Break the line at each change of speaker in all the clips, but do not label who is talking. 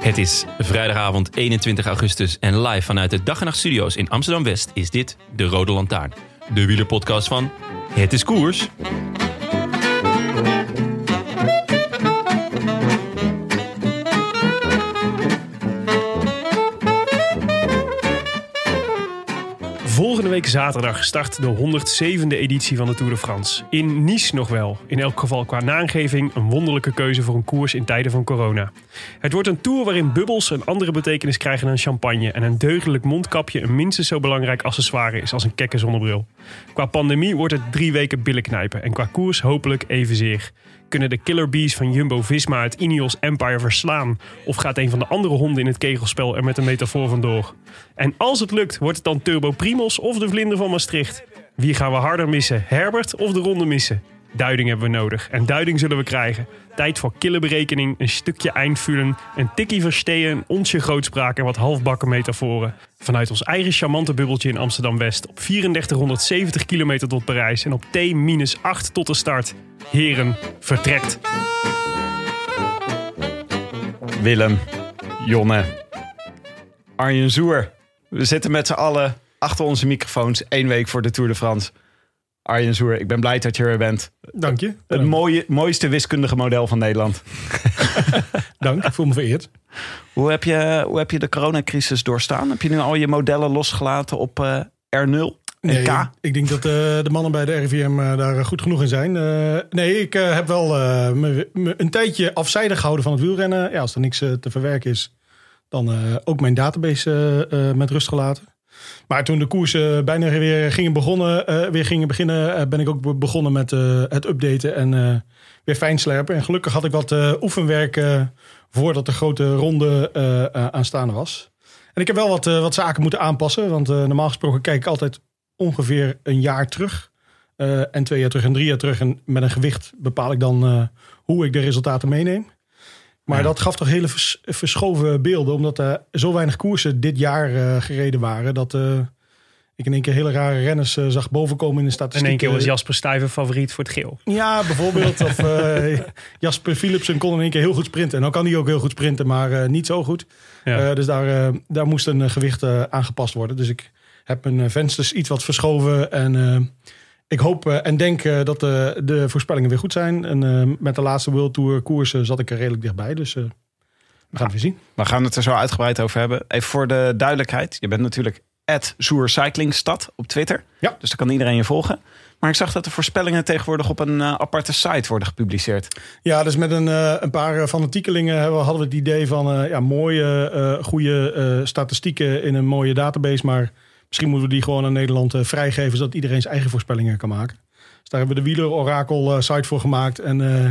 Het is vrijdagavond 21 augustus en live vanuit de Dag en Nacht Studio's in Amsterdam-West is dit De Rode Lantaarn. De wielerpodcast van Het is Koers.
Volgende week zaterdag start de 107e editie van de Tour de France. In Nice nog wel. In elk geval qua naamgeving een wonderlijke keuze voor een koers in tijden van corona. Het wordt een tour waarin bubbels een andere betekenis krijgen dan champagne en een deugdelijk mondkapje een minstens zo belangrijk accessoire is als een kekke zonnebril. Qua pandemie wordt het drie weken billen knijpen en qua koers hopelijk evenzeer. Kunnen de Killer Bees van Jumbo-Visma het Ineos Empire verslaan? Of gaat een van de andere honden in het kegelspel er met een metafoor vandoor? En als het lukt, wordt het dan Turbo Primos of de Vlinder van Maastricht? Wie gaan we harder missen, Herbert of de Ronde missen? Duiding hebben we nodig en duiding zullen we krijgen. Tijd voor kille berekening, een stukje eindvullen, een tikkie verstehen, een onsje grootspraak en wat halfbakken metaforen. Vanuit ons eigen charmante bubbeltje in Amsterdam-West op 3470 kilometer tot Parijs en op T-8 tot de start. Heren, vertrekt.
Willem, Jonne, Arjen Zoer. We zitten met z'n allen achter onze microfoons één week voor de Tour de France. Arjen Zoer, ik ben blij dat je er bent.
Dank je.
Het mooie, mooiste wiskundige model van Nederland.
Dank, ik voel me vereerd.
Hoe heb je, hoe heb je de coronacrisis doorstaan? Heb je nu al je modellen losgelaten op eh, R0 en
Nee,
K?
Ik denk dat eh, de mannen bij de RIVM eh, daar goed genoeg in zijn. Eh, nee, ik eh, heb wel eh, me, me een tijdje afzijdig gehouden van het wielrennen. Ja, als er niks eh, te verwerken is, dan eh, ook mijn database eh, eh, met rust gelaten. Maar toen de koersen bijna weer gingen, begonnen, eh, weer gingen beginnen, eh, ben ik ook be- begonnen met eh, het updaten en eh, weer fijnslijpen. En gelukkig had ik wat eh, oefenwerk eh, voordat de grote ronde eh, eh, aanstaande was. En ik heb wel wat, eh, wat zaken moeten aanpassen, want eh, normaal gesproken kijk ik altijd ongeveer een jaar terug. eh, en twee jaar terug en drie jaar terug. En met een gewicht bepaal ik dan eh, hoe ik de resultaten meeneem. Maar dat gaf toch hele vers- verschoven beelden. Omdat er zo weinig koersen dit jaar eh, gereden waren. Dat eh, ik in één keer hele rare renners eh, zag bovenkomen in de
In
statistieken.
één keer was Jasper Stuyven favoriet voor het geel.
Ja, bijvoorbeeld. Of eh, Jasper Philipsen kon in één keer heel goed sprinten. En dan kan hij ook heel goed sprinten, maar eh, niet zo goed.
Ja.
Eh, dus daar, eh, daar moest een eh, gewicht eh, aangepast worden. Dus ik heb mijn eh, vensters iets wat verschoven. En eh, ik hoop eh, en denk eh, dat de, de voorspellingen weer goed zijn. En eh, met de laatste World Tour koersen zat ik er redelijk dichtbij. Dus eh, we gaan het weer zien.
We gaan het er zo uitgebreid over hebben. Even voor de duidelijkheid. Je bent natuurlijk @zoercyclingstad op Twitter.
Ja.
Dus daar kan iedereen je volgen. Maar ik zag dat de voorspellingen tegenwoordig op een eh, aparte site worden gepubliceerd.
Ja, dus met een, eh, een paar eh, fanatiekelingen hebben, hadden we het idee van eh, ja, mooie, eh, goede eh, statistieken in een mooie database. Maar misschien moeten we die gewoon aan Nederland eh, vrijgeven, zodat iedereen zijn eigen voorspellingen kan maken. Dus daar hebben we de Wieler Orakel eh, site voor gemaakt. En eh,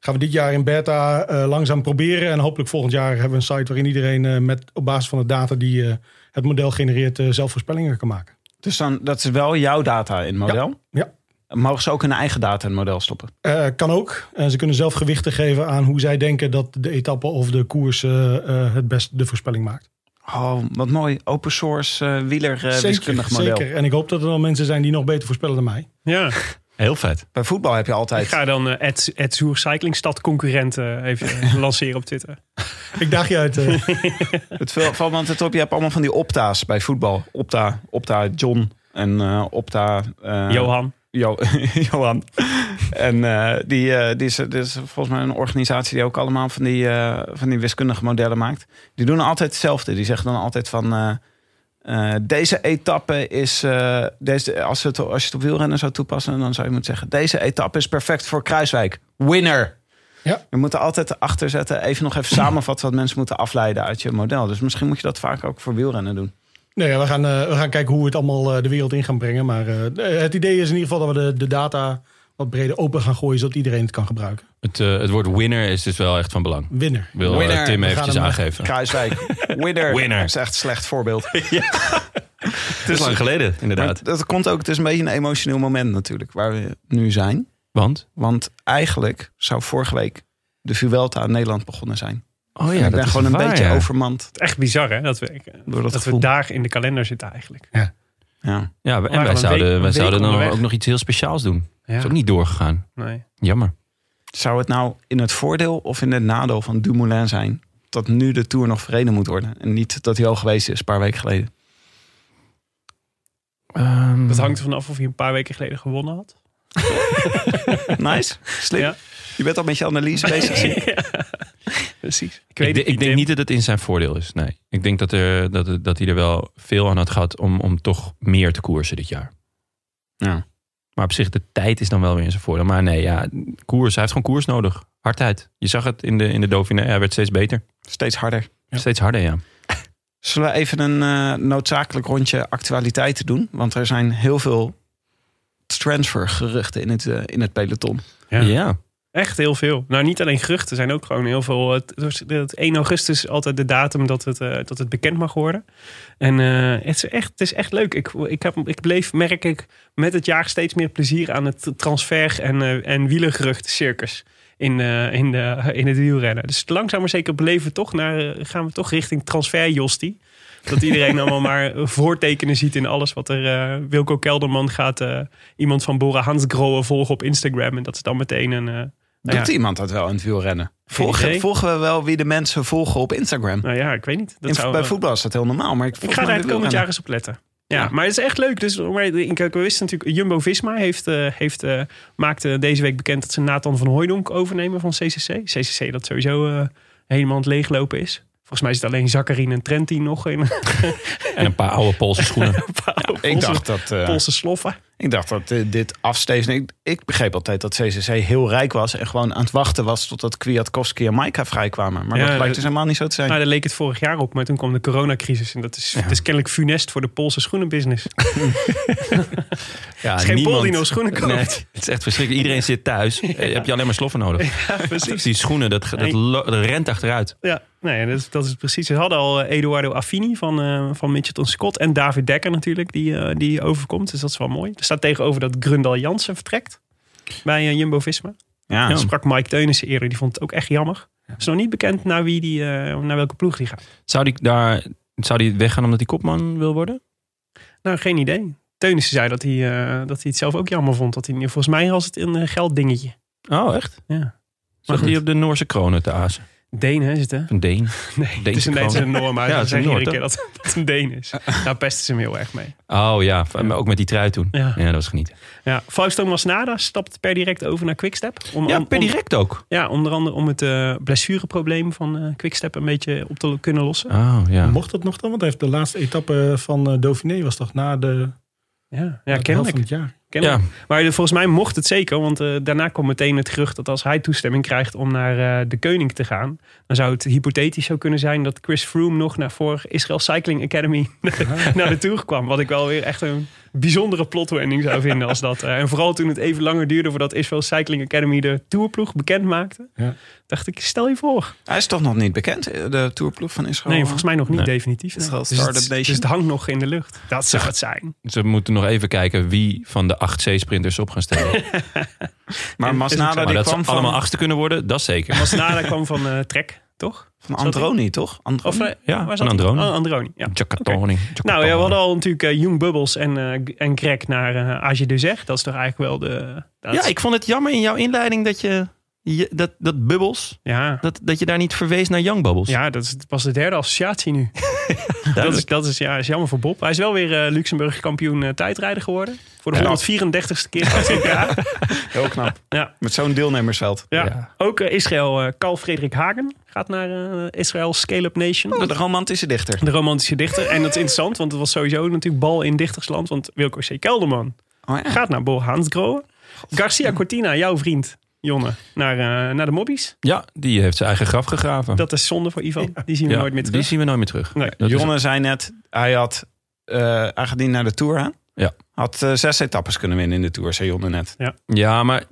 gaan we dit jaar in beta eh, langzaam proberen. En hopelijk volgend jaar hebben we een site waarin iedereen eh, met, op basis van de data die eh, het model genereert eh, zelf voorspellingen kan maken.
Dus dan, dat is wel jouw data in het model.
Ja.
Mogen ze ook hun eigen data in het model stoppen?
Eh, kan ook. Eh, ze kunnen zelf gewichten geven aan hoe zij denken dat de etappe of de koers eh, eh, het best de voorspelling maakt.
Oh, wat mooi. Open source eh wieler eh,
zeker,
wiskundig model.
zeker. En ik hoop dat er dan mensen zijn die nog beter voorspellen dan mij.
Ja,
Heel vet.
Bij voetbal heb je
ik
altijd...
ga dan eh, Ed, Ed Zoer Cyclingstad concurrent eh, even eh, lanceren op Twitter.
Ik daag je uit. eh.
Het val- valt me altijd op. Je hebt allemaal van die opta's bij voetbal. Opta, opta John en eh, opta... eh,
Johan.
Jo- Johan. en eh, die, eh, die, is, die is volgens mij een organisatie die ook allemaal van die, eh, van die wiskundige modellen maakt. Die doen altijd hetzelfde. Die zeggen dan altijd van... eh, eh, deze etappe is... eh, deze, als, het, als je het op wielrennen zou toepassen, dan zou je moeten zeggen... Deze etappe is perfect voor Kruiswijk. Winner!
Ja.
We moeten altijd erachter zetten, even nog even samenvatten... wat mensen moeten afleiden uit je model. Dus misschien moet je dat vaak ook voor wielrennen doen.
Nee, we gaan, eh, we gaan kijken hoe we het allemaal eh, de wereld in gaan brengen. Maar eh, het idee is in ieder geval dat we de, de data wat breder open gaan gooien, zodat iedereen het kan gebruiken.
Het, eh, het woord winner is dus wel echt van belang.
Winner.
Wil eh,
Winner.
Tim
We
gaan
eventjes
hem, eh,
aangeven.
Kruiswijk, winner.
Winner.
Dat is echt een slecht voorbeeld.
Het is lang geleden,
Maar
inderdaad.
dat komt ook, het is een beetje een emotioneel moment natuurlijk, waar we nu zijn.
Want?
Want eigenlijk zou vorige week de Vuelta in Nederland begonnen zijn.
Oh
ik ben gewoon een beetje overmand
Echt bizar, hè? Dat we,
door dat,
dat we
gevoel.
daar in de kalender zitten eigenlijk.
ja.
Ja, en
waren
wij
een week-
zouden, wij
een
zouden
week
dan
onderweg.
ook nog iets heel speciaals doen.
Ja.
Is ook niet doorgegaan.
Nee.
Jammer.
Zou het nou in het voordeel of in het nadeel van Dumoulin zijn... dat nu de Tour nog verreden moet worden? En niet dat hij al geweest is, een paar weken geleden.
Dat hangt er vanaf of hij een paar weken geleden gewonnen had.
Nice, slim.
Ja.
Je bent al met je analyse bezig. zie ik.
Precies. Ik
Ik,
weet
denk-
het
ik denk
Tim.
niet dat het in zijn voordeel is. Nee. Ik denk dat, er, dat, dat hij er wel veel aan had gehad om, om toch meer te koersen dit jaar.
Ja.
Maar op zich, de tijd is dan wel weer in zijn voordeel. Maar nee, ja, koers. Hij heeft gewoon koers nodig. Hardheid. Je zag het in de, in de Dauphiné. Hij werd steeds beter.
Steeds harder.
Steeds harder, ja.
Zullen we even een eh, noodzakelijk rondje actualiteiten doen? Want er zijn heel veel transfergeruchten in het, eh, in het peloton.
Ja.
ja.
Echt heel veel. Nou, niet alleen geruchten. Er zijn ook gewoon heel veel. Het, het- het 1 augustus is altijd de datum dat het, eh, dat het bekend mag worden. En eh, het, is echt, het is echt leuk. Ik, ik, heb, ik bleef, merk ik, met het jaar steeds meer plezier aan het transfer- en, eh en wielergeruchtencircus in, eh, in, de, in het wielrennen. Dus langzaam maar zeker beleven we toch naar, eh, gaan we toch richting transfer-jostie. Dat iedereen allemaal maar voortekenen ziet in alles wat er... eh, Wilco Kelderman gaat eh, iemand van Bora Hansgrohe volgen op Instagram. En dat is dan meteen een... eh,
Doet
ja.
iemand dat wel in het wielrennen?
Geen
Volgen,
idee.
volgen we wel wie de mensen volgen op Instagram?
Nou ja, ik weet niet. Dat
In-
zou,
bij voetbal is dat heel normaal. Maar ik,
ik ga daar het komend jaar eens op letten. Ja,
Ja.
maar het is echt leuk. Dus, maar ik, ik wist natuurlijk, Jumbo-Visma heeft, eh, heeft, eh, maakte deze week bekend... dat ze Nathan van Hooijdonk overnemen van CCC. CCC dat sowieso eh, helemaal aan het leeglopen is. Volgens mij zit alleen Zakharine en Trentin nog in een
En een paar oude Poolse schoenen.
paar
Ik
Poolse,
dacht dat, eh,
Poolse sloffen.
ik dacht dat eh, dit afstezen... Ik, ik begreep altijd dat CCC heel rijk was... en gewoon aan het wachten was totdat Kwiatkowski en Maika vrijkwamen. Maar
Ja,
dat blijkt
dat-
dus helemaal niet zo te zijn.
Nou, daar leek het vorig jaar op, maar toen kwam de coronacrisis. En dat is, dat is kennelijk funest voor de Poolse schoenenbusiness. Het
Ja,
Ah,
is geen Pool die
niemand-
nog schoenen koopt.
Nee, het is echt verschrikkelijk. Iedereen zit thuis. Eh, Heb je alleen maar sloffen nodig.
Ja, precies.
Die schoenen, dat, dat,
Nee.
lo- dat rent achteruit.
Ja, nee, dat, is- dat is precies. Ze hadden al eh, Eduardo Affini van, eh van Mitchelton Scott en David Dekker natuurlijk, die, eh, die overkomt. Dus dat is wel mooi. Er staat tegenover dat Grundal Jansen vertrekt bij eh, Jumbo-Visma.
ja.
Dat sprak Mike Teunissen eerder, die vond het ook echt jammer. Het is nog niet bekend naar, wie die, eh, naar welke ploeg die gaat.
Zou die, daar, zou die weggaan omdat hij kopman wil worden?
Nou, geen idee. Teunissen zei dat hij, eh, dat hij het zelf ook jammer vond. Dat hij, volgens mij was het een eh, gelddingetje.
Oh, echt?
Ja.
Zag die op de Noorse kronen te azen?
Deen, hè, is het, hè?
Een Deen.
Nee, het is een,
kroon.
het is een Noor, maar
Ja,
ja,
het is een
zeggen iedere
Noor,
keer dat dat het een Deen is. Daar pesten ze hem heel erg mee.
Oh ja, v- maar ook met die trui toen.
Ja.
Ja, dat was genieten.
Ja, Fausto Masnada stapt per direct over naar Quickstep. Om,
Ja,
om-
per
om-
direct ook.
ja, onder andere om het eh, blessureprobleem van eh, Quickstep een beetje op te lo- kunnen lossen.
Oh ja.
Mocht dat nog dan? Want hij heeft de laatste etappe van eh, Dauphiné was toch na de,
Ja,
na
ja
de helft
kennelijk.
van het jaar.
kennelijk.
Ja.
Maar eh, volgens mij mocht het zeker, want eh, daarna kwam meteen het gerucht dat als hij toestemming krijgt om naar eh, de Keuning te gaan, dan zou het hypothetisch zo kunnen zijn dat Chris Froome nog naar voor Israel Cycling Academy naar de Tour kwam. Wat ik wel weer echt een bijzondere plotwending zou vinden als dat. eh, en vooral toen het even langer duurde voordat Israel Cycling Academy de Tourploeg bekend maakte,
Ja.
dacht ik, stel je voor.
Hij is toch nog niet bekend, eh, de tourploeg van Israël?
Nee, volgens mij nog niet
Nee.
definitief.
Is het
nee.
al
Dus het-
Startup Nation?
Dus het hangt nog in de lucht. Dat zou het zijn.
Ze moeten nog even kijken wie van de acht C-sprinters op gaan stellen.
Maar
En- is
Masnada
het
maar
die
dat ze
kwam
allemaal
van,
achtste kunnen worden, dat zeker.
Masnada kwam van eh Trek, toch?
van Androni, toch? Androni?
Of eh,
Mm, Ja, van
waar zat hij?
Androni.
Oh, Androni, ja.
Chakatoning.
Nou ja, we hadden al natuurlijk eh, Young Bubbles en, eh en Greg naar eh AG de Zeg. Dat is toch eigenlijk wel de... dat-
Ja, ik vond het jammer in jouw inleiding dat je, je- dat, dat bubbels,
ja.
dat, dat je daar niet verwees naar Young Bubbles.
Ja, dat is pas de derde associatie nu. dat is,
Duidelijk.
dat is, ja, is jammer voor Bob. Hij is wel weer eh, Luxemburg kampioen eh, tijdrijder geworden. Voor de
Ja.
134ste keer achter elkaar.
Heel knap.
Ja.
Met zo'n deelnemersveld.
Ja.
Ja.
Ook eh, Israël, eh Carl Frederik Hagen gaat naar eh, Israël Scale-Up Nation.
Oh,
De romantische dichter.
De romantische dichter. En dat is interessant, want het was sowieso natuurlijk bal in dichtersland. Want Wilco C. Kelderman
Oh ja.
gaat naar Bol Hansgrohe. Garcia Cortina, jouw vriend, Jonne, naar, eh, naar de mobbies.
Ja, die heeft zijn eigen graf gegraven.
Dat is zonde voor Ivan. Die zien we
Ja,
nooit meer
Die
terug.
zien we nooit meer terug.
Nee.
Dat is-
Jonne zei net, hij had eh aangedien naar de Tour aan.
Ja.
Had eh, zes etappes kunnen winnen in de Tour, zei Jonne net.
Ja, maar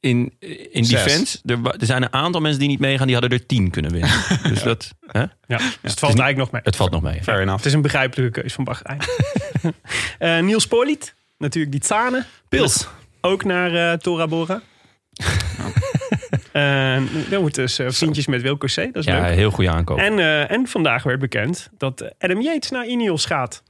in, in
Zes.
defense, er, wa- er zijn een aantal mensen die niet meegaan, die hadden er tien kunnen winnen. Dus dat, hè?
Ja, dus het valt eigenlijk nog mee.
het valt nog mee.
Fair
Het
enough.
is een begrijpelijke keuze van Bahrein. Eh Niels Poliet, natuurlijk die Tsane.
Pils.
Ook naar eh, Tora Bora. Eh, dan moet dus eh, vriendjes met Wilco C. Dat is
Ja,
leuk.
heel goede aankoop.
En, eh, en vandaag werd bekend dat Adam Yates naar Ineos gaat.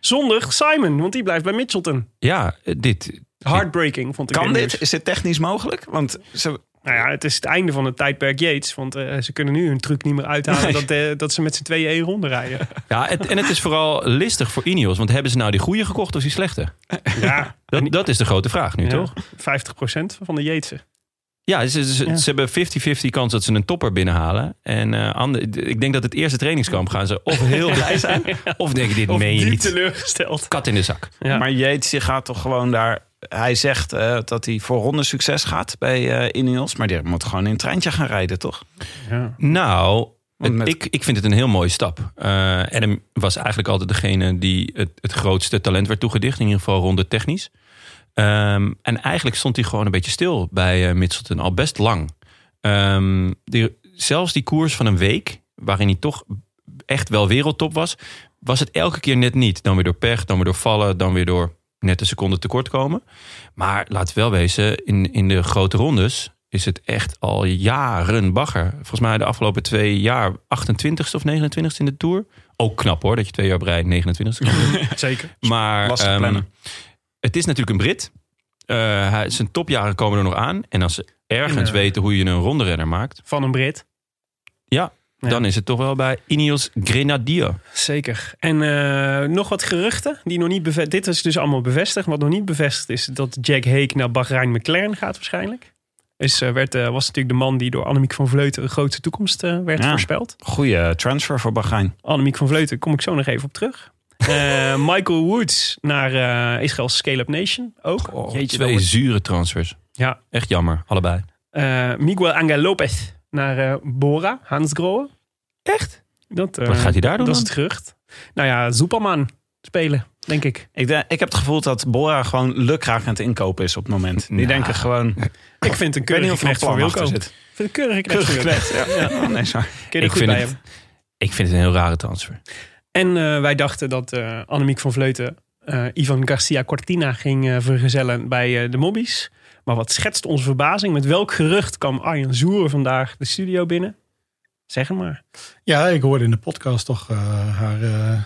Zonder Simon, want die blijft bij Mitchelton.
Ja, eh, dit.
Heartbreaking, vond ik.
Kan
het
dit?
nieuws.
Is dit technisch mogelijk? Want ze,
Nou ja, het is het einde van het tijdperk Yates. Want eh, ze kunnen nu hun truc niet meer uithalen dat, eh, dat ze met z'n tweeën één ronde rijden.
Ja, het, en het is vooral listig voor Ineos. Want hebben ze nou die goede gekocht of die slechte?
ja,
Dat, dat is de grote vraag nu,
ja,
toch?
50% van de Yatesen.
Ja, ze, ze,
Ja.
ze hebben 50-50 kans dat ze een topper binnenhalen. En eh, ander, ik denk dat het eerste trainingskamp gaan ze of heel blij zijn... of denken, dit
Of
meen je
diep
niet.
teleurgesteld.
Kat in de zak.
Ja.
Maar Yates die gaat toch gewoon daar. Hij zegt eh, dat hij voor ronde succes gaat bij eh, Ineos. Maar die moet gewoon in een treintje gaan rijden, toch?
Ja.
Nou,
Want
het-
met-
ik, ik vind het een heel mooie stap. Eh, Adam was eigenlijk altijd degene die het, het grootste talent werd toegedicht. In ieder geval ronde technisch. Ehm, en eigenlijk stond hij gewoon een beetje stil bij eh Mitchelton. Al best lang. Ehm, die, zelfs die koers van een week, waarin hij toch echt wel wereldtop was... was het elke keer net niet. Dan weer door pech, dan weer door vallen, dan weer door net een seconde tekort komen. Maar laat wel wezen, in, in de grote rondes is het echt al jaren bagger. Volgens mij de afgelopen twee jaar 28ste of 29ste in de Tour. Ook knap hoor, dat je twee jaar breid 29ste kan doen.
Zeker.
Maar
Lastig
ehm,
plannen.
het is natuurlijk een Brit. Eh, hij, zijn topjaren komen er nog aan. En als ze ergens
Ja.
weten hoe je een ronderenner maakt...
Van een Brit. Ja.
dan is het toch wel bij Ineos Grenadier.
Zeker. En eh, nog wat geruchten die nog niet bevestigd. Dit is dus allemaal bevestigd. Wat nog niet bevestigd is dat Jack Hake naar Bahrein McLaren gaat waarschijnlijk. Is, eh, werd, eh, was natuurlijk de man die door Annemiek van Vleuten een grootste toekomst eh, werd
Ja.
voorspeld.
Goeie transfer voor Bahrein.
Annemiek van Vleuten, kom ik zo nog even op terug. Eh, Michael Woods naar eh Israëls Scale-Up Nation ook.
Oh,
Jeetje, wel
Twee
wat-
zure transfers.
Ja.
Echt jammer, allebei.
Eh, Miguel Angel Lopez naar eh, Bora, Hans Grohe. Echt? Dat, eh,
Wat gaat hij daar doen
Dat is
dan?
het gerucht. Nou ja, Superman spelen, denk ik.
Ik, denk- ik heb het gevoel dat Bora gewoon lukraak aan het inkopen is op het moment. Die
Nou,
denken gewoon. Ik
Ik vind een
weet niet
keurige
of er een
knecht voor
plan
Wilco.
achter
Ik
zit.
vind een keurige knecht
Keurig
voor Wilco.
geknecht. Ja. Ja, nee, sorry.
Kun je er
Ik
goed
vind
bij
het-
hebben.
Ik vind het een heel rare transfer.
En eh, wij dachten dat eh, Annemiek van Vleuten eh, Ivan Garcia Cortina ging eh, vergezellen bij eh, de mobbies. Maar wat schetst onze verbazing? Met welk gerucht kwam Arjen Zoer vandaag de studio binnen? Zeg het maar.
Ja, ik hoorde in de podcast toch eh, haar... eh,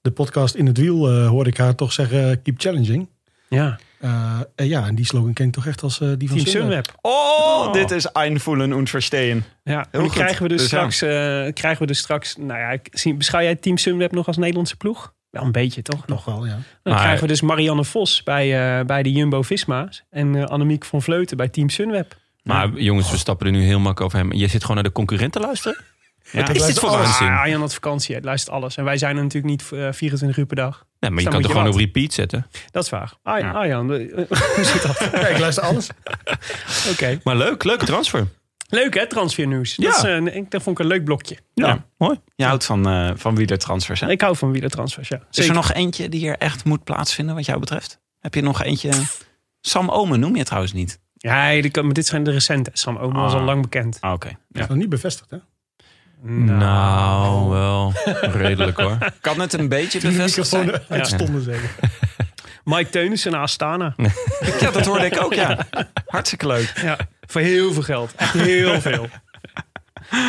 de podcast In het Wiel eh, hoorde ik haar toch zeggen... keep challenging.
Ja,
Eh, en ja, en die slogan ken ik toch echt als eh, die van
Team
Sunweb.
Sunweb.
Oh,
Oh.
dit is einvoelen und verstehen.
Ja, en dan
goed.
krijgen we dus,
Dus ja.
straks, eh, krijgen we dus straks... Nou ja, ik zie- beschouw jij Team Sunweb nog als Nederlandse ploeg? Wel een beetje, toch?
Nog wel, ja.
Dan
Maar-
krijgen we dus Marianne Vos bij, eh, bij de Jumbo-Visma's. En eh, Annemiek van Vleuten bij Team Sunweb.
Maar jongens, we stappen er nu heel makkelijk over hem. Je zit gewoon naar de concurrent te luisteren?
Ja.
Is dit
blijft
voor
alles.
waanzin?
Ah, Arjan had vakantie, het luistert alles. En wij zijn er natuurlijk niet eh, 24 uur per dag.
Nee, maar je kan
Dan moet
toch
je
gewoon op
wat.
repeat zetten?
Dat is waar. Ar-
Ja.
Arjan, eh, hoe zit dat? Oké.
Ja, ik luister alles.
Maar leuk, leuke transfer.
Leuk hè, transfernieuws.
Ja.
Dat, is een- ik- dat vond ik een leuk blokje.
Ja,
Ja.
mooi.
Je houdt van, eh van wielertransfers, hè?
Ik hou van wielertransfers, ja.
Is er
Zeker.
nog eentje die hier echt moet plaatsvinden, wat jou betreft? Heb je nog eentje? Sam Omen noem je trouwens niet.
Ja, die kan- maar dit zijn de recente. Sam Omen was al
Ah.
lang bekend.
Ah, Oké.
Dat is nog niet bevestigd, hè?
Nou, wel redelijk hoor.
Kan het een beetje
Die
bevestigd zijn?
microfoon uitstonden zeker.
Mike Teunissen naar Astana.
Ja, dat hoorde ik ook, ja. Hartstikke leuk.
Ja, voor heel veel geld. Echt heel veel.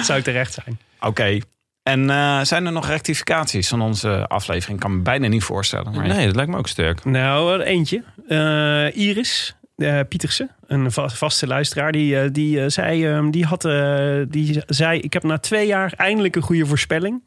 Zou ik terecht zijn.
Oké. En eh, zijn er nog rectificaties van onze aflevering? Ik kan me bijna niet voorstellen. Maar
Nee, dat lijkt me ook sterk.
Nou, er eentje. Eh, Iris eh, Pietersen, een va- vaste luisteraar, die, eh, die, eh, zei, ehm, die, had, eh, die zei: Ik heb na twee jaar eindelijk een goede voorspelling.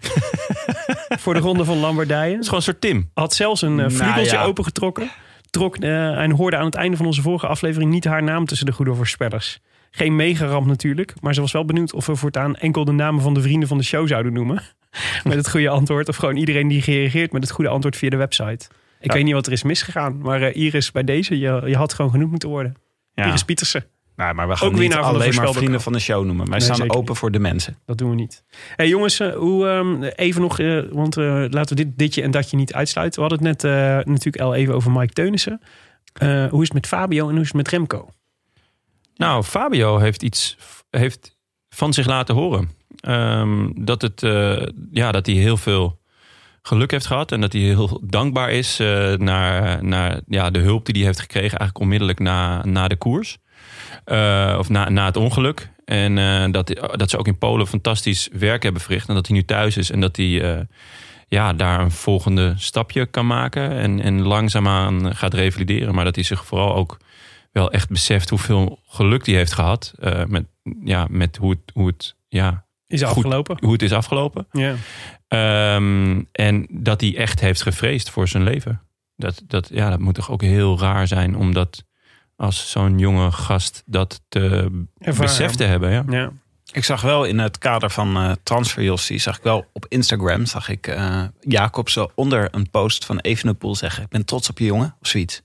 voor de ronde van Lombardije.
Het is gewoon een soort Tim.
Had zelfs een eh,
Nou
vliegeltje
ja.
opengetrokken. Trok, eh, en hoorde aan het einde van onze vorige aflevering niet haar naam tussen de goede voorspellers. Geen megaramp natuurlijk, maar ze was wel benieuwd of we voortaan enkel de namen van de vrienden van de show zouden noemen. Met het goede antwoord. Of gewoon iedereen die gereageerd met het goede antwoord via de website. Ik
Ja.
weet niet wat er is misgegaan, maar eh, Iris, bij deze, je, je had gewoon genoemd moeten worden.
ja.
Iris Pietersen.
Nou, maar we gaan
Ook
niet
winnaar van de
alleen maar
voorspelbokaal.
vrienden van de show noemen. Wij
Nee,
staan
zeker
open voor de mensen.
Dat doen we niet. Hey jongens, eh, hoe, ehm, even nog, eh, want eh, laten we dit ditje en datje niet uitsluiten. We hadden het net eh, natuurlijk al even over Mike Teunissen. Eh, hoe is het met Fabio en hoe is het met Remco?
Nou, Fabio heeft iets heeft van zich laten horen. Ehm, dat, het, eh, ja, dat hij heel veel geluk heeft gehad. En dat hij heel dankbaar is eh, naar, naar ja, de hulp die hij heeft gekregen. Eigenlijk onmiddellijk na, na de koers. Eh, of na, na het ongeluk. En eh, dat, dat ze ook in Polen fantastisch werk hebben verricht. En dat hij nu thuis is. En dat hij eh, ja, daar een volgende stapje kan maken. En, en langzaamaan gaat revalideren. Maar dat hij zich vooral ook wel echt beseft hoeveel geluk die heeft gehad. eh, met, ja, met hoe het, hoe het, ja,
Is hij
Goed.
afgelopen?
hoe het is afgelopen.
Ja.
Ehm, en dat hij echt heeft gevreesd voor zijn leven. Dat, dat, ja, dat moet toch ook heel raar zijn om dat als zo'n jonge gast dat te
Ervaren.
beseft te hebben. Ja.
ja.
Ik zag wel in het kader van eh transferjostie, zag ik wel op Instagram, zag ik eh Jacobsen onder een post van Evenepoel zeggen: Ik ben trots op je jongen, of zoiets.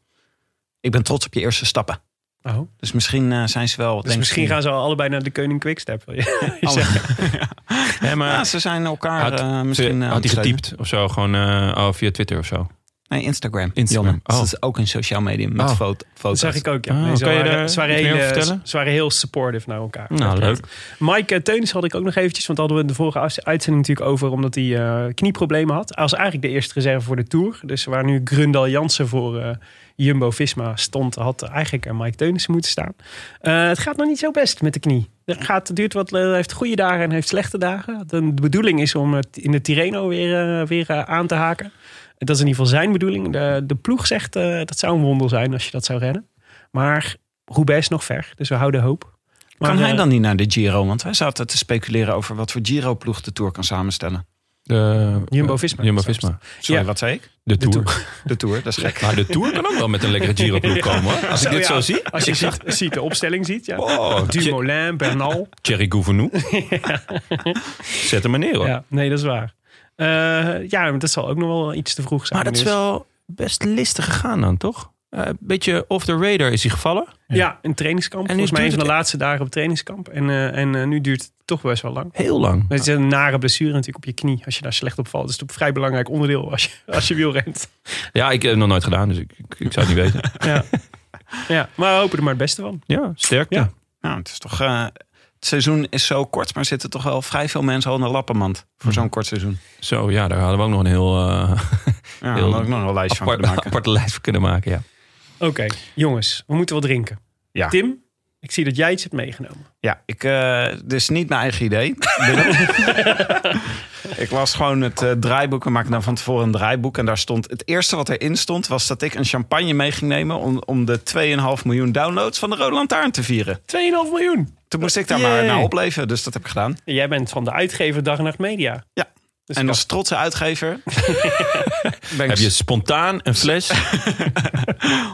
Ik ben trots op je eerste stappen.
Oh.
Dus misschien eh, zijn ze wel.
Dus misschien gaan ze al allebei naar de Koning Quickstep.
Oh,
wil je- je zeggen.
Ja, maar
Ja, ze zijn elkaar
Had-
eh, misschien. eh, aan
had
het
hij
steunen.
getypt of zo, gewoon eh, oh, via Twitter of zo.
Nee, Instagram.
Instagram.
Jonne. Dus
Oh.
dat is ook een sociaal medium met
Oh.
foto-
Dat
foto's.
zag ik ook, ja.
Ah,
Nee, ze,
kan je
waren,
daar
ze, waren
iets meer
heel, eh,
over vertellen?
ze waren heel supportive naar elkaar.
Nou,
Echt.
leuk.
Mike eh, Teunis had ik ook nog eventjes, want hadden we de vorige afs- uitzending natuurlijk over, omdat hij eh, knieproblemen had. Hij was eigenlijk de eerste reserve voor de Tour. Dus waar nu Grundal Jansen voor eh, Jumbo-Visma stond, had eigenlijk eh, Mike Teunis moeten staan. Eh, het gaat nog niet zo best met de knie. Het gaat, het duurt wat, eh, heeft goede dagen en heeft slechte dagen. De de bedoeling is om het in de Tirreno weer, eh, weer eh, aan te haken. Dat is in ieder geval zijn bedoeling. De, de ploeg zegt, eh, dat zou een wonder zijn als je dat zou rennen. Maar Roubaix is nog ver, dus we houden hoop. Maar,
Kan hij
eh,
dan niet naar de Giro? Want wij zaten te speculeren over wat voor Giro-ploeg de Tour kan samenstellen.
De- eh,
Jumbo-Visma.
Jumbo-Visma.
Sorry,
Ja.
wat zei ik?
De, Tour.
De Tour, dat is gek.
Maar de Tour kan ook wel met een lekkere Giro-ploeg komen. Hoor. Als ik
Zo,
dit
ja,
zo zie.
Als je ziet, ziet de opstelling ziet, ja.
Oh, Thie-
Dumoulin, Bernal.
Thierry Gouvenou. Zet hem maar neer hoor.
Ja, nee, dat is waar. Eh, ja, maar dat zal ook nog wel iets te vroeg zijn.
Maar dat is
dus-
wel best listig gegaan dan, toch? Eh, Een beetje off the radar is hij gevallen.
Ja, een trainingskamp.
En nu
volgens mij een
duurt
van de
het-
laatste dagen op trainingskamp. En, eh, en eh, nu duurt het toch best wel lang.
Heel lang.
Het is een nare blessure natuurlijk op je knie. Als je daar slecht op valt. Dat is een vrij belangrijk onderdeel als je, als je wielrent.
Ja, ik heb het nog nooit gedaan, dus ik, ik, ik zou het niet weten.
Ja. ja, maar we hopen er maar het beste van.
Ja, sterkte.
Ja.
Nou, het is toch. eh, het seizoen is zo kort, maar zitten toch wel vrij veel mensen al in de lappenmand voor zo'n kort seizoen.
Zo, ja, daar hadden we ook nog een heel eh,
Ja,
Heel
daar had ik nog een lijstje van
apart,
kunnen maken.
aparte lijst voor kunnen maken. Ja.
Oké, jongens. We moeten wat drinken.
Ja.
Tim, ik zie dat jij iets hebt meegenomen.
Ja, ik, eh dus niet mijn eigen idee. ik las gewoon het eh, draaiboek. We maakten dan van tevoren een draaiboek. En daar stond, het eerste wat erin stond, was dat ik een champagne mee ging nemen... om, om de 2,5 miljoen downloads van de Rode Lantaarn te vieren.
2,5 miljoen.
Toen moest ik daar
Yay.
maar naar opleven, dus dat heb ik gedaan.
Jij bent van de uitgever Dag en Nacht Media.
Ja.
Dus
en
kan-
als trotse uitgever ben
Heb je
ik
spontaan een fles?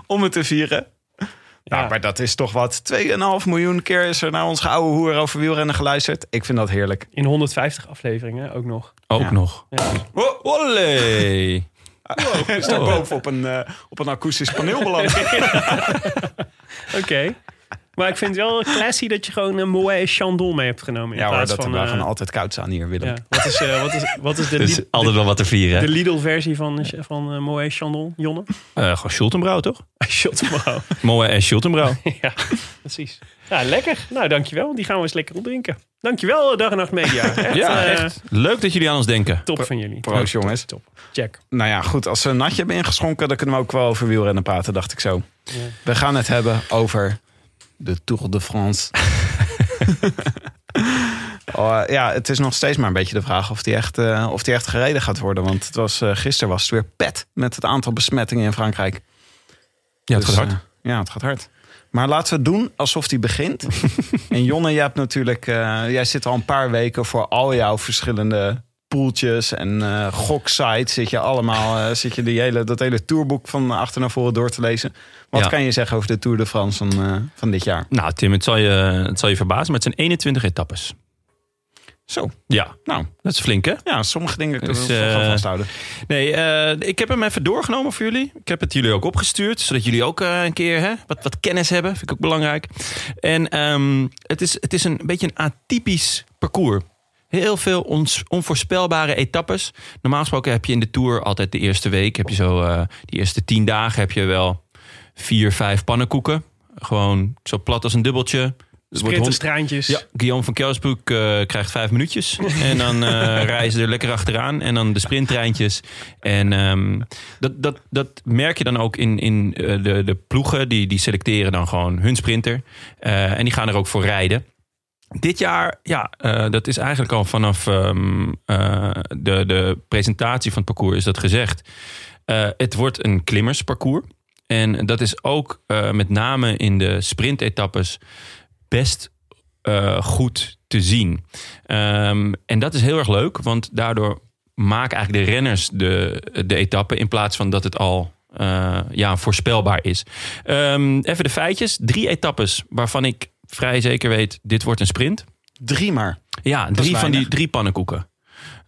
om het te vieren.
Ja.
Nou, maar dat is toch wat. 2,5 miljoen keer is er naar ons gouden hoer over wielrennen geluisterd. Ik vind dat heerlijk.
In 150 afleveringen ook nog.
Ook
Ja.
nog.
Ja.
Ho- Olé!
Is daar
Oh.
boven op een, eh, op een akoestisch paneel beland.
Oké. Maar ik vind het wel classy dat je gewoon een Moët Chandon mee hebt genomen. In
Ja hoor,
plaats
dat
van,
hebben we
eh,
gewoon altijd koud aan hier, Willem.
ja. wat, is, eh, wat, is, wat is de,
Dus
Lid-
altijd wel wat te vieren.
de Lidl-versie van, van eh, Moët Chandon, Jonne?
Eh, gewoon Schultenbrouw, toch?
Shot wow.
Mooi en Schultenbrouw.
ja, precies. Ja, lekker. Nou, dankjewel. Die gaan we eens lekker opdrinken. Dankjewel, eh, Dag en Nacht Media. Echt,
Ja,
eh,
echt. Leuk dat jullie aan ons denken.
Top van jullie.
Proost, jongens.
Top.
dus
Check.
Nou ja, goed. Als we een natje hebben ingeschonken, dan kunnen we ook wel over wielrennen praten, dacht ik zo. We gaan het hebben over de Tour de France. Oh, eh, ja, het is nog steeds maar een beetje de vraag of die echt, eh, of die echt gereden gaat worden. Want het was, eh, gisteren was het weer pet met het aantal besmettingen in Frankrijk.
Ja, het gaat
Dus,
hard.
eh, ja, het gaat hard. Maar laten we het doen alsof die begint. en Jonne, jij, hebt natuurlijk, eh, jij zit al een paar weken voor al jouw verschillende poeltjes en eh goksites. Zit je allemaal eh, zit je die hele, dat hele tourboek van achter naar voren door te lezen. Wat
Ja.
kan je zeggen over de Tour de France van, eh, van dit jaar?
Nou, Tim, het zal je, het zal je verbazen, maar het zijn 21 etappes.
Zo,
Ja,
nou.
dat is flink hè?
Ja, sommige dingen kunnen
Dus,
we gewoon
eh,
vasthouden.
Nee, eh, ik heb hem even doorgenomen voor jullie. Ik heb het jullie ook opgestuurd, zodat jullie ook eh, een keer hè, wat, wat kennis hebben. Vind ik ook belangrijk. En ehm, het, is, het is een beetje een atypisch parcours. Heel veel ons- onvoorspelbare etappes. Normaal gesproken heb je in de Tour altijd de eerste week. Heb je zo, eh, die eerste tien dagen heb je wel vier, vijf pannenkoeken. Gewoon zo plat als een dubbeltje. Er wordt hond-
Sprinterstraantjes.
ja, Guillaume van Kelsbroek eh, krijgt vijf minuutjes. En dan eh, rijden ze er lekker achteraan. En dan de sprinttreintjes. En ehm, dat, dat, dat merk je dan ook in, in eh, de, de ploegen. Die, die selecteren dan gewoon hun sprinter. Eh, en die gaan er ook voor rijden. Dit jaar, ja, eh, dat is eigenlijk al vanaf ehm, eh, de, de presentatie van het parcours is dat gezegd. Eh, het wordt een klimmersparcours. En dat is ook eh, met name in de sprintetappes best eh, goed te zien. Ehm, en dat is heel erg leuk, want daardoor maken eigenlijk de renners de, de etappe in plaats van dat het al eh, ja, voorspelbaar is. Ehm, even de feitjes. Drie etappes waarvan ik vrij zeker weet, dit wordt een sprint.
Drie maar.
Ja, drie van
weinig.
die drie pannenkoeken.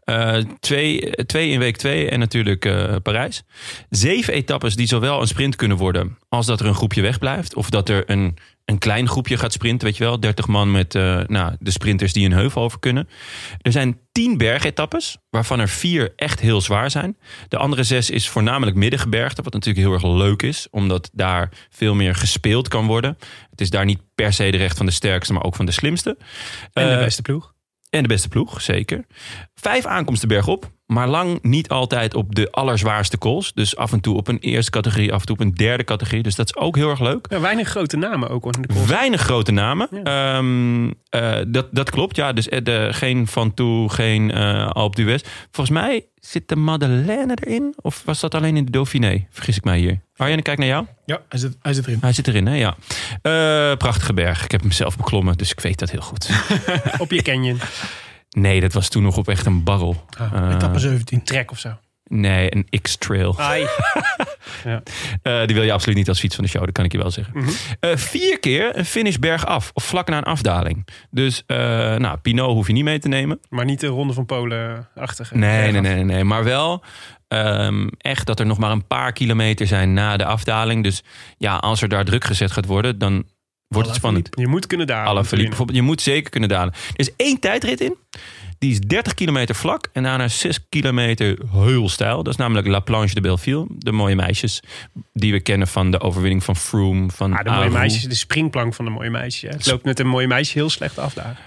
Eh, twee, twee in week twee en natuurlijk eh, Parijs. Zeven etappes die zowel een sprint kunnen worden... als dat er een groepje wegblijft. Of dat er een, een klein groepje gaat sprinten, weet je wel. 30 man met eh, nou, de sprinters die een heuvel over kunnen. Er zijn tien bergetappes, waarvan er vier echt heel zwaar zijn. De andere zes is voornamelijk middengebergte, wat natuurlijk heel erg leuk is. Omdat daar veel meer gespeeld kan worden. Het is daar niet per se de recht van de sterkste, maar ook van de slimste.
En de
Eh,
beste ploeg.
en de beste ploeg, zeker. Vijf aankomsten bergop, maar lang niet altijd op de allerzwaarste calls. Dus af en toe op een eerste categorie, af en toe op een derde categorie. Dus dat is ook heel erg leuk.
Ja, weinig grote namen ook hoor, in de koers.
Weinig grote namen. Ehm, eh, dat, dat klopt, ja. Dus eh, de, geen Van Toe, geen eh Alpe d'Huez. Volgens mij zit de Madeleine erin. Of was dat alleen in de Dauphiné? Vergis ik mij hier. Arjen, kijk naar jou.
Ja, hij zit, hij zit erin.
Hij zit erin, hè? Ja. Eh, prachtige berg. Ik heb hem zelf beklommen, dus ik weet dat heel goed.
Op je canyon.
Nee, dat was toen nog op echt een barrel. Eh,
Etappe 17.
Trek of zo.
Nee, een X-Trail.
Ai.
Eh, die wil je absoluut niet als fiets van de show, dat kan ik je wel zeggen.
Mhm.
Eh, vier keer een finish bergaf, of vlak na een afdaling. Dus, eh, nou, Pinot hoef je niet mee te nemen.
Maar niet de Ronde van Polen-achtige.
Nee, nee, nee, nee, nee. Maar wel ehm, echt dat er nog maar een paar kilometer zijn na de afdaling. Dus ja, als er daar druk gezet gaat worden, dan wordt het spannend.
Je moet kunnen daar.
Alle verliep bijvoorbeeld. Je moet zeker kunnen dalen. Er is één tijdrit in. Die is 30 kilometer vlak en daarna 6 kilometer heel stijl. Dat is namelijk La Planche de Belleville. De mooie meisjes die we kennen van de overwinning van Froome. Van
Ah, de mooie
Aru.
meisjes, de springplank van de mooie meisje. hè. Het loopt met een mooie meisje heel slecht af daar.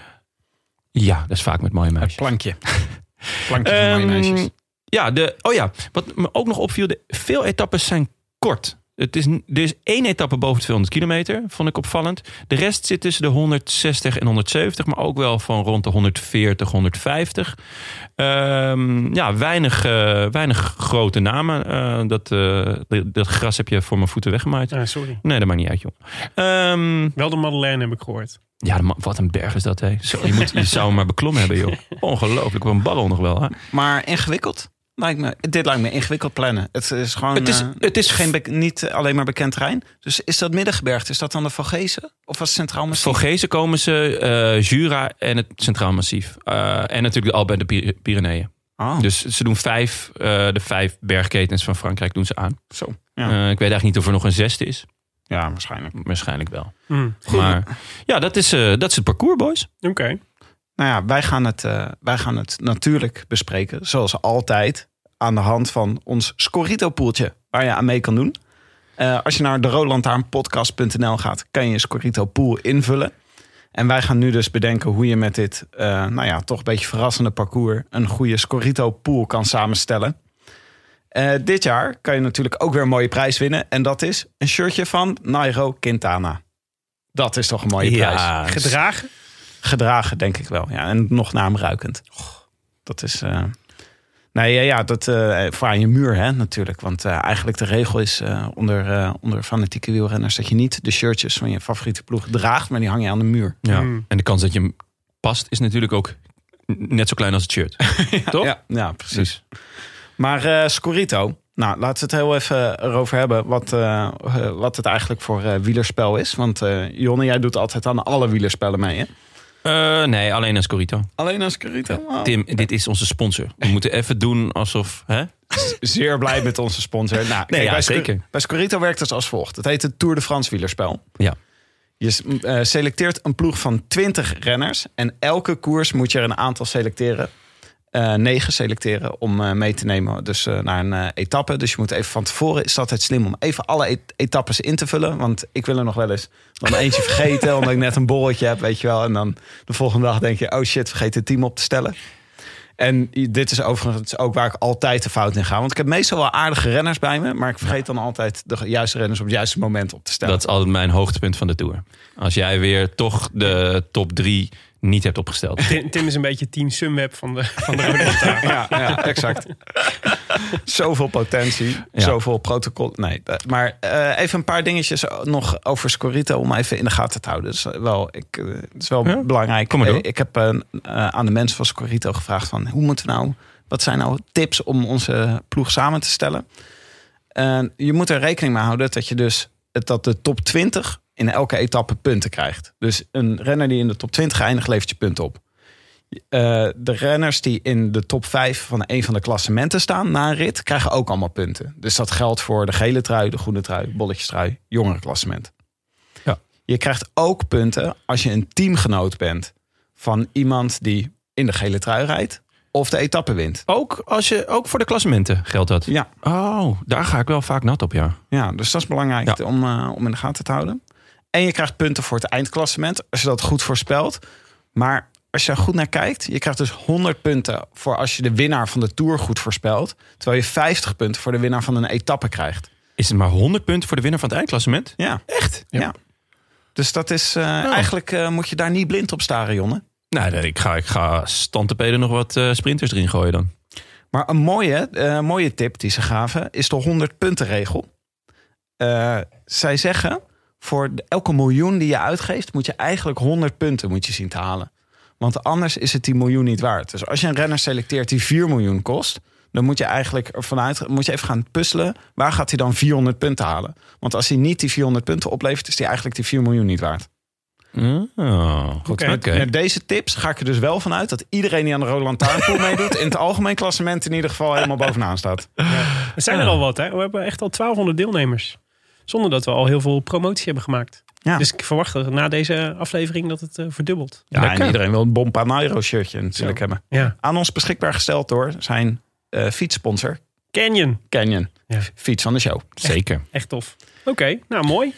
Ja, dat is vaak met mooie meisjes.
Plankje. Plankje van mooie
Ehm,
meisjes.
Ja, de, oh ja, wat me ook nog opviel, de, veel etappes zijn kort. Het is, n- er is één etappe boven de 200 kilometer, vond ik opvallend. De rest zit tussen de 160 en 170, maar ook wel van rond de 140, 150. Ehm, ja, weinig, eh, weinig grote namen. Eh, dat, eh, dat- dat gras heb je voor mijn voeten weggemaaid.
Ah, sorry.
Nee, dat maakt niet uit, joh. Ehm,
Wel de Madeleine heb ik gehoord.
ja, de man- wat een berg is dat, hè. Zo, je, moet, je zou hem maar beklommen hebben, joh. Ongelooflijk, wat een barrel nog wel, hè.
Maar ingewikkeld. Lijkt me, dit lijkt me ingewikkeld plannen. Het is gewoon
Het is-
eh,
het is-
geen bek- niet alleen maar bekend terrein. Dus is dat Middengebergte? Is dat dan de Vogezen? Of was het Centraal Massief?
Vogezen komen ze, eh, Jura en het Centraal Massief. Eh, en natuurlijk de Alpen en de Pyre- Pyreneeën.
Oh,
Dus ze doen vijf, eh, de vijf bergketens van Frankrijk doen ze aan.
zo. Ja.
Eh, ik weet eigenlijk niet of er nog een zesde is.
ja, waarschijnlijk.
Waarschijnlijk wel.
Mm,
Maar ja, dat is, eh, dat is het parcours, boys.
Oké.
Nou ja, wij gaan, het, eh, wij gaan het natuurlijk bespreken. Zoals altijd. Aan de hand van ons Scorito-poeltje. Waar je aan mee kan doen. Eh, als je naar de roodlantaarnpodcast.nl gaat. Kan je Scorito-pool invullen. En wij gaan nu dus bedenken hoe je met dit, eh, nou ja, toch een beetje verrassende parcours een goede Scorito-pool kan samenstellen. Eh, dit jaar kan je natuurlijk ook weer een mooie prijs winnen. En dat is een shirtje van Nairo Quintana. Dat is toch een mooie prijs.
Gedragen.
Gedragen, denk ik wel. Ja, en nog naamruikend. Dat is. eh, Nee, ja, ja dat eh, voor aan je muur hè, natuurlijk. Want eh, eigenlijk de regel is eh, onder, eh, onder fanatieke wielrenners... dat je niet de shirtjes van je favoriete ploeg draagt... maar die hang je aan de muur.
Ja.
Mm.
En de kans dat je hem past is natuurlijk ook n- net zo klein als het shirt. Toch?
Ja, ja precies.
Dus
Maar eh Scorito, nou, laten we het heel even erover hebben wat, eh, eh, wat het eigenlijk voor eh, wielerspel is. Want eh Jonne, jij doet altijd aan alle wielerspellen mee, hè?
Eh, nee, alleen als Corito.
Alleen als Carito.
Tim, dit is onze sponsor. We moeten even doen alsof... Hè?
Zeer blij met onze sponsor. Nou, kijk,
ja,
bij Scu-
zeker.
Bij Scorito werkt het als volgt. Het heet het Tour de France wielerspel.
Ja.
Je s- m, eh, selecteert een ploeg van 20 renners. En elke koers moet je er een aantal selecteren. eh negen selecteren om eh, mee te nemen dus, eh, naar een eh, etappe. Dus je moet even van tevoren, is dat het slim om even alle et- etappes in te vullen. Want ik wil er nog wel eens dan eentje vergeten, omdat ik net een borreltje heb, weet je wel. En dan de volgende dag denk je, oh shit, vergeet het team op te stellen. En dit is overigens ook waar ik altijd de fout in ga. Want ik heb meestal wel aardige renners bij me. Maar ik vergeet dan altijd de juiste renners op het juiste moment op te stellen.
Dat is altijd mijn hoogtepunt van de Tour. Als jij weer toch de top drie niet hebt opgesteld.
Tim, Tim is een beetje Team Sunweb van de, van de Rode Lantaarn.
ja, ja, exact. zoveel potentie,
Ja.
zoveel protocol. Nee, eh, maar eh, even een paar dingetjes nog over Scorito om even in de gaten te houden. Dus wel, ik, eh, het is wel
Ja?
belangrijk.
Kom maar door.
Eh, ik heb eh, eh, aan de mensen van Scorito gevraagd van hoe moeten we nou, wat zijn nou tips om onze ploeg samen te stellen? En je moet er rekening mee houden dat je dus het- dat de top 20 in elke etappe punten krijgt. Dus een renner die in de top 20 eindigt, levert je punten op. Eh, de renners die in de top 5 van een van de klassementen staan na een rit, krijgen ook allemaal punten. Dus dat geldt voor de gele trui, de groene trui, bolletjestrui, jongerenklassement.
Ja.
Je krijgt ook punten als je een teamgenoot bent van iemand die in de gele trui rijdt of de etappe wint.
Ook, als je, ook voor de klassementen geldt dat.
Ja,
Oh, daar ga ik wel vaak nat op, ja.
ja dus dat is belangrijk
Ja.
om, eh, om in de gaten te houden. En je krijgt punten voor het eindklassement als je dat goed voorspelt. Maar als je daar goed naar kijkt, je krijgt dus 100 punten voor als je de winnaar van de Tour goed voorspelt. Terwijl je 50 punten voor de winnaar van een etappe krijgt.
Is het maar 100 punten voor de winnaar van het eindklassement?
Ja,
Echt?
ja. Dus dat is eh, eigenlijk eh, moet je daar niet blind op staren, jongen.
Nou, nee, ik ga, ik ga standtepeden nog wat eh, sprinters erin gooien dan.
Maar een mooie, eh, mooie tip die ze gaven is de 100 punten regel. Eh, zij zeggen, voor de- elke miljoen die je uitgeeft... moet je eigenlijk 100 punten moet je zien te halen. Want anders is het die miljoen niet waard. Dus als je een renner selecteert die 4 miljoen kost... dan moet je eigenlijk ervan uit, moet je even gaan puzzelen... waar gaat hij dan 400 punten halen? Want als hij niet die 400 punten oplevert... is hij eigenlijk die 4 miljoen niet waard.
Oh,
Oké.
Oké.
Met deze tips ga ik er dus wel van uit... dat iedereen die aan de Roland Lantaarnpool meedoet... in het algemeen klassement in ieder geval helemaal bovenaan staat.
Er zijn er al wat, hè? We hebben echt al 1200 deelnemers. Zonder dat we al heel veel promotie hebben gemaakt.
Ja.
Dus ik verwacht er na deze aflevering dat het eh, verdubbelt.
Ja,
Lekker.
en iedereen wil een Bon Panairo shirtje natuurlijk hebben.
Ja.
Aan ons beschikbaar gesteld door zijn eh, fietssponsor
Canyon.
Canyon.
Ja.
Fiets van de show.
Zeker.
Echt tof. Oké, nou mooi.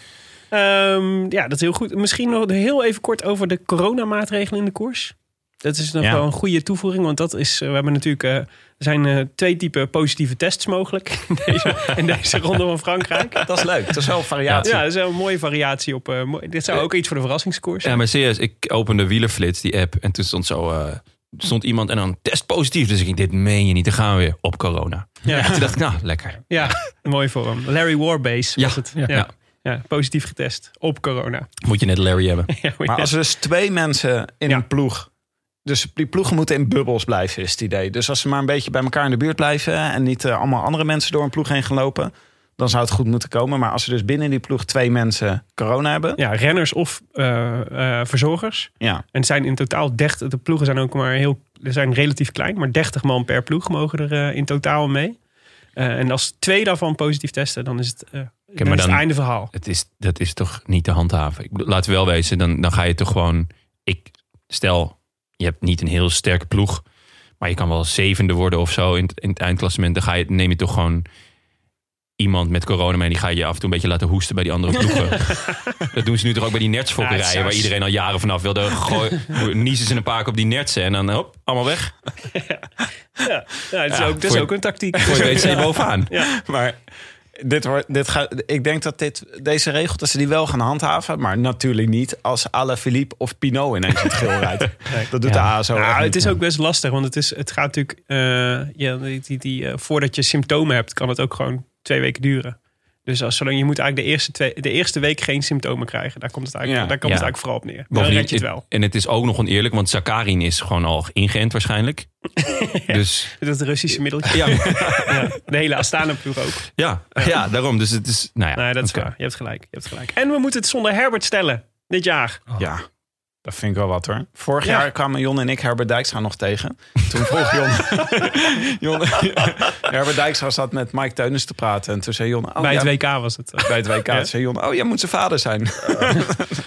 Ehm, ja, dat is heel goed. Misschien nog heel even kort over de coronamaatregelen in de koers. Dat is nog
Ja.
wel een goede toevoeging, want dat is, eh, we hebben natuurlijk, eh, er zijn eh, twee typen positieve tests mogelijk in deze, in deze ronde van Frankrijk.
Dat is leuk. Dat is wel een variatie.
Ja, dat is wel een mooie variatie op. eh, mooi- dit zou ook iets voor de verrassingskoers.
Ja,
zijn.
maar serieus, ik opende Wielerflits, die app, en toen stond zo... eh, stond iemand en dan test positief. Dus ik ging, dit meen je niet. Dan gaan we weer op corona.
Ja.
En toen dacht ik, nou, lekker.
Ja, mooi voor hem. Larry Warbase was
Ja,
het. Ja. Ja.
ja.
positief getest op corona.
Moet je net Larry hebben.
Ja,
Maar als er dus twee mensen in
Ja.
een ploeg... Dus die ploegen moeten in bubbels blijven, is het idee. Dus als ze maar een beetje bij elkaar in de buurt blijven... en niet eh, allemaal andere mensen door een ploeg heen gaan lopen... dan zou het goed moeten komen. Maar als er dus binnen die ploeg twee mensen corona hebben...
ja, renners of eh, eh, verzorgers.
Ja,
En het zijn in totaal 30. De ploegen zijn ook maar heel. Ze zijn relatief klein, maar 30 man per ploeg mogen er eh, in totaal mee. Eh, en als twee daarvan positief testen, dan is het, eh, dan
maar
is het
dan-
einde verhaal.
Het is, dat is toch niet te handhaven. Ik bedoel, laten we wel wezen, dan, dan ga je toch gewoon... Ik, stel, je hebt niet een heel sterke ploeg... maar je kan wel zevende worden of zo in, het- in het eindklassement. Dan ga je, neem je toch gewoon iemand met corona mee... en die ga je af en toe een beetje laten hoesten bij die andere ploegen. dat doen ze nu toch ook bij die
Ja,
nertsfokkerijen...
saus.
waar iedereen al jaren vanaf wil. Dan gooi- niezen ze een paar keer op die nertsen en dan hop, allemaal weg.
Ja, ja, het is,
Ja,
ook, dat is
voor-
ook een tactiek.
Voor je weet zijn je bovenaan.
maar dit wordt, dit gaat, ik denk dat dit, deze regel, dat ze die wel gaan handhaven. Maar natuurlijk niet als Alain Philippe of Pinot ineens in het geel rijdt. Dat doet de ASO. echt
Nou,
niet.
het is ook best lastig, want het, is, het gaat natuurlijk. eh, ja, die, die, die, eh, voordat je symptomen hebt, kan het ook gewoon twee weken duren. Dus als, zolang je moet eigenlijk de eerste, twee, de eerste week geen symptomen krijgen, daar komt het eigenlijk,
Ja.
daar komt
Ja.
het eigenlijk vooral op neer. Dan
Bovendien,
red je het wel.
En het is ook nog oneerlijk, want Zakarin is gewoon al ingeënt waarschijnlijk. Dus...
Dat Russische middeltje. Ja. de hele Astana-ploeg ook.
Ja, ja. daarom. Dus het is, nou ja.
Nee, dat is
oké.
Oh, waar. Je hebt gelijk. Je hebt gelijk. En we moeten het zonder Herbert stellen. Dit jaar.
ja. Dat vind ik wel wat hoor. Vorig
Ja.
jaar kwamen Jon en ik Herbert Dijkstra nog tegen. Toen vroeg Jon... Jon Herbert Dijkstra zat met Mike Teunis te praten. En toen zei Jon... Oh,
Bij het
ja,
WK was het.
bij het WK. Toen zei Jon, oh, jij moet zijn vader zijn.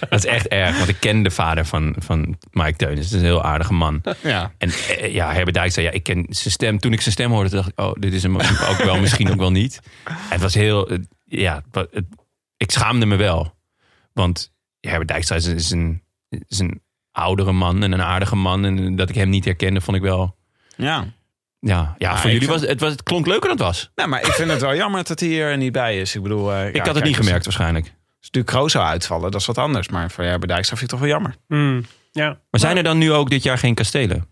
Dat is echt erg, want ik ken de vader van, van Mike Teunis. Het is een heel aardige man.
Ja.
En eh, ja, Herbert Dijk zei, ja, ik ken zijn stem. Toen ik zijn stem hoorde, dacht ik, oh, dit is hem ook wel, misschien ook wel niet. En het was heel, eh, ja, het wa- het- ik schaamde me wel. Want Herbert Dijk is, is, een, is een oudere man en een aardige man. En dat ik hem niet herkende, vond ik wel...
ja.
Ja, ja
Ah,
voor
ik
jullie
vind-
was het, was het klonk leuker dan het was.
Nou, maar ik vind het wel jammer dat hij er niet bij is. Ik bedoel... eh,
ik had het niet gemerkt waarschijnlijk.
Als Duke Kroos zou uitvallen, dat is wat anders. Maar voor Herbert Dijkstra vind ik toch wel jammer.
Hmm, Ja.
Maar zijn er dan nu ook dit jaar geen kastelen?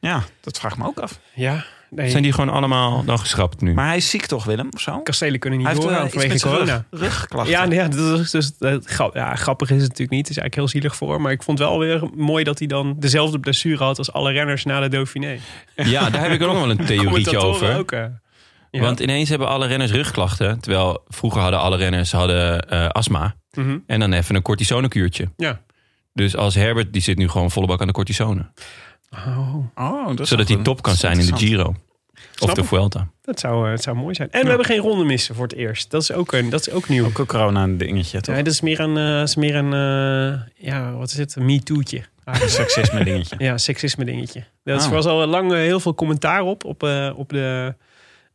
Ja, dat vraag ik me ook af.
Ja. Nee.
Zijn die gewoon allemaal dan geschrapt nu?
Maar hij is ziek toch, Willem? Of zo?
Kastelen kunnen niet
Hij heeft
doorgaan
eh, iets
vanwege
met zijn
corona.
rug, rugklachten.
Ja, nee, ja, dat is dus, dat, grap- ja, grappig is het natuurlijk niet. Het is eigenlijk heel zielig voor hem. Maar ik vond wel weer mooi dat hij dan dezelfde blessure had als alle renners na de Dauphiné.
Ja, daar heb ik ook nog wel een theorietje
Commentatoren
over.
Ook, eh. Ja.
Want ineens hebben alle renners rugklachten. Terwijl vroeger hadden alle renners hadden, eh, astma.
Mhm.
En dan even een cortisonekuurtje.
Ja.
Dus als Herbert, die zit nu gewoon volle bak aan de cortisone.
Oh,
Oh, dat is
Zodat
wel
hij top kan
goed.
zijn in de Giro. Of
Snap
de
ik.
Vuelta.
dat zou, eh, het zou mooi zijn. En we hebben geen ronde missen voor het eerst. Dat is ook, een, dat is ook nieuw.
Ook een corona-dingetje, toch?
Ja, dat is meer een, eh, is meer een eh, ja, wat is het? Een MeToo'tje. Ah.
Seksisme-dingetje.
Ja, seksisme dingetje. Er
Ah.
Oh.
was al lang eh, heel veel commentaar op, op, eh, op, de,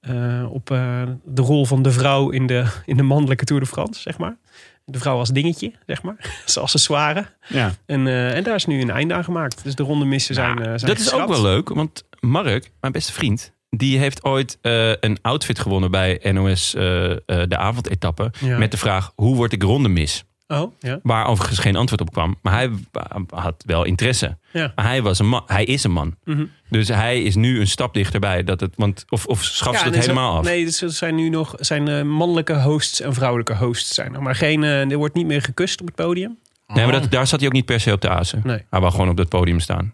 eh, op eh, de rol van de vrouw in de, in de mannelijke Tour de France, zeg maar. De vrouw als dingetje, zeg maar. Als accessoire.
Ja.
En, eh, en daar is nu een einde aan gemaakt. Dus de ronde missen zijn, eh, zijn
Dat is ook
geschrapt.
wel leuk. Want Mark, mijn beste vriend... die heeft ooit eh, een outfit gewonnen bij NOS eh, eh, de avondetappe.
Ja.
Met de vraag, hoe word ik ronde mis?
Oh, ja.
Waar overigens geen antwoord op kwam. Maar hij had wel interesse.
Ja.
Maar hij, was een man, hij is een man.
Mhm.
Dus hij is nu een stap dichterbij. Dat het, want, of, of schaf
Ja,
ze
en
dat
er zijn-
helemaal af?
Nee, dus er zijn nu nog zijn, eh, mannelijke hosts en vrouwelijke hosts. Zijn er. Maar geen, eh, er wordt niet meer gekust op het podium.
Nee, maar
Oh.
dat, daar zat hij ook niet per se op de azen.
Oh. Nee.
Hij wou gewoon op dat podium staan.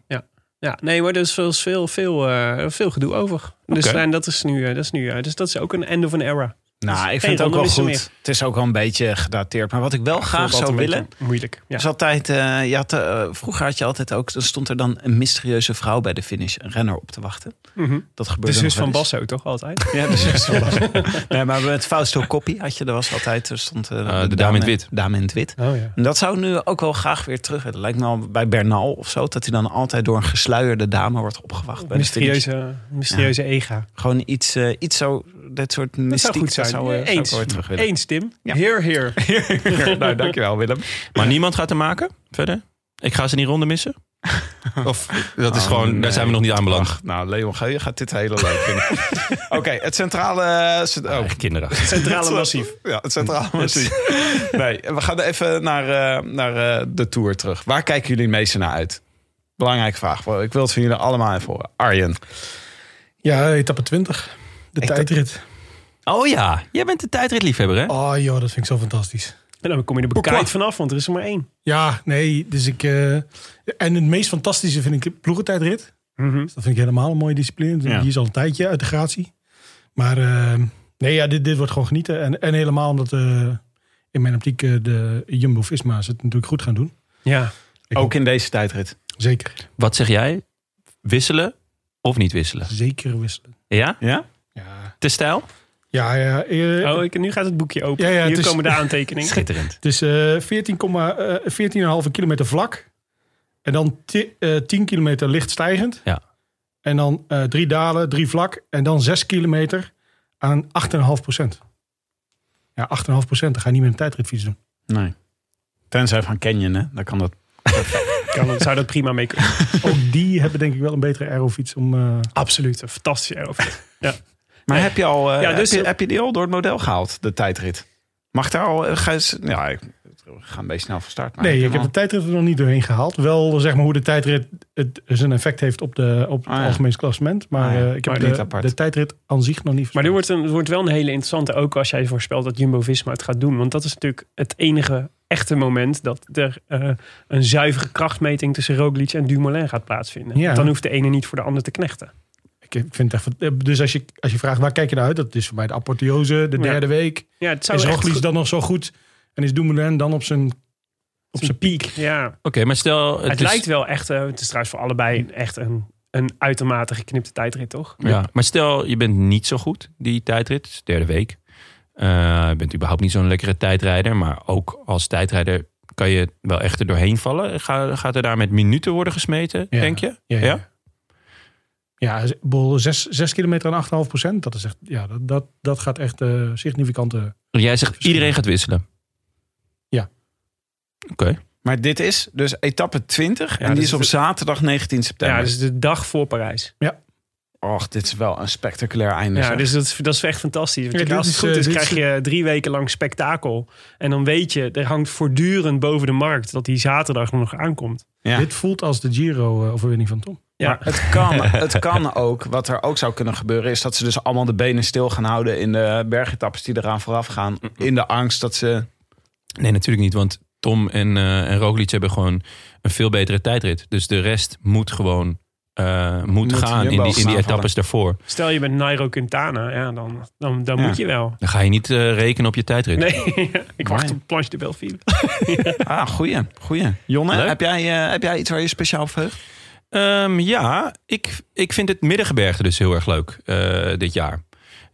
Ja, nee, maar er is veel, veel, veel, eh, veel gedoe over. Dus
Oké.
en dat is nu, eh, dat is nu eh, dus dat is ook een end of an era.
Nou, ik
Geen
vind het ook wel
randemissen
goed.
meer.
Het is ook wel een beetje gedateerd. Maar wat ik wel graag
Voelt altijd
zou
een
willen...
beetje Moeilijk. Ja.
is altijd, eh, je had, eh, vroeger had je altijd ook... Dan stond er dan een mysterieuze vrouw bij de finish. Een renner op te wachten.
Mhm.
Dat
De
gebeurde
zus
nog
van
wel eens.
Basso toch altijd?
Ja, de zus van Bas. nee, maar met Fausto Coppi had je... Er was altijd... Er stond, eh,
de dame in het wit.
Dame in het wit.
Oh ja.
En dat zou ik nu ook wel graag weer terug willen. Lijkt me al bij Bernal of zo. Dat hij dan altijd door een gesluierde dame wordt opgewacht. Bij de finish.
Mysterieuze, mysterieuze ega.
Gewoon iets, eh, iets zo... Dit soort mystiek.
Dat zou goed zijn.
Dat zou, eh, zou ik
Eens.
wel weer terug willen.
Eens, Tim.
Ja.
Heer, heer.
nou, dankjewel Willem.
Maar niemand gaat hem maken verder? Ik ga ze niet ronde missen? Of dat is
Oh,
gewoon,
nee.
daar zijn we nog niet aan beland.
Ach, nou, Leon Geuyen gaat dit hele leuk vinden. Oké, het centrale... eh, cent- oh.
Echt kinderachtig.
Centrale massief.
Ja, het centrale massief. Nee, we gaan even naar, eh, naar eh, de Tour terug. Waar kijken jullie het meeste naar uit? Belangrijke vraag. Ik wil het van jullie allemaal even horen. Arjen.
Ja, etappe 20. De
Echt?
tijdrit.
Oh ja, jij bent de tijdritliefhebber hè?
Oh joh, dat vind ik zo fantastisch.
En dan kom je er bekijkt vanaf, want er is er maar één.
Ja, nee, dus ik... eh, en het meest fantastische vind ik de ploegentijdrit.
Mhm.
Dus dat vind ik helemaal een mooie discipline.
Ja.
Die is al een tijdje uit de gratie. Maar eh, nee, ja, dit, dit wordt gewoon genieten. En, en helemaal omdat eh, in mijn optiek eh, de Jumbo-Visma's het natuurlijk goed gaan doen.
Ja.
Ik
Ook in deze tijdrit.
Zeker.
Wat zeg jij? Wisselen of niet wisselen?
Zeker wisselen.
Ja?
Ja?
Ja,
Te stijl?
ja, ja. eh,
Oh, ik, nu gaat het boekje open.
Ja, ja,
Hier
het is-
komen de aantekeningen.
Schitterend.
Het is eh 14, komma, eh, 14,5 kilometer vlak. En dan ti- eh, 10 kilometer licht stijgend.
Ja.
En dan eh, drie dalen, drie vlak. En dan 6 kilometer aan 8,5 procent. Ja, 8,5 procent. Dan ga je niet meer een tijdritfiets doen.
Nee. Tenzij van Canyon, hè? Dan kan dat.
Kan, het- zou dat prima mee kunnen.
Ook die hebben denk ik wel een betere aerofiets om... eh,
Absoluut. Een fantastische aerobic.
Maar heb je al. eh,
Ja, dus-
heb, je, heb je die al door het model gehaald, de tijdrit? Mag daar al. eh, Ga eens, ja, ik, we gaan een beetje snel van start. Maar je
nee, ik heb de
al-
tijdrit er nog niet doorheen gehaald. Wel zeg maar hoe de tijdrit het, zijn effect heeft op, de, op het
Ah, ja.
algemeen klassement. Maar
Ah, ja.
eh, ik heb
Maar niet
de,
apart.
de tijdrit aan zich nog niet
Maar dit
verstaan.
wordt, een, het wordt wel een hele interessante, ook als jij voorspelt dat Jumbo-Visma het gaat doen. Want dat is natuurlijk het enige echte moment dat er eh, een zuivere krachtmeting tussen Roglic en Dumoulin gaat plaatsvinden.
Ja.
Want Dan hoeft de ene niet voor de ander te knechten.
Ik ik vind het echt... van- Dus als je, als je vraagt, waar kijk je naar uit? Dat is voor mij de apotheose, de
Ja.
derde week.
Ja, het zou
Is
echt
Roglic
goed-
dan nog zo goed? En is Dumoulin dan op zijn op zijn piek.
Ja.
maar stel...
Het,
is-
lijkt wel echt, eh, het is trouwens voor allebei een- echt een, een uitermate geknipte tijdrit, toch?
Ja, maar stel je bent niet zo goed die tijdrit, het is derde week. Eh, je bent überhaupt niet zo'n lekkere tijdrijder, maar ook als tijdrijder kan je wel echt er doorheen vallen. Ga, gaat er daar met minuten worden gesmeten,
Ja.
denk je?
Ja,
Ja?
ja. ja z- bol- zes, zes kilometer en 8,5 procent. Dat, is echt, ja, dat, dat, dat gaat echt eh significante...
Jij zegt iedereen gaat wisselen.
Ja.
Oké.
Maar dit is dus etappe 20 en
dus
die is op
het-
zaterdag 19 september.
Ja, dus de dag voor Parijs.
Och, dit is wel een spectaculair einde.
Ja,
zeg.
dus dat is, dat is echt fantastisch. Want
Ja,
je-
dit
als het
is,
goed
eh,
is,
dit
krijg
is-
je drie weken lang spektakel. En dan weet je, er hangt voortdurend boven de markt dat die zaterdag nog aankomt.
Ja.
Dit voelt als de Giro-overwinning van Tom.
Ja.
Maar het kan, het kan ook. Wat er ook zou kunnen gebeuren is dat ze dus allemaal de benen stil gaan houden in de bergetappes die eraan vooraf gaan. In de angst dat ze...
Nee, natuurlijk niet, want Tom en, eh en Roglic hebben gewoon een veel betere tijdrit. Dus de rest moet gewoon eh, moet
Moet
gaan in
Jumbo
die, in die
aanvallen.
etappes daarvoor.
Stel je bent Nairo Quintana, ja, dan, dan, dan
Ja.
moet je wel.
Dan ga je niet eh, rekenen op je tijdrit.
Nee, ik wacht
Nee.
op Planche de Belleville.
Ah, goeie, goeie. Jonne,
Leuk.
heb jij, eh, heb jij iets waar je speciaal op verheugt?
Ehm, ja, ik, ik vind het Middengebergte dus heel erg leuk eh, dit jaar.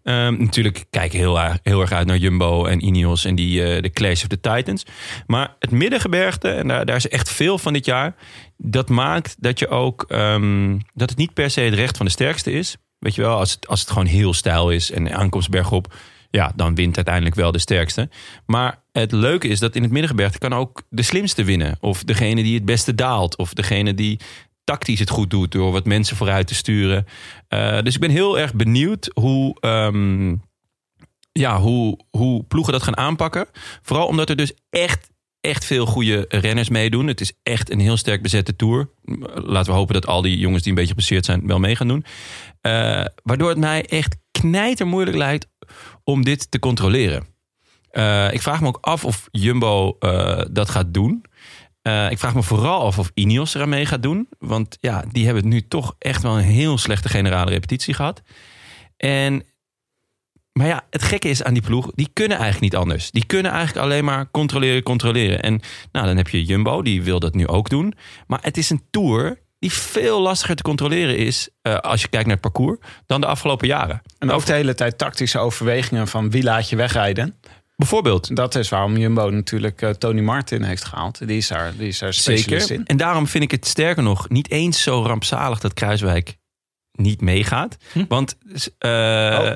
Ehm, natuurlijk kijk ik heel, erg- heel erg uit naar Jumbo en Ineos en die, eh, de Clash of the Titans. Maar het Middengebergte, en daar, daar is echt veel van dit jaar... dat maakt dat, je ook, ehm, dat het niet per se het recht van de sterkste is. Weet je wel, als het, als het gewoon heel stijl is en aankomst bergop... ja, dan wint uiteindelijk wel de sterkste. Maar het leuke is dat in het Middengebergte kan ook de slimste winnen. Of degene die het beste daalt. Of degene die tactisch het goed doet door wat mensen vooruit te sturen. Eh, dus ik ben heel erg benieuwd hoe, ehm, ja, hoe, hoe ploegen dat gaan aanpakken. Vooral omdat er dus echt, echt veel goede renners meedoen. Het is echt een heel sterk bezette tour. Laten we hopen dat al die jongens die een beetje geblesseerd zijn wel mee gaan doen. Eh, waardoor het mij echt knijter moeilijk lijkt om dit te controleren. Eh, ik vraag me ook af of Jumbo eh, dat gaat doen. Eh, ik vraag me vooral af of Ineos eraan mee gaat doen. Want ja, die hebben nu toch echt wel een heel slechte generale repetitie gehad. En, maar ja, het gekke is aan die ploeg, die kunnen eigenlijk niet anders. Die kunnen eigenlijk alleen maar controleren, controleren. En nou, dan heb je Jumbo, die wil dat nu ook doen. Maar het is een tour die veel lastiger te controleren is... eh, als je kijkt naar het parcours, dan de afgelopen jaren.
En ook de hele tijd tactische overwegingen van wie laat je wegrijden.
Bijvoorbeeld,
Dat is waarom Jumbo natuurlijk eh, Tony Martin heeft gehaald. Die is daar, die is daar specialist
Zeker.
in.
En daarom vind ik het sterker nog niet eens zo rampzalig dat Kruiswijk niet meegaat. Want. eh,
Je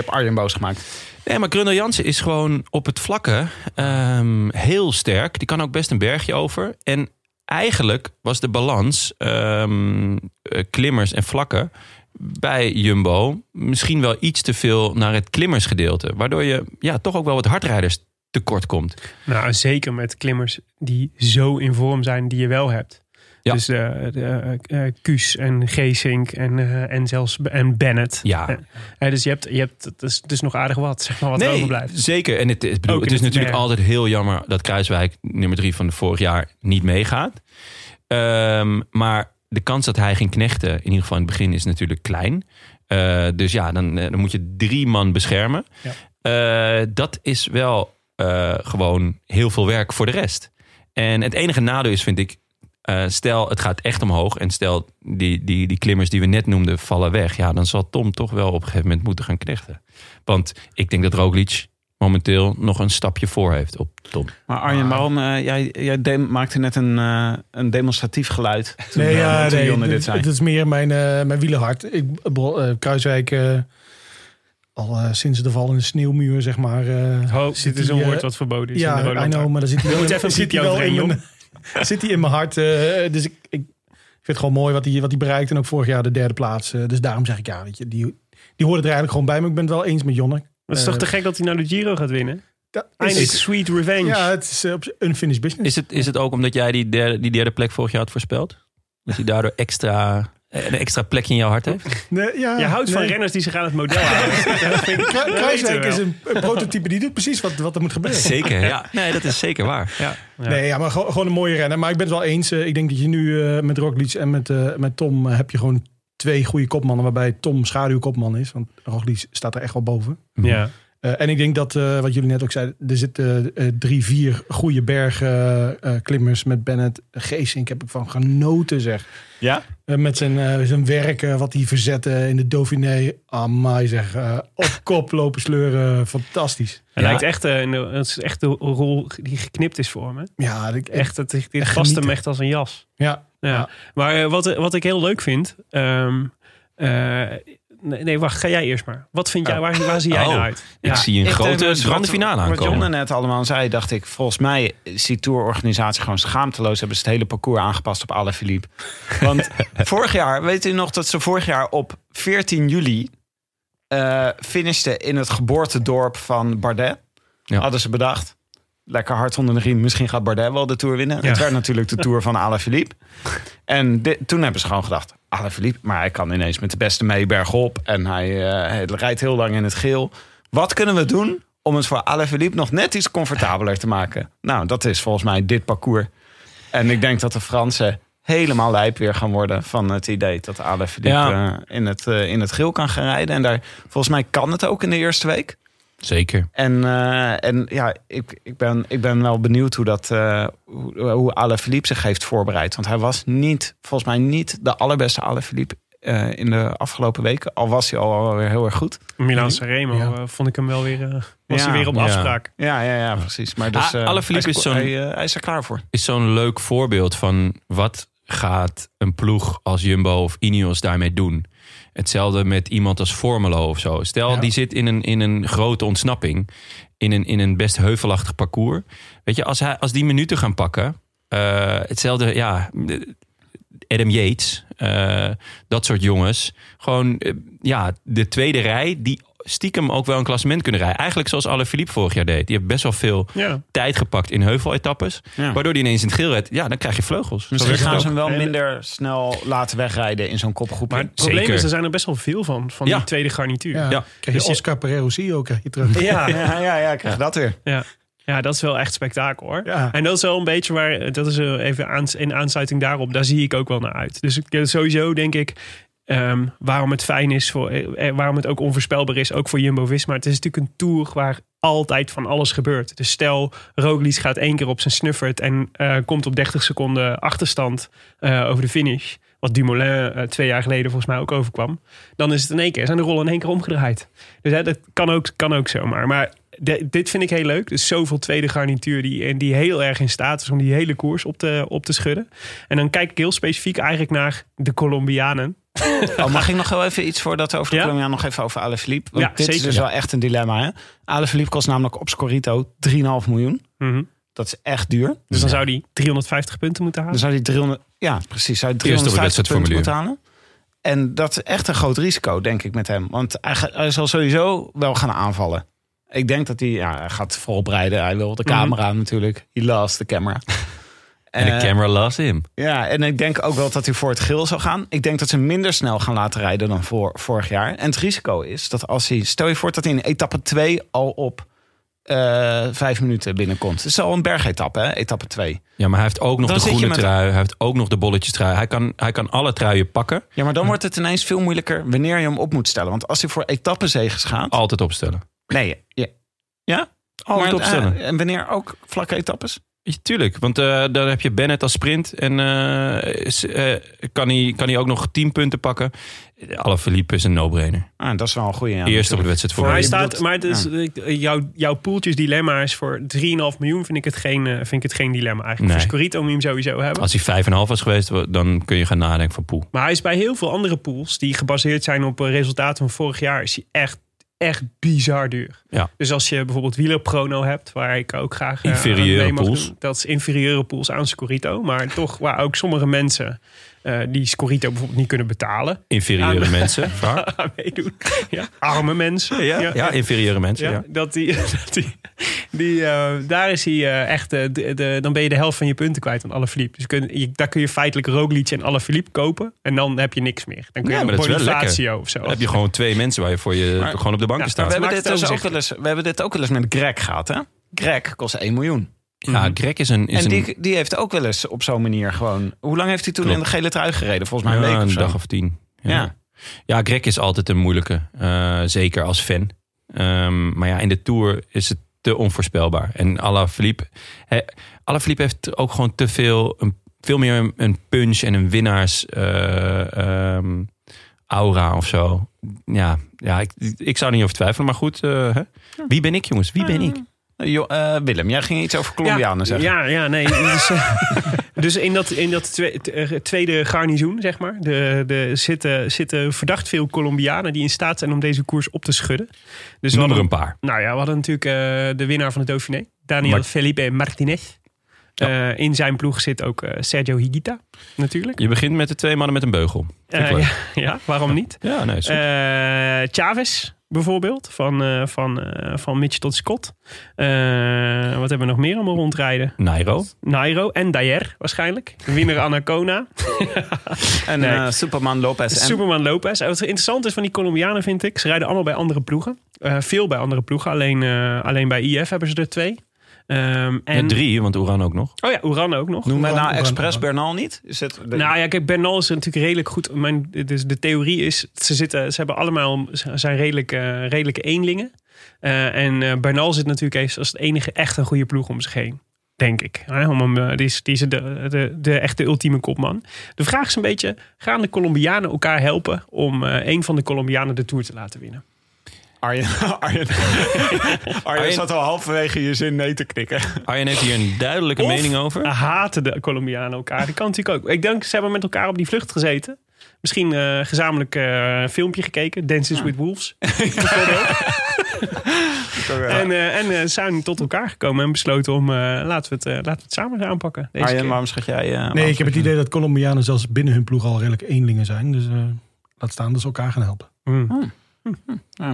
hebt Arjen boos gemaakt.
Nee, maar Grundel Jansen is gewoon op het vlakke ehm, heel sterk. Die kan ook best een bergje over. En eigenlijk was de balans ehm, eh, klimmers en vlakken bij Jumbo misschien wel iets te veel naar het klimmersgedeelte. Waardoor je ja, toch ook wel wat hardrijders tekort komt.
Nou, zeker met klimmers die zo in vorm zijn die je wel hebt.
Ja.
Dus eh de, eh, eh, Kuus en Geesink en, eh, en zelfs B- en Bennett.
Ja.
Eh, eh, dus je hebt, je hebt het, is, het is nog aardig wat, zeg maar, wat
nee,
overblijft.
Zeker. En het, ik bedoel,
Ook
het
in
is
het-
natuurlijk
ja.
altijd heel jammer dat Kruiswijk, nummer drie van vorig jaar, niet meegaat. Ehm, maar de kans dat hij ging knechten, in ieder geval in het begin, is natuurlijk klein. Eh, dus ja, dan, eh, dan moet je drie man beschermen. Eh, dat is wel eh, gewoon heel veel werk voor de rest. En het enige nadeel is, vind ik, eh, stel het gaat echt omhoog en stel die, die, die klimmers die we net noemden vallen weg. Ja, dan zal Tom toch wel op een gegeven moment moeten gaan knechten. Want ik denk dat Roglic momenteel nog een stapje voor heeft op Tom.
Maar
Ah.
Arjen, waarom? eh, jij jij de- maakte net een, eh, een demonstratief geluid. Toen,
Nee,
eh,
ja,
toen
nee,
Jonne dit
dit,
zei.
het is meer mijn, eh mijn wielenhart. Ik, eh, bro- eh, Kruiswijk, eh, al eh, sinds de val in de sneeuwmuur, zeg maar. eh,
Ho,
zit
Dus dit is
hij,
een
eh,
woord wat verboden is in de
ja, I
Roland
know,
Garros.
maar daar zit hij wel
moet
in-
even een
zit hij
piepje
wel in
overheen,
mijn- Zit hij in mijn hart. eh, dus ik, ik vind het gewoon mooi wat hij, wat hij bereikt. En ook vorig jaar de derde plaats. eh, dus daarom zeg ik ja, weet je, die, die hoort er eigenlijk gewoon bij. Maar ik ben het wel eens met Jonne.
Het is toch
Eh,
te gek dat hij naar de Giro gaat winnen?
Dat
Eindelijk, sweet revenge.
ja, het is eh, op een unfinished business.
Is het, is het ook omdat jij die derde, die derde plek vorig jaar had voorspeld? Dat hij daardoor extra, een extra plekje in jouw hart heeft?
Nee, ja,
je houdt van
nee.
renners die zich aan het model houden. Dat vind ik-
Kru-
dat weten
Kruiswijk
we
is
wel.
een, een prototype die doet precies wat, wat er moet gebeuren.
Zeker, ja. Nee, dat is zeker waar. Ja.
Ja.
Nee, ja, maar gewoon, gewoon een mooie renner. Maar ik ben het wel eens. eh, ik denk dat je nu eh, met Roglic en met, eh, met Tom eh, heb je gewoon twee goede kopmannen. Waarbij Tom schaduwkopman is. Want Roglic staat er echt wel boven.
Ja.
Eh, Eh, en ik denk dat, eh, wat jullie net ook zeiden, er zitten eh, drie, vier goede bergklimmers met Bennett. Geesink heb ik van genoten, zeg.
Ja?
Eh, met zijn, eh, zijn werk, eh, wat hij verzette in de Dauphiné. Amai zeg, eh, op kop lopen sleuren, fantastisch.
Hij
Ja.
lijkt echt, eh, een, het is echt de rol die geknipt is voor hem. hè.
Ja, ik, echt.
Echt, het, dit past hem
genieten.
echt als een jas.
Ja,
Ja.
Ja.
Maar eh, wat, wat ik heel leuk vind. ehm, eh, nee, nee, wacht, ga jij eerst maar. Wat vind jij, waar, waar zie jij
Oh,
naar uit?
Ik eh, zie een
Ik denk
grote
dat
grande
wat-
finale
Wat John
aankomen.
er net allemaal zei, dacht ik... volgens mij is die tourorganisatie gewoon schaamteloos. Hebben ze het hele parcours aangepast op Alaphilippe. Want vorig jaar, weet u nog dat ze vorig jaar op 14 juli... eh finishte in het geboortedorp van Bardet.
Ja.
Hadden ze bedacht. Lekker hard onder de riem. Misschien gaat Bardet wel de Tour winnen.
Ja.
Het werd natuurlijk de Tour van Alaphilippe. En dit- toen hebben ze gewoon gedacht... Alaphilippe, maar hij kan ineens met de beste mee bergop. En hij, eh, hij rijdt heel lang in het geel. Wat kunnen we doen om het voor Alaphilippe nog net iets comfortabeler te maken? Nou, dat is volgens mij dit parcours. En ik denk dat de Fransen helemaal lijp weer gaan worden van het idee dat Alaphilippe
Ja.
eh, in, het, eh, in het geel kan gaan rijden. En daar, volgens mij kan het ook in de eerste week.
Zeker.
En, eh, en ja, ik, ik, ben, ik ben wel benieuwd hoe, dat, eh hoe, hoe Alaphilippe zich heeft voorbereid. Want hij was niet, volgens mij niet de allerbeste Alaphilippe eh in de afgelopen weken. Al was hij al heel erg goed.
Milan Sanremo
Ja.
eh, vond ik hem wel weer. eh, was
Ja.
hij weer op
Ja.
afspraak?
Ja, ja, ja, precies. Maar dus,
Ah,
eh,
Alaphilippe
hij
is zo'n-
Hij, eh, hij is er klaar voor.
Is zo'n leuk voorbeeld van wat gaat een ploeg als Jumbo of Ineos daarmee doen. Hetzelfde met iemand als Formelo of zo. Stel,
Ja.
die zit in een, in een grote ontsnapping. In een, in een best heuvelachtig parcours. Weet je, als, hij, als die minuten gaan pakken. eh, hetzelfde, ja. Adam Yates. eh, dat soort jongens. Gewoon, eh, ja, de tweede rij. Die stiekem ook wel een klassement kunnen rijden. Eigenlijk zoals Alaphilippe vorig jaar deed. Die heeft best wel veel
Ja.
tijd gepakt in heuveletappes.
Ja.
Waardoor die ineens in het geel rijdt. Ja, dan krijg je vleugels.
Misschien
Zo werkt
gaan
het
ze
ook.
hem wel
En-
minder snel laten wegrijden in zo'n kopgroep.
Maar het probleem
Zeker.
is, er zijn er best wel veel van, van
Ja.
die tweede garnituur.
ja.
Ja.
Ja.
Krijg je
Dus-
Oscar Pereiro zie je ook eh, hier terug.
ja, ja, ja, ja, krijg je dat weer.
Ja. dat is wel echt spektakel hoor.
Ja.
En dat is wel een beetje waar, dat is eh, even aans, in aansluiting daarop, daar zie ik ook wel naar uit. Dus ik, eh, sowieso denk ik, ehm, waarom het fijn is, voor, eh, eh, waarom het ook onvoorspelbaar is, ook voor Jumbo-Visma. Het is natuurlijk een tour waar altijd van alles gebeurt. Dus stel, Roglic gaat één keer op zijn snuffert en eh, komt op 30 seconden achterstand eh, over de finish. Wat Dumoulin eh, twee jaar geleden volgens mij ook overkwam. Dan is het in één keer, zijn de rollen in één keer omgedraaid. Dus hè, dat kan ook, kan ook zomaar. Maar de- dit vind ik heel leuk. Dus zoveel tweede garnituur die, en die heel erg in staat is om die hele koers op te, op te schudden. En dan kijk ik heel specifiek eigenlijk naar de Colombianen.
Oh, mag ik nog heel even iets voordat we over de
Ja?
Colombiaan nog even over Alaphilippe? Want
Ja,
dit is
zeker.
dus wel echt een dilemma. Hè? Alaphilippe kost namelijk op Scorito 3,5 miljoen.
Mhm.
Dat is echt duur.
Dus dan zou die 350 punten moeten halen.
Dan zou die 300, ja, precies, zou die
Eerst op het
350 punten moeten
wedstrijdformulier.
halen. En dat is echt een groot risico, denk ik, met hem. Want hij, ga- hij zal sowieso wel gaan aanvallen. Ik denk dat hij, ja, hij gaat voorbereiden. Hij wil de
Mhm.
camera natuurlijk. He loves the camera.
En
Eh,
de camera last him.
Ja, en ik denk ook wel dat hij voor het geel zal gaan. Ik denk dat ze hem minder snel gaan laten rijden dan voor, vorig jaar. En het risico is dat als hij... Stel je voor dat hij in etappe 2 al op eh vijf minuten binnenkomt. Het is al een bergetappe, hè? Etappe 2.
Ja, maar hij heeft ook nog
Dan
de
zit je
groene
met-
trui. Hij heeft ook nog de bolletjes trui. Hij kan, hij kan alle truien pakken.
Ja, maar dan wordt het ineens veel moeilijker wanneer je hem op moet stellen. Want als hij voor etappezegers gaat...
Altijd opstellen.
Nee, ja. Ja?
Altijd
Maar,
Oh, opstellen.
eh, en wanneer ook vlakke etappes?
Ja, tuurlijk, want eh, dan heb je Bennett als sprint. En eh, is, eh, kan, hij, kan hij ook nog 10 punten pakken. Alle Philippe is een no-brainer.
Ah, dat is wel een goede. Ja,
Eerst op
natuurlijk.
het wedstrijd voor.
Maar, hij
je
staat,
bedoelt-
maar het is, eh, jouw, jouw poeltjes dilemma is voor 3,5 miljoen vind ik het geen, eh, vind ik het geen dilemma eigenlijk.
Nee.
Voor Scorito moet je hem sowieso hebben.
Als hij 5,5 was geweest, wa- dan kun je gaan nadenken van poe.
Maar hij is bij heel veel andere pools die gebaseerd zijn op eh, resultaten van vorig jaar, is hij echt, echt bizar duur.
Ja.
Dus als je bijvoorbeeld wielerprono hebt, waar ik ook graag eh,
Inferieure
aan mee mag
pools.
doen, dat is inferieure pools aan Scorito, maar toch waar ook sommige mensen eh, die Scorito bijvoorbeeld niet kunnen betalen,
Inferieure
Ja,
mensen. vaak.
aan meedoen. Ja, arme mensen.
Ja, ja, inferieure mensen.
Ja,
Ja.
dat die, dat die, die eh, daar is hij eh, echt, eh, de, de- dan ben je de helft van je punten kwijt aan alle Philippe. Dus kun, je, daar kun je feitelijk Roglic en alle Philippe kopen en dan heb je niks meer. Dan kun je
Ja, maar
een
dat is wel
bonifatio of zo.
Dan heb je gewoon twee mensen waar je voor je
Maar-
gewoon op de bank
Ja,
staat.
we, hebben
maakt
dit
het
dus ook
overzicht.
wel eens, we hebben dit ook wel eens met Greg gehad, hè? Greg kost 1 miljoen.
Ja, Greg is een. Is
en
een,
die, die heeft ook wel eens op zo'n manier gewoon... Hoe lang heeft hij toen
Klopt.
in de gele trui gereden? Volgens mij
ja,
een week
een
of zo.
dag of tien.
Ja.
ja, Greg is altijd een moeilijke. eh, zeker als fan. Ehm, maar ja, in de Tour is het te onvoorspelbaar. En Alaphilippe, he, Alaphilippe heeft ook gewoon te veel, een, veel meer een, een punch en een winnaars eh, ehm, aura of zo. Ja, ja ik, ik zou er niet over twijfelen, maar goed. eh, hè? Wie ben ik jongens? Wie ben
Ehm,
ik?
Jo- eh, Willem, jij ging iets over Colombianen zeggen.
Ja, ja, nee. Dus, eh, dus in dat, in dat twe- t- eh, tweede garnizoen, zeg maar, de, de zitten, zitten verdacht veel Colombianen die in staat zijn om deze koers op te schudden. Dus we
Noem er
hadden,
een paar.
nou ja, we hadden natuurlijk eh, de winnaar van het Dauphiné, Daniel
Mart-
Felipe Martinez. Eh, in zijn ploeg zit ook eh, Sergio Higuita, natuurlijk.
Je begint met de twee mannen met een beugel. Vind ik
Eh,
leuk.
ja, ja, waarom niet?
ja, nee, is goed.
Eh Chavez bijvoorbeeld, van, eh, van, eh, van Mitch tot Scott. Eh, wat hebben we nog meer allemaal rondrijden?
Eh,
Nairo.
Nairo en Dyer waarschijnlijk. Winner Anacona.
En
Nee.
eh, Superman Lopez en
Superman Lopez. En wat interessant is van die Colombianen vind ik. Ze rijden allemaal bij andere ploegen. Eh, veel bij andere ploegen. Alleen, eh, alleen bij IF hebben ze er twee. Ehm, en,
En drie, want Oeran ook nog.
Oh ja, Uran ook nog.
Noem wij
Oran,
nou
Oran,
expres
Oran.
Bernal niet? Is het de-
Nou ja, kijk, Bernal is natuurlijk redelijk goed. Mijn, dus de theorie is, ze, zitten, ze hebben allemaal, ze zijn redelijk, eh, redelijke eenlingen. Eh, en eh, Bernal zit natuurlijk eens als het enige echt een goede ploeg om zich heen. Denk ik. Hè, om hem, eh, die is, die is de, de, de echte ultieme kopman. De vraag is een beetje, gaan de Colombianen elkaar helpen om eh een van de Colombianen de Tour te laten winnen?
Arjen, Arjen, Arjen zat al halverwege je zin nee te knikken.
Arjen heeft hier een duidelijke
Of-
mening over.
Haten de Colombianen elkaar? Dat kan natuurlijk ook. Ik denk, ze hebben met elkaar op die vlucht gezeten. Misschien eh, gezamenlijk eh, een filmpje gekeken. Dances with Wolves. Bijvoorbeeld. En, eh, en eh, zijn tot elkaar gekomen en besloten om eh, laten, we het, eh, laten we het samen eens aanpakken.
Ah,
Deze
Arjen,
keer.
waarom schat jij? eh,
Nou,
Nee,
waarom-
ik heb het idee dat Colombianen zelfs binnen hun ploeg al redelijk eenlingen zijn. Dus eh, laat staan dat ze elkaar gaan helpen.
Hmm.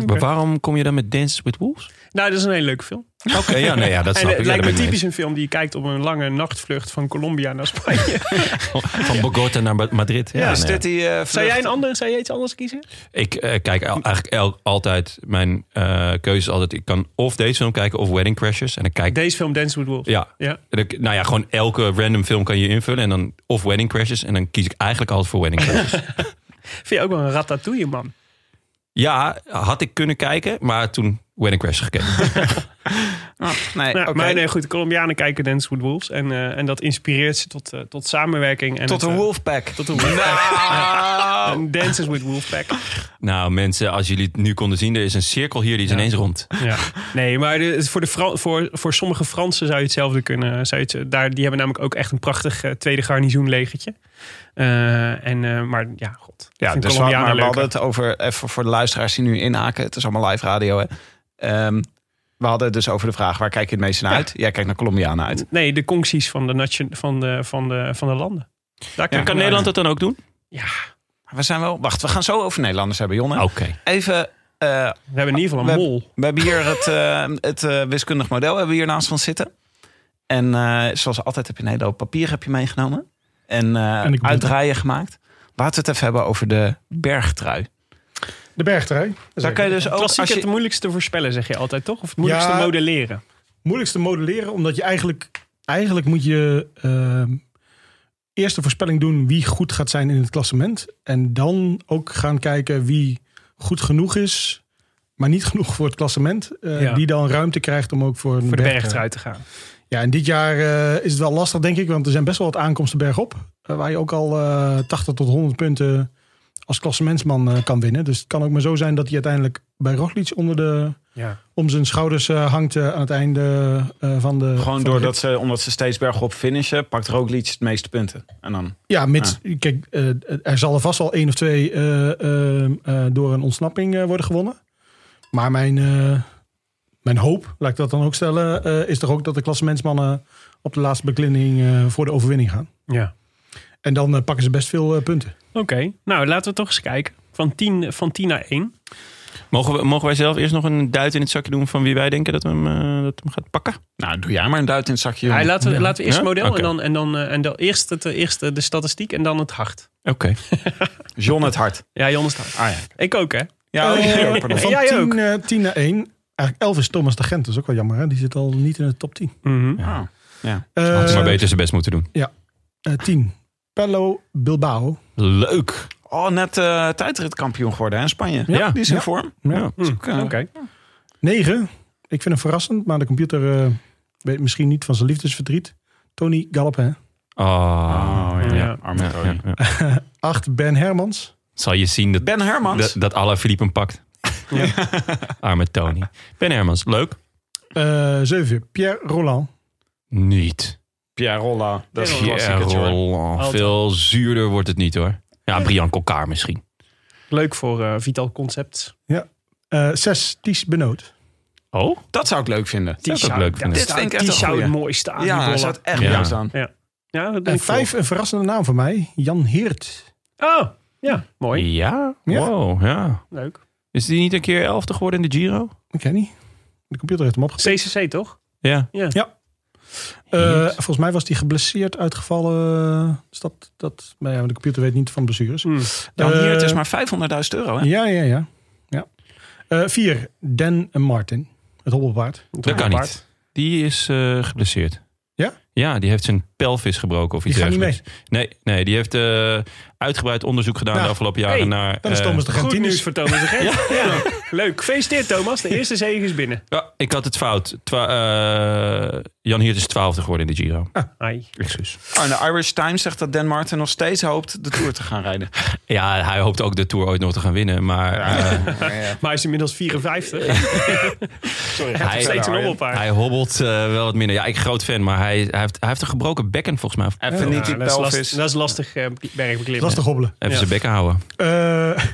Maar waarom kom je dan met Dance with Wolves?
Nou, dat is een hele leuke film.
Oké, ja, nee, ja, dat
en
snap ik.
eh, het
Ja,
lijkt
daar
me
ben ik mee
typisch een film die je kijkt op een lange nachtvlucht van Colombia naar Spanje.
eens. Van Bogota naar Ma- Madrid. Ja,
is
nee.
dit die, eh,
zou jij
vlucht-
een andere, zou jij iets anders kiezen?
Ik eh, kijk al- eigenlijk el- altijd, mijn eh keuze is altijd, ik kan of deze film kijken of Wedding Crashers. En dan kijk
Deze film Dance with Wolves.
ja,
Ja.
En dan- nou ja, gewoon elke random film kan je invullen. En dan of Wedding Crashers. En dan kies ik eigenlijk altijd voor Wedding Crashers.
Vind je ook wel een ratatouille man?
ja, had ik kunnen kijken, maar toen Wedding Crashers gekeken.
Ah, nee,
Nou,
oké.
Maar nee, goed, de Colombianen kijken Dance with Wolves. En, eh, en dat inspireert ze tot, eh, tot samenwerking. En
Tot Ah!
het,
een
eh,
wolfpack.
Tot een Wolfpack. En Dances with Wolfpack.
nou mensen, als jullie het nu konden zien, er is een cirkel hier die is ineens rond.
Ja. Nee, maar de- voor, de Fran- voor, voor sommige Fransen zou je hetzelfde kunnen. Zou je het, eh, daar, die hebben namelijk ook echt een prachtig eh, tweede garnizoenlegertje. Eh, en, eh, maar ja, god. Ik
Ja,
vind
dus wat,
Colombianen
maar we
leuker.
hadden het over, even voor de luisteraars die nu inhaken, het is allemaal live radio hè. Ehm, we hadden het dus over de vraag, waar kijk je het meest naar
Ja.
uit? Jij kijkt naar Colombianen uit.
Nee, de concties van de, nation- van de, van de, van de landen. Daar
En kan Nederland dat dan ook doen?
Ja,
Maar We zijn wel, wacht, we gaan zo over Nederlanders hebben, Jonne.
Oké.
Even, eh,
we hebben in ieder geval
We-
een mol.
we hebben hier het, eh, het eh, wiskundig model hebben we hier naast ons zitten. En eh, zoals altijd heb je een hele hoop papier heb je meegenomen. En, eh,
En ik moet-
uitdraaien gemaakt. Laten we het even hebben over de bergtrui.
De bergtrui.
Daar kan je dus ook,
Klassiek
als je,
het moeilijkste voorspellen, zeg je altijd, toch? Of het moeilijkste
Ja.
modelleren.
moeilijkste modelleren, omdat je eigenlijk, eigenlijk moet je ehm, eerst de voorspelling doen wie goed gaat zijn in het klassement. En dan ook gaan kijken wie goed genoeg is, maar niet genoeg voor het klassement. eh,
Ja.
Die dan ruimte krijgt om ook voor, een
Voor de
bergtrui.
berg eruit te gaan.
Ja, en dit jaar eh, is het wel lastig, denk ik, want er zijn best wel wat aankomsten bergop. eh, waar je ook al eh 80 tot 100 punten als klassementsman eh, kan winnen. Dus het kan ook maar zo zijn dat hij uiteindelijk bij Roglic onder de
Ja.
om zijn schouders eh, hangt eh, aan het einde eh, van de. van
Gewoon
de rit.
doordat ze, omdat ze steeds bergop finishen, pakt Roglic het meeste punten. En dan,
Ja, mits. Kijk, eh, er zal er vast wel één of twee eh, eh, eh, door een ontsnapping eh, worden gewonnen. Maar mijn, eh, mijn hoop, laat ik dat dan ook stellen, eh, is toch ook dat de klassementsmannen op de laatste beklimming eh, voor de overwinning gaan.
ja.
En dan eh, pakken ze best veel eh, punten.
Oké, nou laten we toch eens kijken. Van 10 van 10 naar 1.
Mogen, we- mogen wij zelf eerst nog een duit in het zakje doen van wie wij denken dat we hem, eh, dat we hem gaat pakken?
nou, doe jij maar een duit in het zakje. jongen.
Hij laten, we, laten we eerst
Ja?
het model
Oké.
en dan, en dan eh, en dan eerst, het, eh, eerst eh, de statistiek en dan het hart.
Oké.
John het hart.
Ja, Jon is het hart.
Ah, ja.
Ik ook, hè?
Ja, oh,
Eh,
pardon.
van
Jij
10
ook.
eh, 10 naar 1. Eigenlijk 11 is Thomas de Gent, dat is ook wel jammer. Hè? Die zit al niet in de top 10.
Ah,
Had ze maar
Eh,
beter zijn best moeten doen.
eh, 10. Pello Bilbao.
Leuk.
Oh, net eh tijdritkampioen geworden hè, in Spanje.
Ja.
Die is in
Ja.
vorm.
Ja.
Dat is ook, eh,
Hm. Oké.
9. Ik vind hem verrassend, maar de computer eh, weet misschien niet van zijn liefdesverdriet. Tony Galopin.
Oh,
ja.
Arme
Ja,
Tony.
ja, ja.
8. Ben Hermans.
Zal je zien dat,
Ben Hermans.
dat, dat alle Philippe hem pakt. Arme Tony. Ben Hermans, leuk?
7. Eh, Pierre Roland.
Niet.
Pierre Rolla. Dat is een klassiekertje, hoor.
Pierrot. Veel zuurder wordt het niet hoor. Ja, Brian Kokar misschien.
Leuk voor eh, Vital Concepts.
6. Ties Eh, Benoot.
Oh?
Dat zou ik leuk vinden.
ook leuk vinden.
Dit vind ik echt
die
een
zou
goeie.
het mooi staan. die
Ja,
bollen.
dat zou het echt
Ja.
leuk staan.
ja dat denk
En
ik wel.
5. Een verrassende naam voor mij. Jan Heert.
Oh, ja, mooi.
Ja?
Ja.
Wow, ja.
Leuk.
Is die niet een keer elfde geworden in de Giro?
Ik ken niet. De computer heeft hem opgepikt.
CCC toch?
Ja.
Ja.
Eh, volgens mij was hij geblesseerd uitgevallen. Dus dat, dat, maar ja, de computer weet niet van blessures.
Hmm.
Dan
Eh,
hier, het is maar 500.000 euro. Hè?
Ja, ja, ja. ja. Eh, vier, Dan en Martin. Het hobbelpaard.
Dat kan
Apart.
niet. Die is eh, geblesseerd.
Ja?
Ja, die heeft zijn pelvis gebroken of
Die
iets
gaat niet mee.
dergelijks. Nee, nee, die heeft eh, uitgebreid onderzoek gedaan
Nou,
de afgelopen jaren
hey,
naar...
Dat is
eh,
Thomas de
Goed
Gentinus.
nieuws voor Thomas de Gent. ja. Leuk. Gefeliciteerd Thomas. De eerste zege is binnen.
ja, ik had het fout. Twa- eh, Jan Heert is twaalfde geworden in de Giro.
Ah,
Ai.
Excuus.
Oh, en de Irish Times zegt dat Dan Martin nog steeds hoopt de Tour te gaan rijden.
Ja, hij hoopt ook de Tour ooit nog te gaan winnen. Maar eh,
Maar hij is inmiddels 54. Sorry, hij
Hij-
heeft steeds een hobbelpaard.
hij hobbelt eh, wel wat minder. Ja, ik groot fan, maar hij, hij, heeft, hij heeft een gebroken bekken volgens mij.
Even niet die
dat, is
pelvis.
lastig, dat is lastig eh, bergbeklimmen.
Lastig hobbelen.
Even
Ja.
zijn bekken houden. Nou,
Eh,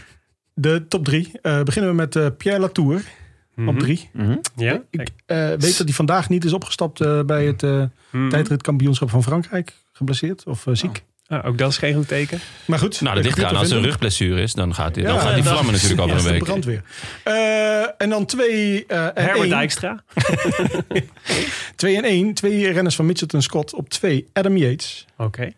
de top drie. Eh, beginnen we met eh, Pierre Latour
Mhm.
op drie.
Ja?
Ik eh, weet dat hij vandaag niet is opgestapt eh, bij het eh,
Mhm.
tijdritkampioenschap van Frankrijk. Geblesseerd of eh, ziek.
Ah, ook dat is geen goed teken.
Maar goed.
Nou, dat
de
ligt eraan.
computer
Als er een
vindt hem.
rugblessure is, dan gaat, die-
Ja,
dan gaat die
dat-
vlammen natuurlijk over
Ja,
een
de
week.
brandweer. Eh, en dan twee, eh, en
Herbert
één.
Dijkstra.
Twee en één. Twee renners van Mitchelton Scott. Op twee Adam Yates.
Oké.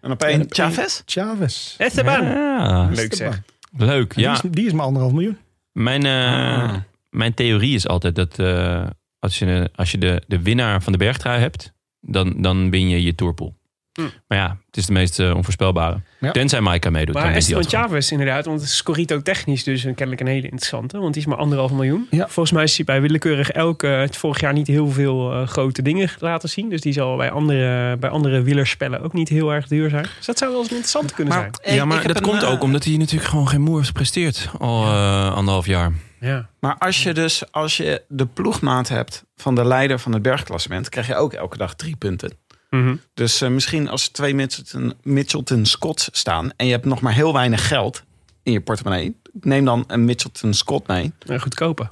En op één
En-
Chavez?
Chavez.
Esteban.
Ja,
Leuk zeg.
leuk.
Die,
Ja,
is, die is maar anderhalf miljoen.
mijn, eh,
Ah.
mijn theorie is altijd dat eh, als je, eh, als je de, de winnaar van de bergtrui hebt, dan, dan win je je tourpool.
Hm.
Maar ja, het is de meest eh, onvoorspelbare.
Ja.
Tenzij Maika meedoet. dan
Maar
wint hij
Esteban
altijd.
Chavez inderdaad, want het is Corito technisch dus een- kennelijk een hele interessante. Want die is maar anderhalf miljoen.
Ja.
Volgens mij is hij bij willekeurig elke, het vorig jaar niet heel veel eh, grote dingen laten zien. Dus die zal bij andere, bij andere wielerspellen ook niet heel erg duur zijn. Dus dat zou wel eens interessant kunnen zijn.
ja, maar dat komt
eh,
ook omdat hij natuurlijk gewoon geen moer heeft gepresteerd al eh, anderhalf jaar.
Ja.
Maar als je dus als je de ploegmaat hebt van de leider van het bergklassement, krijg je ook elke dag drie punten.
Mhm.
Dus eh, misschien als er twee Mitchelton, Mitchelton Scots staan en je hebt nog maar heel weinig geld in je portemonnee, neem dan een Mitchelton Scott mee.
Eh, goedkoper.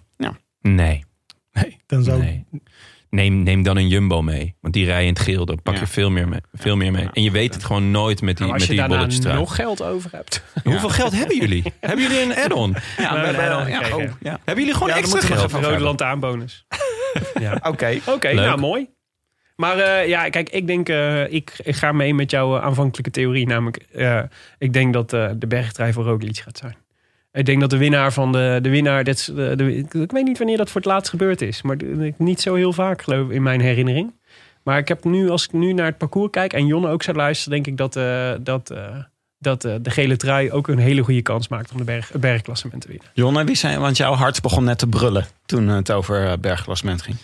Nee.
Nee, dan zou
nee. Neem, neem dan een Jumbo mee. Want die rijden in het geel. Dan pak je
Ja.
veel meer mee. Veel meer mee. En je weet het gewoon nooit met die,
Nou, als
met die
je daarna
bolletjes trui.
nog geld over hebt.
Hoeveel geld hebben jullie? hebben jullie een add-on?
Ja,
we hebben al
ja,
gekregen.
oh, ja.
Hebben jullie gewoon
Ja, dan
extra
moeten we nog
geld?
even-
Rode
hebben.
lantaarnbonus. ja.
Oké.
Oké,
Leuk.
nou mooi. Maar eh, ja, kijk, ik denk, eh, ik, ik ga mee met jouw eh, aanvankelijke theorie. Namelijk, eh, ik denk dat eh, de bergtrui voor Roglic gaat zijn. Ik denk dat de winnaar van de, de winnaar, dat is, eh, de, ik- ik weet niet wanneer dat voor het laatst gebeurd is. Maar d- ik- niet zo heel vaak, geloof ik, in mijn herinnering. Maar ik heb nu, als ik nu naar het parcours kijk en Jonne ook zou luisteren, denk ik dat, eh, dat, eh, dat eh, de gele trui ook een hele goede kans maakt om de berg, het bergklassement te winnen.
Jonne, wie zijn, want jouw hart begon net te brullen toen het over eh, bergklassement ging.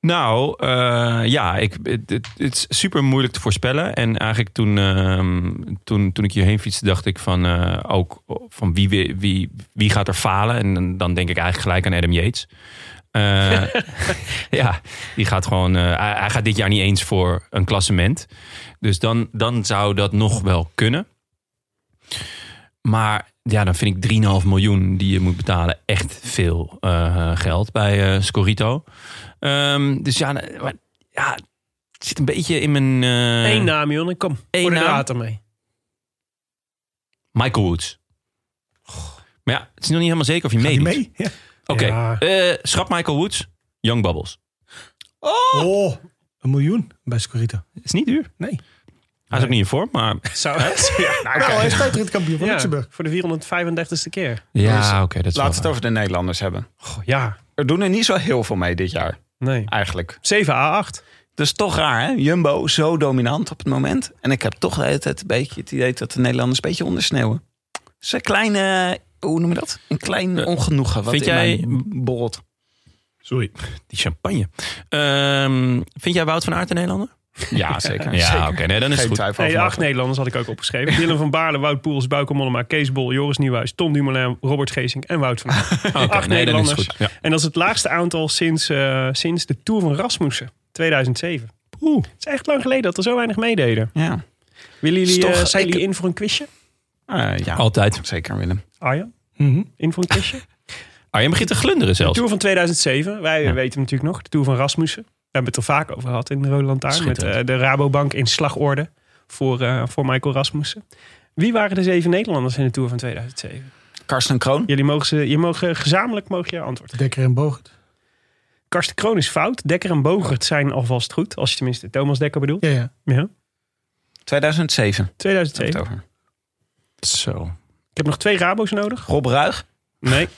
Nou, eh, ja, ik, het, het- het is super moeilijk te voorspellen. En eigenlijk toen, ehm, toen, toen ik hierheen fietste, dacht ik van eh, ook van wie, wi- wie, wie gaat er falen? En dan- dan denk ik eigenlijk gelijk aan Adam Yates. Eh, ja, die gaat gewoon. eh, hij, hij gaat dit jaar niet eens voor een klassement. Dus dan, dan zou dat nog wel kunnen. Maar ja, dan vind ik 3,5 miljoen die je moet betalen echt veel eh, geld bij eh, Scorito. Ehm, dus ja, nou, maar, ja, het zit een beetje in mijn... eh,
Eén naam, Jonne, kom.
één
voor de
naam.
draad ermee.
Michael Woods. Maar ja, het is nog niet helemaal zeker of je
Gaat
meedoet.
die mee? Ja.
Oké,
Ja.
eh, schrap Michael Woods, Young Bubbles.
Oh, Nou, een miljoen bij Scorito.
Is niet duur.
Nee.
Hij is ook niet in vorm, maar...
Zou, ja, nou,
Nou, hij is tijdritkampioen van
Ja,
Luxemburg.
voor de 435ste keer.
Ja, oké, dat is
Laten we
wel
het over de Nederlanders hebben.
Goh, ja,
Er doen er niet zo heel veel mee dit jaar,
nee.
eigenlijk.
7A8.
Dus toch raar, hè? Jumbo zo dominant op het moment. En ik heb toch de hele tijd een beetje het idee dat de Nederlanders een beetje ondersneeuwen. Dus een kleine, hoe noem je dat? Een klein
Eh,
ongenoegen wat
vind
in
jij-
mij borrelt.
Sorry. Die champagne. Ehm, vind jij Wout van Aert een Nederlander?
Ja, zeker.
Ja,
Zeker.
oké. nee, dan is het
Geen
goed.
twijfel
Nee,
over
acht Nederlanders had ik ook opgeschreven. Dylan van Baarle, Wout Poels, Bauke Mollema, Kees Bol, Joris Nieuwhuis, Tom Dumoulin, Robert Geesink en Wout van Aert.
Oké,
acht
nee, dan is
Nederlanders.
het goed. Ja.
En dat is het laagste aantal sinds, eh, sinds de Tour van Rasmussen, 2007. Oeh. Het is echt lang geleden dat er zo weinig meededen.
Ja.
Willen
Is
jullie,
toch-
eh, zijn
ik-
jullie in voor een quizje?
Eh, ja,
Altijd.
zeker Willem.
Arjan,
Mhm.
in voor een quizje?
Ah, je begint te glunderen
De
zelfs.
Tour van 2007, wij
Ja.
weten hem natuurlijk nog. De Tour van Rasmussen. We hebben het er vaak over gehad in de Rode Lantaarn. Met
Schitterend.
eh, de Rabobank in slagorde voor, eh, voor Michael Rasmussen. Wie waren de zeven Nederlanders in de Tour van 2007?
Karsten Kroon.
Jullie mogen ze, je mogen, gezamenlijk mogen je antwoord geven.
Dekker en Bogert.
Karsten Kroon is fout. Dekker en Bogert zijn alvast goed. Als je tenminste Thomas Dekker bedoelt.
Ja, ja.
Ja.
2007. heb ik
2007.
het over.
Zo.
Ik heb nog twee Rabo's nodig.
Rob Ruig.
Nee.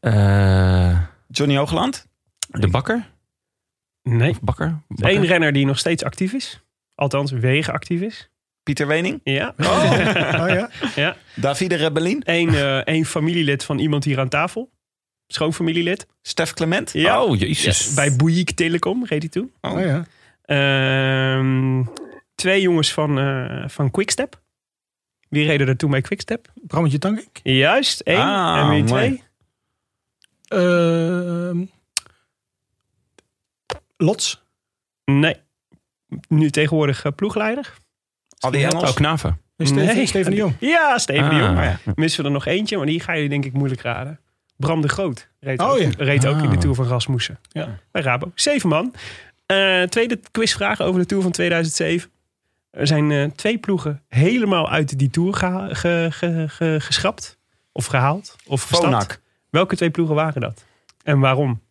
Eh,
Johnny Hoogland.
de bakker?
Nee.
Of bakker? bakker?
Eén renner die nog steeds actief is. Althans, wegen actief is.
Pieter Wening.
Ja.
Oh, ja.
Davide Rebellin.
Eén, eh, één familielid van iemand hier aan tafel. Schoonfamilielid.
Stef Clement.
Ja.
Oh, jezus.
Bij Bouygues Telecom reed hij toen.
Oh, ja.
Ehm, twee jongens van, eh, van Quickstep. Wie reden er toen bij Quickstep?
Brammetje Tankink.
Juist, één.
Ah,
en wie
mooi.
twee?
Ehm Lots.
Nee. Nu tegenwoordig eh, ploegleider.
Adi
Oh,
Engels.
Knaven.
Nee, Steven,
Nee.
Steven de Jong.
Ja, Steven de
Ah.
Jong. Maar ja, missen we er nog eentje, maar die ga je denk ik moeilijk raden. Bram de Groot reed,
Oh
ook,
ja.
reed ook in de
Ah.
Tour van Rasmussen.
Ja.
Bij Rabo. Zeven man. Eh, tweede quizvraag over de Tour van 2007. Er zijn eh, twee ploegen helemaal uit die Tour geha- ge- ge- ge- geschrapt. Of gehaald. Of gestapt.
Fonak.
Welke twee ploegen waren dat? En waarom?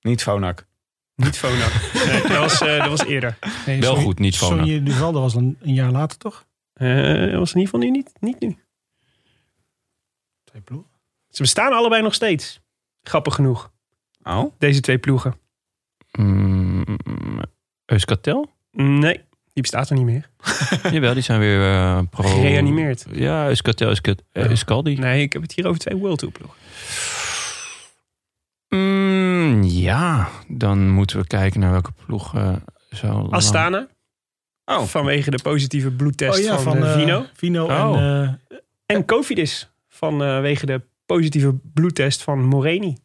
Niet Fonak.
Niet Fonak. nee, dat, was, eh, dat was eerder.
Nee,
Wel
Sonny-
goed, niet Fona.
Sonny Duval, dat was een, een jaar later toch?
Eh, dat was in ieder geval nu niet, niet nu.
Twee ploegen.
Ze bestaan allebei nog steeds. Grappig genoeg.
Oh.
Deze twee ploegen.
Mm, Euskatel?
Nee, die bestaat er niet meer.
Jawel, die zijn weer eh, pro...
Gereanimeerd.
Ja, Euskatel, Euskat- eh, Euskaldi.
Nee, ik heb het hier over twee World Tour ploegen.
Mm, ja, dan moeten we kijken naar welke ploeg eh zo lang-
Astana,
Oh.
vanwege de positieve bloedtest
Oh ja,
van,
van,
eh,
eh,
Vino.
Vino
Oh.
en... eh,
En Cofidis, vanwege de positieve bloedtest van Moreni.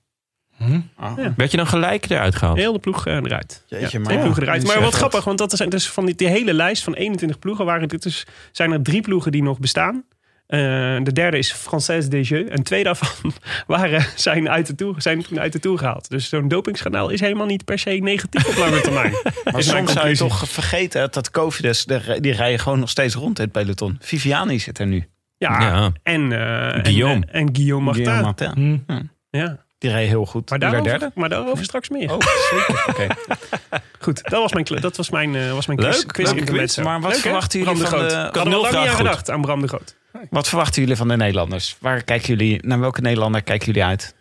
hm?
Oh.
Ja.
Werd je dan gelijk eruit gehaald?
Heel de ploeg eh, eruit.
Jeetje,
ja,
maar
twee
ja,
ploegen eruit.
die
Maar wat
zeggen
grappig, want dat zijn dus van die, die hele lijst van 21 ploegen waren dit dus, zijn er drie ploegen die nog bestaan. Eh, de derde is Française des Jeux. En twee daarvan waren, zijn, uit de tour, zijn toen uit de tour gehaald. Dus zo'n dopingsschandaal is helemaal niet per se negatief op lange termijn.
Maar
Is mijn
soms zou je
conclusie.
toch vergeten dat Covides, de- die rijden gewoon nog steeds rond in het peloton. Viviani zit er nu.
Ja,
Ja.
En, eh,
Guillaume.
En, en Guillaume Martin.
Guillaume eh, Martin.
Hm.
Ja.
Die rijden heel goed.
Maar,
Die werd
daarover, maar daarover straks meer.
Oh, zeker. Oké.
Goed, dat was mijn, kle- dat was mijn, eh, was mijn quiz.
Leuk,
quiz
leuk
intermezzo.
quiz. Maar wat
Leuk, hè?
verwachten
Bram
jullie van
Groot.
de-
Ik had er al lang
nulvraag
niet aan
goed.
gedacht aan Bram de Groot.
Wat verwachten jullie van de Nederlanders? Waar kijken jullie, naar welke Nederlander kijken jullie uit?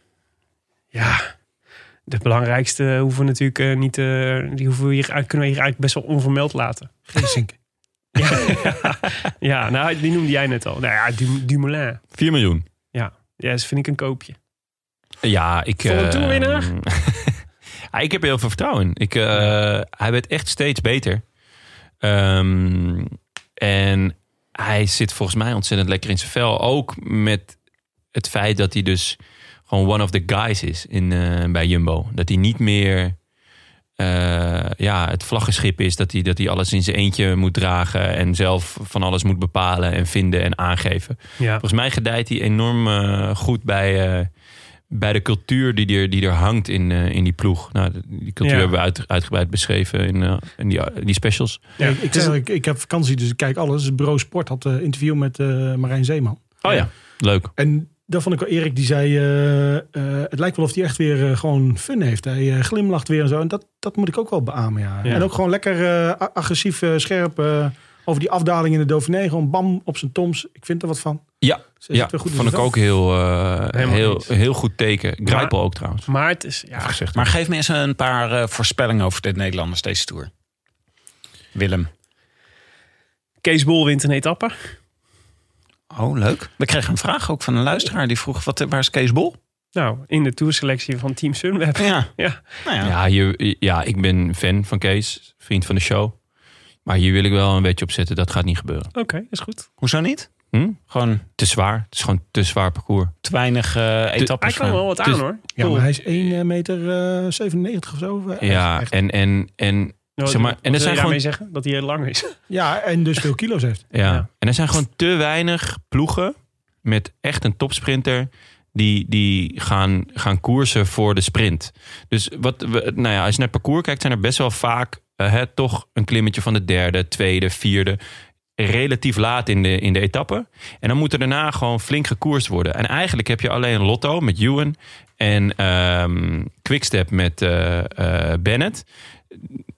Ja, de belangrijkste hoeven we natuurlijk eh, niet. eh, die hoeven we hier, eigenlijk- kunnen we hier eigenlijk best wel onvermeld laten.
Geesink.
Ja, nou, die noemde jij net al. Nou ja, Du- Dumoulin.
4 miljoen.
Ja, dat vind ik een koopje.
Ja, ik...
Voor een
eh,
toerwinnaar?
ja, ik heb er heel veel vertrouwen in. Ik, eh, Hij werd echt steeds beter. Ehm, en hij zit volgens mij ontzettend lekker in zijn vel. Ook met het feit dat hij dus gewoon one of the guys is in, eh, bij Jumbo. Dat hij niet meer eh, ja, het vlaggenschip is. Dat hij, dat hij alles in zijn eentje moet dragen. En zelf van alles moet bepalen en vinden en aangeven.
Ja.
Volgens mij gedijt hij enorm eh, goed bij, eh, bij de cultuur die er, die er hangt in, eh, in die ploeg. Nou, de- die cultuur
Ja.
hebben we uit, uitgebreid beschreven in, eh, in die, die specials.
Ja.
ik, ik, zeg, ik, ik heb vakantie, dus ik kijk alles. Het Bureau Sport had een interview met eh, Marijn Zeeman.
Oh ja, leuk.
En daar vond ik wel Erik, die zei... eh, eh, het lijkt wel of hij echt weer eh, gewoon fun heeft. Hij eh, glimlacht weer en zo. En dat, dat moet ik ook wel beamen, ja.
Ja.
En ook gewoon lekker eh, a- agressief, eh, scherp... eh, over die afdaling in de Dauphiné. Gewoon bam, op zijn toms. Ik vind er wat van.
Ja,
Ze
ja
zit weer goed in
vond ik
zijn
ook heel, eh,
Helemaal
heel,
niet.
heel goed teken. Grijpel ook trouwens.
Maar het is. Ja,
Gezegd.
Maar geef me eens een paar eh, voorspellingen over de Nederlanders deze tour. Willem.
Kees Bol wint een etappe.
Oh, leuk. We kregen een vraag ook van een luisteraar die vroeg: wat, waar is Kees Bol?
Nou, in de toerselectie van Team Sunweb.
Ja.
Ja.
Nou ja.
Ja, hier, ja, ik ben fan van Kees, vriend van de show. Maar hier wil ik wel een beetje op zetten. Dat gaat niet gebeuren.
Oké, is goed.
Hoezo niet?
Hm?
Gewoon
Te zwaar. Het is gewoon te zwaar parcours.
te weinig eh,
Hij
etappes.
kan wel wat aan
Dus-
hoor.
Ja,
Cool.
maar hij is 1 meter eh, 97 of zo. eh. Echt-
ja,
echt.
en, en, en,
Nou,
zeg maar,
wat
en er
wil
zijn
je
gewoon-
daarmee zeggen dat hij heel lang is.
ja, en dus veel kilo's heeft.
ja.
Ja.
en er zijn gewoon te weinig ploegen met echt een topsprinter. Die, die gaan, gaan koersen voor de sprint. Dus wat we, nou ja, als je naar het parcours kijkt, zijn er best wel vaak eh, hè, toch een klimmetje van de derde, tweede, vierde. Relatief laat in de, in de etappe. En dan moet er daarna gewoon flink gekoerst worden. En eigenlijk heb je alleen Lotto met Ewan en ehm, Quickstep met eh, eh, Bennett.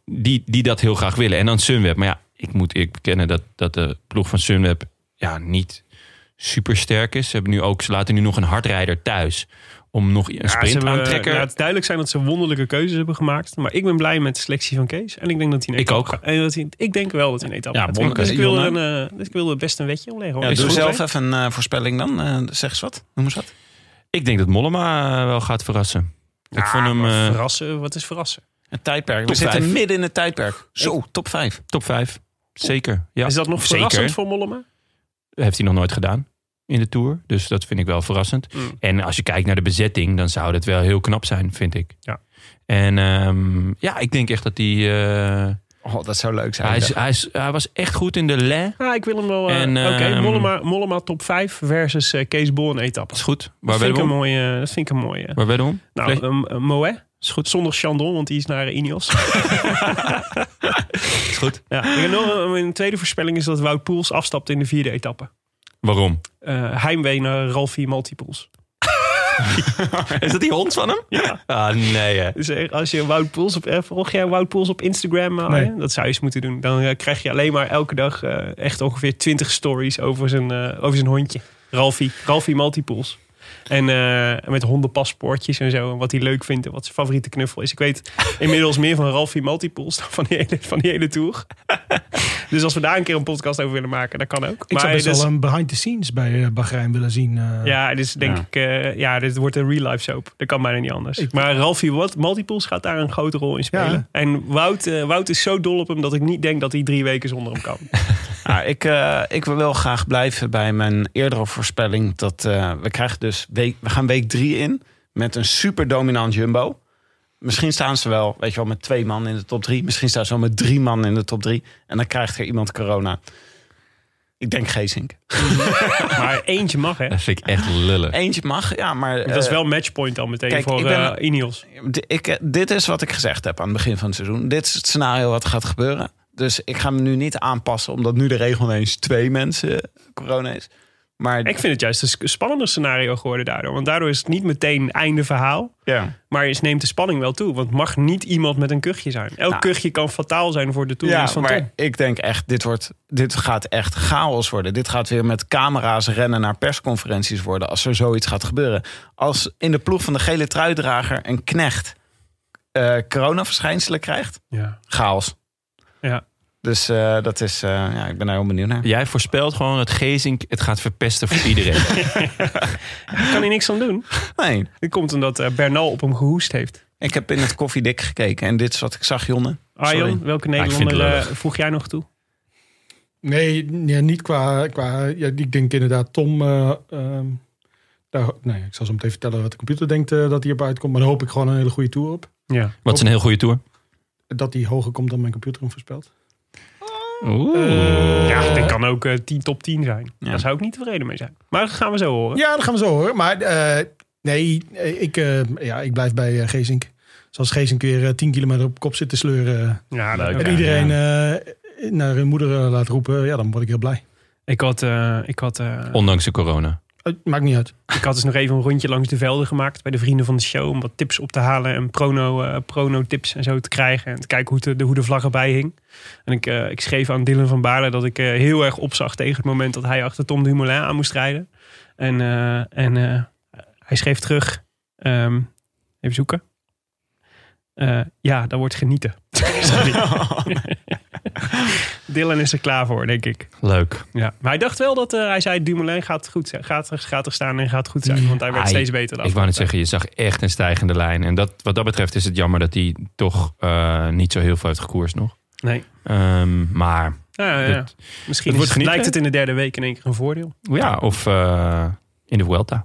die, die dat heel graag willen. En dan Sunweb. Maar ja, ik moet ik bekennen dat, dat de ploeg van Sunweb ja, niet super sterk is. Ze, hebben nu ook, ze laten nu nog een hardrijder thuis. Om nog een
Ja, ze
sprint
hebben-
aantrekker.
Laat duidelijk zijn dat ze wonderlijke keuzes hebben gemaakt. Maar ik ben blij met de selectie van Kees. En ik denk dat hij een
Ik
etappe
ook.
gaat- En dat hij, ik denk wel dat hij een etappe
Ja,
gaat
wonderlijk.
winnen. Dus ik, wil er
Jonne?
een, eh, dus ik wil er best een wetje om leggen. hoor.
Ja,
Ja,
Is
doe
goed,
zelf
hè?
even een eh, voorspelling dan. Eh, zeg eens wat. Noem eens wat.
Ik denk dat Mollema eh, wel gaat verrassen. ik
Ja,
vond hem
maar
eh,
Ah, verrassen, wat is verrassen?
Het tijdperk.
Top
We zitten
vijf.
midden in het tijdperk. Zo, top 5.
top 5. Zeker. Ja.
Is dat nog
Zeker.
verrassend voor Mollema?
heeft hij nog nooit gedaan in de Tour. Dus dat vind ik wel verrassend.
Mm.
En als je kijkt naar de bezetting, dan zou dat wel heel knap zijn, vind ik.
Ja.
En ehm, ja, ik denk echt dat hij... eh,
Oh, dat zou leuk zijn.
hij, is, hij, is, hij was echt goed in de Le.
Ah, ik wil hem wel... eh,
En,
Oké,
ehm,
Mollema, Mollema top 5 versus eh, Kees Bol een etappe.
Dat is goed.
Dat
Waar
vind,
ben
ik een
je
mooie, eh, dat vind ik een mooie.
Waar ben je om?
Nou,
Vle-
ehm, eh, Moët.
Is goed.
Zonder Chandon, want die is naar eh, Ineos.
Is goed.
ja. Ik heb nog een, een tweede voorspelling is dat Wout Poels afstapt in de vierde etappe.
Waarom?
Eh, heimwee naar Ralphie Multipools.
Is dat die hond van hem?
Ja.
Ah, nee. hè.
Dus eh, als je Wout Poels op... eh, volg jij Wout Poels op Instagram? eh, Arjen? Dat zou je eens moeten doen. Dan eh, krijg je alleen maar elke dag eh, echt ongeveer 20 stories over zijn, eh, over zijn hondje. Ralphie. Ralphie Multipools. En eh, met hondenpaspoortjes en zo. En wat hij leuk vindt en wat zijn favoriete knuffel is. Ik weet inmiddels meer van Ralphie Multipools dan van die hele, van die hele tour. dus als we daar een keer een podcast over willen maken, dat kan ook.
Ik zou best
dus-
wel een behind the scenes bij eh Bahrein willen zien. eh.
Ja, dus denk
Ja.
ik, eh, ja, dit wordt een real life soap. Dat kan bijna niet anders.
Ik-
maar Ralfie Wat, Multipools gaat daar een grote rol in spelen.
Ja.
En Wout, eh, Wout is zo dol op hem dat ik niet denk dat hij drie weken zonder hem kan.
Nou, ik, eh, ik wil wel graag blijven bij mijn eerdere voorspelling. Dat eh, we krijgen dus week, we gaan week drie in met een super dominant jumbo. Misschien staan ze wel, weet je wel, met twee man in de top drie. Misschien staan ze wel met drie man in de top drie. En dan krijgt er iemand corona. Ik denk Geesink.
maar eentje mag, hè?
Dat vind ik echt lullig.
Eentje mag, ja, maar...
Dat is
eh,
wel matchpoint dan meteen
kijk,
voor
ik ben-
eh, Ineos.
D- ik, eh, dit is wat ik gezegd heb aan het begin van het seizoen. Dit is het scenario wat gaat gebeuren. Dus ik ga me nu niet aanpassen, omdat nu de regel ineens twee mensen eh, corona is. Maar
Ik vind het juist een s- spannender scenario geworden daardoor. Want daardoor is het niet meteen einde verhaal.
ja.
Maar eens neemt de spanning wel toe. Want mag niet iemand met een kuchje zijn. Elk
Nou.
kuchje kan fataal zijn voor de toekomst
ja,
van
maar
Tom.
ik denk echt, dit, wordt, dit gaat echt chaos worden. Dit gaat weer met camera's rennen naar persconferenties worden als er zoiets gaat gebeuren. Als in de ploeg van de gele truidrager een knecht eh coronaverschijnselen krijgt,
Ja.
chaos.
Ja.
Dus eh, dat is, eh, ja, ik ben daar heel benieuwd naar.
Jij voorspelt gewoon dat Gezink het gaat verpesten voor iedereen.
Daar kan hij niks aan doen.
Nee,
Dit komt omdat eh, Bernal op hem gehoest heeft.
Ik heb in het koffiedik gekeken en dit is wat ik zag, Jonne.
Arjan, welke
vind het
Nederlander eh,
lullig.
voeg jij nog toe?
Nee, nee, niet qua... qua ja, ik denk inderdaad Tom... eh, ehm, daar, nee, ik zal zo meteen vertellen wat de computer denkt eh, dat hij erbij uitkomt. Maar daar hoop ik gewoon een hele goede tour op.
Ja.
Wat is een heel goede tour.
Dat die hoger komt dan mijn computer hem voorspelt.
ja, dit kan ook eh 10 top 10 zijn.
Ja.
Daar zou ik niet tevreden mee zijn. Maar dat gaan we zo horen.
Ja, dat gaan we zo hoor. Maar eh, nee, eh, ik, eh, ja, ik blijf bij eh, Geesink. Zoals Geesink weer eh, 10 kilometer op kop zit te sleuren. eh,
Ja,
Leuk.
dat-
en iedereen eh, naar hun moeder eh, laat roepen. Ja, dan word ik heel blij.
Ik had, eh, ik, had, eh,
Ondanks de corona.
Eh, maakt niet uit.
ik had dus nog even een rondje langs de velden gemaakt bij de vrienden van de show. Om wat tips op te halen en prono, eh, prono-tips en zo te krijgen. En te kijken hoe, te- de, hoe de vlag erbij hing. En ik, eh, ik schreef aan Dylan van Baarle dat ik eh, heel erg opzag tegen het moment dat hij achter Tom Dumoulin aan moest rijden. En, eh, en eh, hij schreef terug. ehm, even zoeken. Eh, ja, daar wordt genieten. Sorry. Dylan is er klaar voor, denk ik.
Leuk.
Ja. Maar hij dacht wel dat eh, hij zei: Dumoulin gaat, goed zijn, gaat, er- gaat er staan en gaat goed zijn. Want hij werd
Ah,
steeds beter. de
Ik wou net
afgelopen
zeggen, je zag echt een stijgende lijn. En dat, wat dat betreft is het jammer dat hij toch eh, niet zo heel veel heeft gekoerst nog.
tijd. Nee.
Ehm, maar
Ja, ja, ja.
Dat-
Misschien
wordt
is-
genieten, hè?
lijkt het in de derde week in één keer een voordeel.
ja, of eh, in de Vuelta.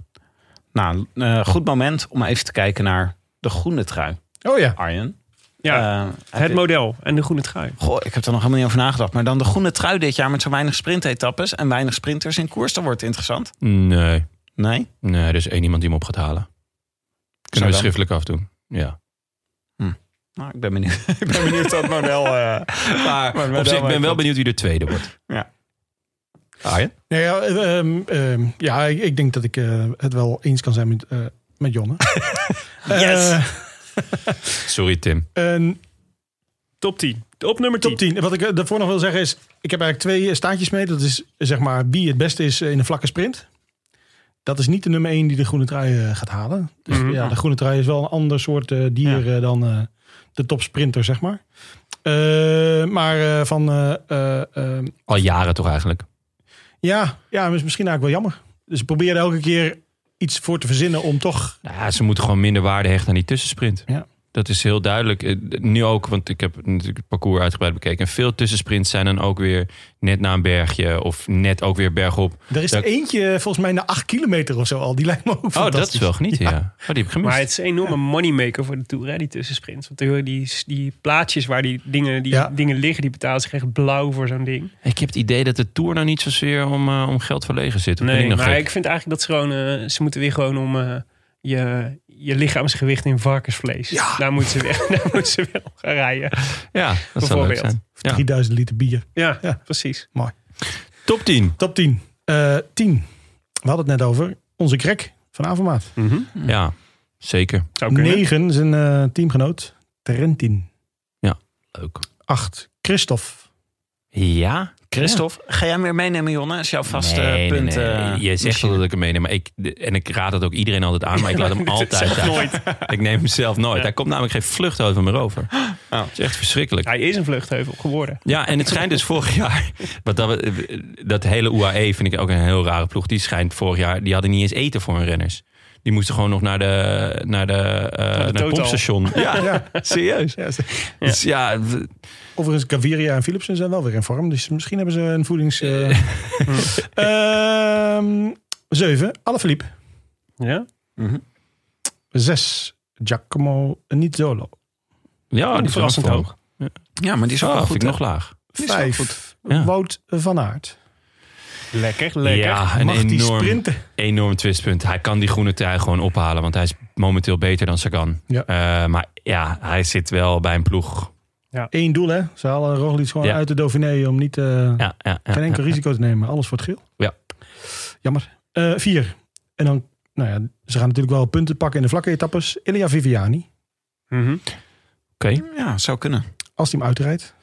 Nou, eh, goed moment om even te kijken naar de groene trui,
Oh ja.
Arjen.
Ja,
Eh, heb
het
je-
model en de groene trui.
Goh, ik heb er nog helemaal niet over nagedacht. Maar dan de groene trui dit jaar met zo weinig sprintetappes en weinig sprinters in koers. Dat wordt interessant.
Nee,
Nee?
nee, er is één iemand die hem op gaat halen.
Zo
Kunnen we
dan.
schriftelijk afdoen. Ja.
Nou, ik ben benieuwd. ik ben benieuwd wat model... eh maar, maar
Op zich, ik ben wel benieuwd wie de tweede wordt.
Ja.
Arjen?
Nee, ja, ehm, ehm, ja ik, ik denk dat ik eh, het wel eens kan zijn met, eh, met Jonne.
Yes!
Eh,
Sorry Tim.
een
Top 10. Op nummer 10.
top 10. Wat ik eh, daarvoor nog wil zeggen is, ik heb eigenlijk twee eh, staartjes mee. Dat is eh, zeg maar wie het beste is eh, in een vlakke sprint. Dat is niet de nummer 1 die de groene trui eh, gaat halen. Dus
Mhm.
ja, de groene trui is wel een ander soort eh, dier eh, dan eh, de topsprinter, zeg maar. Eh, maar eh, van eh, eh, ehm,
Al jaren toch eigenlijk.
Ja, ja, maar is misschien eigenlijk wel jammer. Dus we proberen elke keer iets voor te verzinnen om toch...
Nou ja, ze moeten gewoon minder waarde hechten aan die tussensprint.
Ja.
Dat is heel duidelijk. Eh, Nu ook, want ik heb natuurlijk het parcours uitgebreid bekeken. En veel tussensprints zijn dan ook weer net na een bergje of net ook weer bergop. Oh,
Er is er
Ja.
eentje eh, volgens mij na acht kilometer of zo al. Die lijkt me ook
Oh, dat is
fantastisch.
wel genieten, ja. Oh, die heb ik gemist.
Maar het is een enorme moneymaker voor de Tour, hè, die tussensprints. Want die, die, die plaatjes waar die dingen, die
Ja.
dingen liggen, die betalen zich echt blauw voor zo'n ding.
Ik heb het idee dat de Tour nou niet zozeer om, eh, om geld verlegen zit. Of ben
Nee,
ik nog
maar
gek?
ik vind eigenlijk dat ze gewoon... eh, ze moeten weer gewoon om eh, je, je lichaamsgewicht in varkensvlees.
Ja.
Daar, moeten ze weer, daar moeten ze weer op gaan rijden.
Ja, dat zou leuk
Bijvoorbeeld.
zijn. Ja.
3000 liter bier.
Ja,
Ja.
precies.
Top
Mm.
10.
Top 10. Eh 10. We hadden het net over. Onze crack van Avermaat.
Mhm.
Ja, zeker.
Zou kunnen.
9 zijn eh, teamgenoot. Trentin.
Leuk.
8. Christophe.
Ja?
Christophe, ga jij hem weer meenemen, Jonne? Is jouw vaste
Nee, nee,
punt?
nee.
eh,
Je zegt wel
machine?
dat ik hem meeneem. Maar ik, en ik raad het ook iedereen altijd aan. Maar ik laat hem altijd
Zelf
uit.
nooit.
Ik neem hem zelf nooit.
Ja.
Hij komt namelijk geen vlucht over me over.
Oh.
Het is echt verschrikkelijk.
Hij is een vluchtheuvel geworden.
Ja, en het schijnt dus vorig jaar... Wat dat, dat hele UAE vind ik ook een heel rare ploeg. Die schijnt vorig jaar... Die hadden niet eens eten voor hun renners. Die moesten gewoon nog naar de, naar de, eh, naar het
Total.
pompstation. Ja,
Ja.
serieus.
Ja,
Dus ja, w-
Overigens, Gaviria en Philipsen zijn wel weer in vorm. Dus misschien hebben ze een voedings... eh Ehm 7. Alaphilippe.
Ja?
Mhm.
6. Giacomo Nizzolo.
ja die is
verrassend
wel-
hoog.
Ja, maar die is ook
Ah,
wel
vind
goed.
ik
hè?
nog laag.
Die is wel goed.
Vijf.
Ja.
Wout van Aert.
Lekker, lekker.
Ja, een
Mag die
enorm,
sprinten?
enorm twistpunt. Hij kan die groene trui gewoon ophalen. Want hij is momenteel beter dan Sagan.
Ja.
Eh, maar ja, hij zit wel bij een ploeg.
Eén doel, hè? Ze halen Roglic gewoon
Ja.
uit de Dauphiné om niet, eh,
Ja, ja, ja,
geen
ja.
enkel risico te nemen. Alles wordt geel.
Ja.
Jammer. Eh, vier. En dan, nou ja, ze gaan natuurlijk wel punten pakken in de vlakke etappes. Ilia Viviani,
Mhm.
Oké.
Ja, zou kunnen.
als hij hem uitrijdt.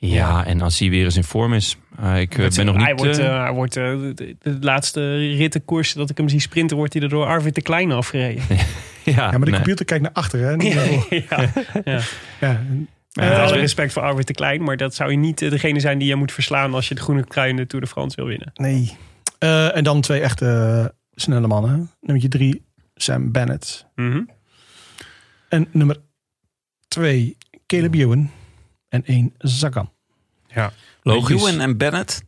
Ja, en als hij weer eens in vorm is. Ah, ik eh, ben nog niet...
hij wordt,
eh,
eh, hij wordt eh, de, de- de laatste rittenkoers dat ik hem zie sprinten, wordt hij er door Arvid de Kleine afgereden.
ja,
Ja, maar de
Ah, nee.
computer kijkt naar achteren. Hè? Niet naar voren.
ja. ja.
ja.
Ja,
Met
dat is
alle
best-
respect voor Arvid de Klein, maar dat zou je niet eh, degene zijn die je moet verslaan als je de groene trui in de Tour de France wil winnen.
Nee. Eh, en dan twee echte eh, snelle mannen. Nummer drie, Sam Bennett. En nummer twee, Caleb Ewan. En één, Sagan.
Logisch.
Ewan en Bennett,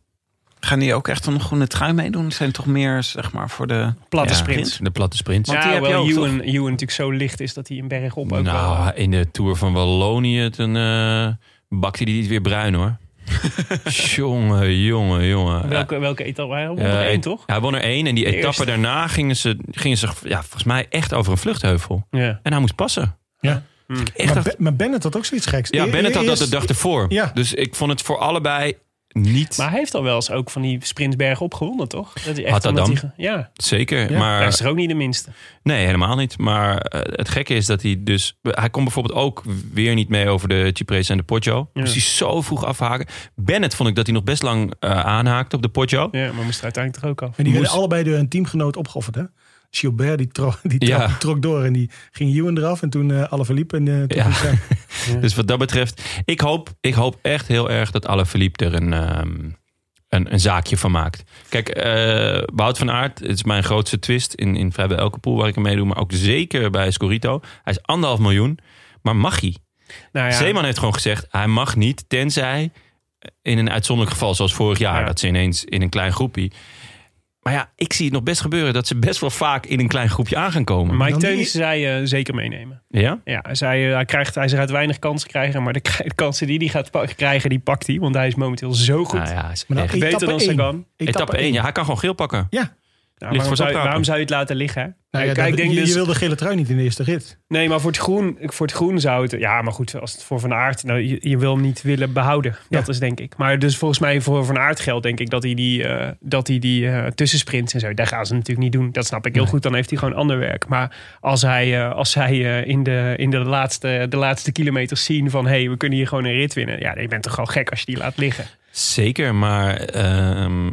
gaan die ook echt een groene trui meedoen? Die zijn toch meer, zeg maar, voor de...
Platte
Ja.
sprint.
De platte sprint.
ja,
Want die heb je
hoewel
ook,
Ewan, Ewan natuurlijk zo licht is dat hij een berg op ook wel-
nou, in de Tour van Wallonië toen, eh, bakte hij dit weer bruin hoor. jongen, jongen, jongen.
Welke, welke etappe? Hij won
Ja,
er één,
eh,
toch?
Hij won er één en die
De
etappe
eerste.
daarna gingen ze, gingen ze ja, volgens mij echt over een vluchtheuvel.
Ja.
En hij moest passen.
Ja.
Hmm.
Ik echt
Maar,
dacht-
Be- maar Bennett had ook zoiets geks.
ja,
E-
Bennett had dat de
eerst-
dag ervoor.
Ja.
Dus ik vond het voor allebei niet
Maar hij heeft al wel eens ook van die sprintberg opgewonnen, toch? Dat hij echt
Had dat
omdat
dan?
hij ge- ja,
zeker.
Ja,
maar
hij is er ook niet de minste.
Nee, helemaal niet. Maar eh, het gekke is dat hij dus... Hij kon bijvoorbeeld ook weer niet mee over de Ciprese en de Poggio.
Ja.
Dus hij zo vroeg afhaken. Bennett vond ik dat hij nog best lang eh, aanhaakte op de Poggio.
Ja, maar moest er uiteindelijk toch ook af.
En die werden
moest-
allebei door een teamgenoot opgeofferd, hè? Gilbert, die, tro- die, trok-
Ja.
die trok door en die ging Ewan eraf. En toen eh alle verliep. En, eh, toen
Ja.
ging het, eh,
Dus wat dat betreft, ik hoop, ik hoop echt heel erg dat Alaphilippe er een, ehm, een, een zaakje van maakt. Kijk, eh Wout van Aert het is mijn grootste twist in, in vrijwel elke pool waar ik aan meedoe. Maar ook zeker bij Scorito. Hij is anderhalf miljoen, maar mag hij?
Nou ja,
Zeeman heeft gewoon gezegd, hij mag niet, tenzij eh, in een uitzonderlijk geval zoals vorig jaar.
Ja.
Dat ze ineens in een klein groepje... Maar ja, ik zie het nog best gebeuren dat ze best wel vaak in een klein groepje aan gaan komen.
Mike
Dan
Teuns
niet-
zei eh, zeker meenemen.
ja?
Ja, hij, zei, eh, hij, krijgt, hij gaat weinig kansen krijgen. Maar de, k- de kansen die hij gaat pa- krijgen, die pakt hij. Want hij is momenteel zo goed.
Nou ja, hij is
Maar dan
echt-
één
Beter
Etappe
dan
één.
Sagan.
Etappe 1,
één.
ja, hij kan gewoon geel pakken.
Nou, waarom,
voor
zou,
het
waarom zou je het laten liggen? hè?
Nou ja,
Kijk,
dat-
ik denk
je,
dus-
je wil de gele trui niet in de eerste rit.
Nee, maar voor het groen, voor het groen zou het... Ja, maar goed, als het voor Van Aert... Nou, je, je wil hem niet willen behouden. Dat is denk ik. Maar dus volgens mij voor Van Aert geldt denk ik... dat hij die, eh dat hij die eh, tussensprints en zo... daar gaan ze natuurlijk niet doen. Dat snap ik heel goed. Dan heeft hij gewoon ander werk. Maar als, hij, eh, als zij eh, in, de, in de, laatste, de laatste kilometers zien van... hé, hey, we kunnen hier gewoon een rit winnen. Ja, je bent toch gewoon gek als je die laat liggen.
Zeker, maar ehm,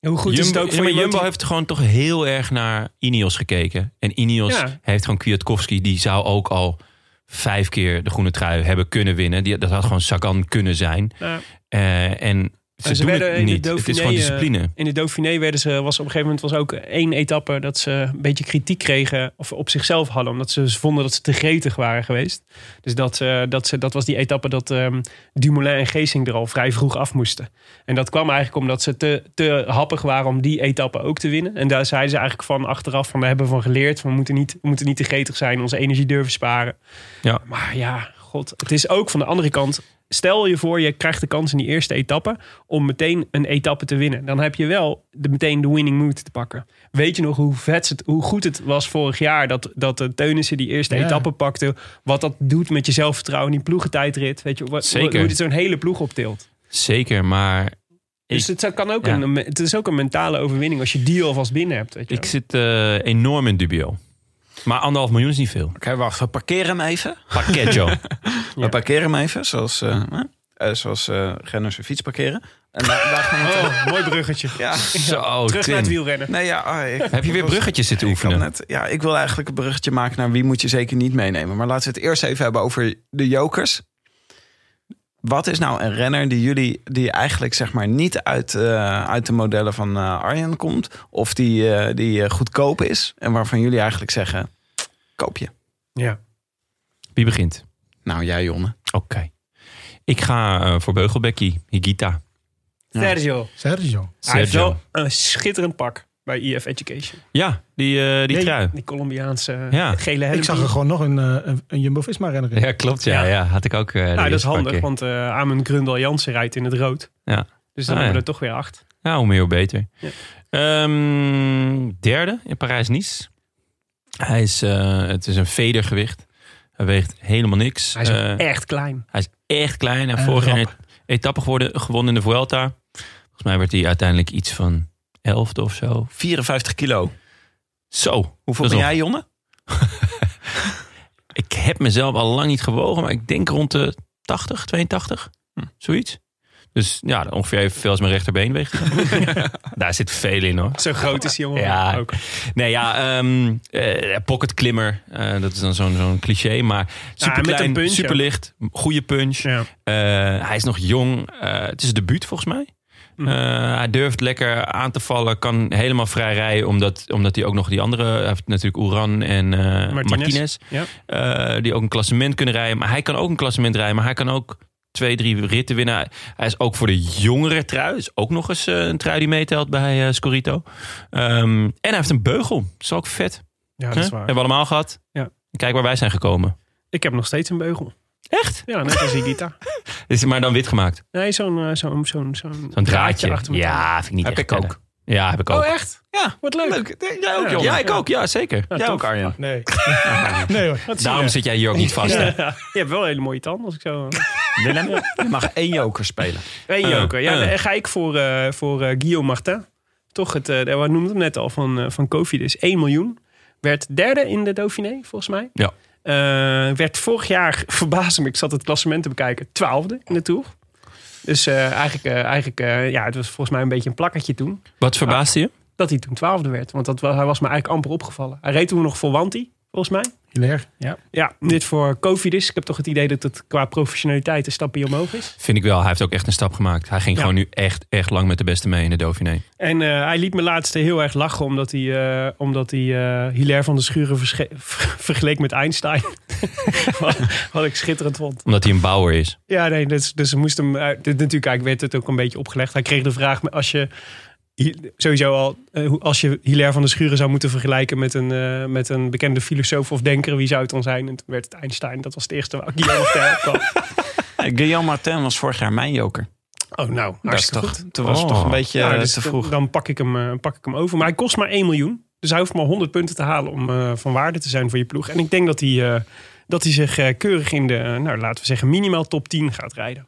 Hoe goed is het
Jumbo,
ook
ja,
voor
maar
je
Jumbo
motiv-
heeft gewoon toch heel erg naar Ineos gekeken. En Ineos
Ja.
heeft gewoon Kwiatkowski, die zou ook al vijf keer de groene trui hebben kunnen winnen. Die, dat had gewoon Sagan kunnen zijn.
Ja.
Eh, en ze,
En ze
doen
werden
het
in de
niet. het is
Dauphiné,
gewoon
eh,
discipline.
In de Dauphiné werden ze, was op een gegeven moment was ook één etappe dat ze een beetje kritiek kregen of op zichzelf hadden. Omdat ze vonden dat ze te gretig waren geweest. Dus dat, eh, dat, ze, dat was die etappe dat ehm, Dumoulin en Geesing er al vrij vroeg af moesten. En dat kwam eigenlijk omdat ze te, te happig waren om die etappe ook te winnen. En daar zeiden ze eigenlijk van achteraf van, daar hebben we van geleerd. Van, we, moeten niet, we moeten niet te gretig zijn, onze energie durven sparen.
Ja.
Maar ja, god, het is ook van de andere kant... Stel je voor, je krijgt de kans in die eerste etappe om meteen een etappe te winnen. Dan heb je wel de, meteen de winning mood te pakken. Weet je nog hoe, vet het, hoe goed het was vorig jaar dat, dat de Teunissen die eerste
Ja.
etappe pakte? Wat dat doet met je zelfvertrouwen in die ploegentijdrit. Weet je, wat,
Zeker.
hoe dit zo'n hele ploeg optilt.
Zeker, maar
Dus het, zou- kan ook
Ja.
een, het is ook een mentale overwinning als je die alvast binnen hebt. Weet je.
ik zit eh, enorm in dubio. Maar anderhalf miljoen is niet veel.
Oké, wacht. We parkeren hem even.
Pakketjo.
Ja.
We parkeren hem even, zoals, eh eh, zoals eh Gernot zijn fiets parkeren. En daar, daar gaan we
Oh, mooi bruggetje.
Ja.
Zo,
Terug naar het
Tim.
wielrennen.
Nee, ja, ah, ik-
Heb je weer
was-
bruggetjes zitten
Ik, had
oefenen?
net, ja, ik wil eigenlijk een bruggetje maken naar wie moet je zeker niet meenemen. Maar laten we het eerst even hebben over de jokers. Wat is nou een renner die jullie die eigenlijk zeg maar niet uit, eh, uit de modellen van eh, Arjen komt? Of die, eh, die eh, goedkoop is en waarvan jullie eigenlijk zeggen, koop je.
Ja.
Wie begint?
Nou, jij Jonne.
Oké. Ik ga eh, voor Beugelbekkie, Higita.
Ja.
Sergio.
Sergio.
Hij heeft
Sergio.
wel een schitterend pak bij EF Education.
Ja, die, eh die
Ja,
trui.
Die Colombiaanse eh,
Ja.
gele helm.
Ik zag er gewoon nog een, eh, een, een Jumbo-Visma renner in.
Ja, klopt. Ja,
Ja.
ja. had ik ook. eh, de
Nou, dat is
eerste paar
handig,
keer.
want eh Amen Grundel Jansen rijdt in het rood.
Ja.
Dus dan
Ah,
hebben we
ja.
er toch weer acht.
Ja, hoe meer, hoe beter.
Ja.
Ehm, derde in Parijs-Nice. Hij is, eh, het is een vedergewicht. Hij weegt helemaal niks.
Hij is
Eh,
echt klein.
hij is echt klein. En
Eh,
En
vorig
rap.
jaar e- etappe geworden, gewonnen in de Vuelta. Volgens mij werd hij uiteindelijk iets van elfde of zo.
54 kilo.
Zo.
Hoeveel
Dat
ben
is
jij Jonne?
Ik heb mezelf al lang niet gewogen, maar ik denk rond de 80, 82.
Hm.
Zoiets. Dus ja, ongeveer evenveel als mijn rechterbeen weegt. Daar zit veel in hoor.
Zo groot is die jongen
Ja.
ook.
Nee ja, ehm eh, pocketklimmer. Eh, dat is dan zo'n zo'n cliché. Maar
met een
superklein,
punch, ja.
superlicht, goede punch.
Ja.
Eh, hij is nog jong. Eh, het is een debuut volgens mij.
Mhm.
Eh, hij durft lekker aan te vallen. Kan helemaal vrij rijden. Omdat, omdat hij ook nog die andere... Hij heeft natuurlijk Oeran en eh,
Martinez.
Martinez.
Ja.
Eh, die ook een klassement kunnen rijden. Maar hij kan ook een klassement rijden. Maar hij kan ook twee, drie ritten winnen. Hij- Hij is ook voor de jongere trui. Is ook nog eens eh, een trui die meetelt bij eh, Scorito. Ehm, en hij heeft een beugel. Dat is ook vet.
ja, dat is
Hè?
waar.
Hebben we allemaal gehad.
Ja.
Kijk waar wij zijn gekomen.
Ik heb nog steeds een beugel.
Echt?
Ja, net als Igita.
Is het maar dan wit gemaakt.
Nee, zo'n eh, zo'n zo'n zo'n
Zo'n draadje.
achter elkaar.
ja, vind ik niet
Heb
echt
ik ook.
tellen. Ja, heb ik ook.
Oh, echt?
Ja,
Wat leuk.
Jij ook
Ja.
Jonne.
Ja, ik ook. Ja, zeker.
Ja,
Jij
tof.
ook Arjen.
Nee. nee hoor.
Wat zie
Daarom
je.
zit jij hier ook niet vast. hè?
Je hebt wel hele mooie tanden als ik zo... eh,
Willem, je mag één joker spelen.
Eén joker. Ja,
eh.
dan ga ik voor, eh, voor eh, Guillaume Martin. Toch het, eh we noemden hem net al, van, eh, van Kofi dus. 1 miljoen. Werd derde in de Dauphiné, volgens mij.
Ja.
Eh, werd vorig jaar, verbaasde me, ik zat het klassement te bekijken, twaalfde in de Tour. Dus eh, eigenlijk, eh, eigenlijk eh, ja, het was volgens mij een beetje een plakkertje toen.
Wat verbaasde je?
Dat dat hij toen twaalfde werd. Want dat, wa- hij was me eigenlijk amper opgevallen. Hij reed toen nog voor Wanti, volgens mij.
Hilaire, ja.
Ja, dit voor Covidis. Ik heb toch het idee dat het qua professionaliteit een stapje omhoog is.
Vind ik wel. Hij heeft ook echt een stap gemaakt. Hij ging
Ja.
gewoon nu echt, echt lang met de beste mee in de Dauphiné.
En eh, hij liet me laatst heel erg lachen omdat hij, eh, omdat hij eh, Hilaire van de Schuren versche- vergeleek met Einstein. wat, wat ik schitterend vond.
Omdat hij een bouwer is.
Ja, nee, dus, dus ze moest hem. eh, dit, natuurlijk, eigenlijk werd het ook een beetje opgelegd. Hij kreeg de vraag: maar als je. hi- Sowieso al, eh, hoe- als je Hilaire van de Schuren zou moeten vergelijken met een, eh, met een bekende filosoof of denker, wie zou het dan zijn? En toen werd het Einstein. Dat was het eerste waar ik hier nog tegen kwam.
Guillaume Martin was vorig jaar mijn joker.
Oh, nou,
Dat is
hartstikke
toch,
goed.
Toen was het toch
Oh.
een beetje
Ja,
eh,
dus
te
dan-
vroeg.
Dan pak ik, hem, eh, pak ik hem over. Maar hij kost maar 1 miljoen. Dus hij hoeft maar 100 punten te halen om eh, van waarde te zijn voor je ploeg. En ik denk dat hij, eh, dat hij zich eh, keurig in de, eh, nou, laten we zeggen, minimaal top 10 gaat rijden.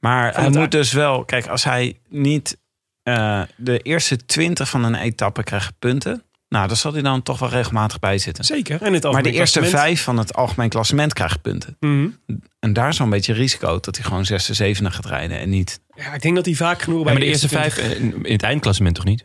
Maar hij
het
moet
uit.
dus wel, kijk, als hij niet eh, de eerste 20 van een etappe krijgt punten, nou, dan zal hij dan toch wel regelmatig bij zitten.
Zeker. En het
Maar de
algemeen
eerste
klassement.
vijf van het algemeen klassement krijgt punten.
Mhm.
En daar is wel een beetje risico dat hij gewoon zesde, zevende gaat rijden en niet.
Ja, ik denk dat hij vaak genoeg
Ja,
bij
maar de eerste vijf
20
eh, in in het eindklassement toch niet?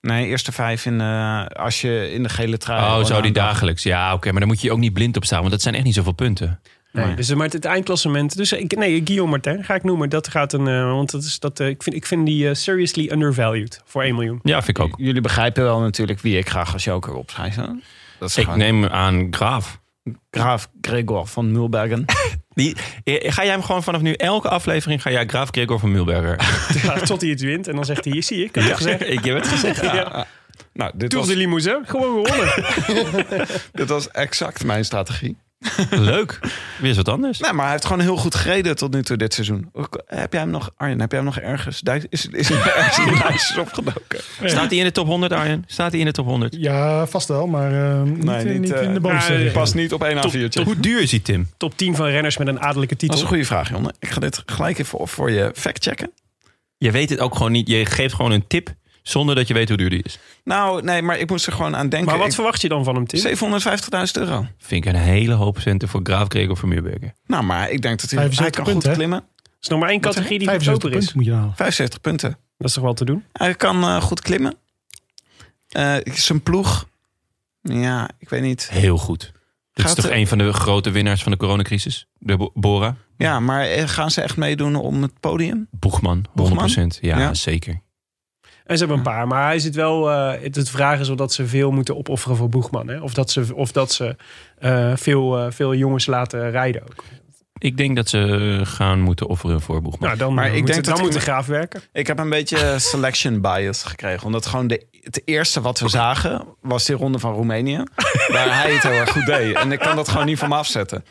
Nee, eerste vijf in, eh, als je in de gele trui.
Oh,
gewoon
zo die
aandacht-
dagelijks. Ja, oké. maar dan moet je ook niet blind op staan. Want dat zijn echt niet zoveel punten.
Nee,
Nee.
dus, maar het, het eindklassement. Dus ik, nee, Guillaume Martin ga ik noemen. Dat gaat een. eh, want dat is, dat, eh, ik, vind, ik vind die eh, seriously undervalued voor 1 miljoen.
Ja, vind ik ook.
Jullie begrijpen wel natuurlijk wie ik graag als joker opschrijf. hè? Dat is
Ik
gewoon
neem aan Graaf.
Graaf Gregor van Mulbergen.
Die, eh, ga jij hem gewoon vanaf nu elke aflevering... ga jij Graaf Gregor van Mulberger.
Ja, tot hij het wint. En dan zegt hij: hier zie je, ik heb het gezegd.
ik heb het gezegd.
Ja.
nou, dit
Tour de Limousin, gewoon gewonnen.
dit was exact mijn strategie.
Leuk. Weer eens wat anders.
Nee, maar hij heeft gewoon heel goed gereden tot nu toe dit seizoen. Ook- Heb jij hem nog, Arjen, heb jij hem nog ergens? Duits, is, is hij ergens in Duitsers opgedoken?
Staat hij in de top 100, Arjen? Staat hij in de top 100?
Ja, vast wel, maar eh, niet,
Nee,
niet,
niet, eh,
in de bovenste.
nou,
regio.
pas-
niet op één
Hoe duur is hij, Tim?
Top 10 van renners met een adellijke
Dat
titel.
is een goede vraag, Jonne. Ik ga dit gelijk even op voor je factchecken.
Je weet het ook gewoon niet. Je geeft gewoon een tip zonder dat je weet hoe duur die is.
Nou, nee, maar ik moest er gewoon aan denken.
Maar wat
Ik-
verwacht je dan van hem, Tim?
750.000 euro.
Vind ik een hele hoop centen voor Graaf Gregor van Mulberger.
Nou, maar ik denk dat hij, hij
75
kan
punten,
goed
hè?
klimmen.
Dat is nog maar één categorie die
75
goedkoper
punten
is.
moet je nou halen.
75 punten.
Dat is toch wel te doen?
Hij kan eh, goed klimmen. Eh, zijn ploeg. Ja, ik weet niet.
Heel goed. Dat is
Gaat
toch
er-
een van de grote winnaars van de coronacrisis? De Bo- Bora?
Ja, maar eh, gaan ze echt meedoen om het podium?
Boegman, 100%.
Boegman?
Ja,
Ja.
zeker.
En ze hebben een paar. Maar hij zit wel. eh het, het vraag is of dat ze veel moeten opofferen voor Boegman. Hè? Of dat ze, of dat ze eh, veel, eh, veel jongens laten rijden ook.
Ik denk dat ze gaan moeten offeren voor Boegman.
Nou, dan,
Maar
eh,
ik
moet,
denk
het- dan
dat-
moet de graaf werken.
Ik heb een beetje selection bias gekregen. Omdat gewoon de, het eerste wat we zagen was die ronde van Roemenië. Waar hij het heel erg goed deed. En ik kan dat gewoon niet van me afzetten.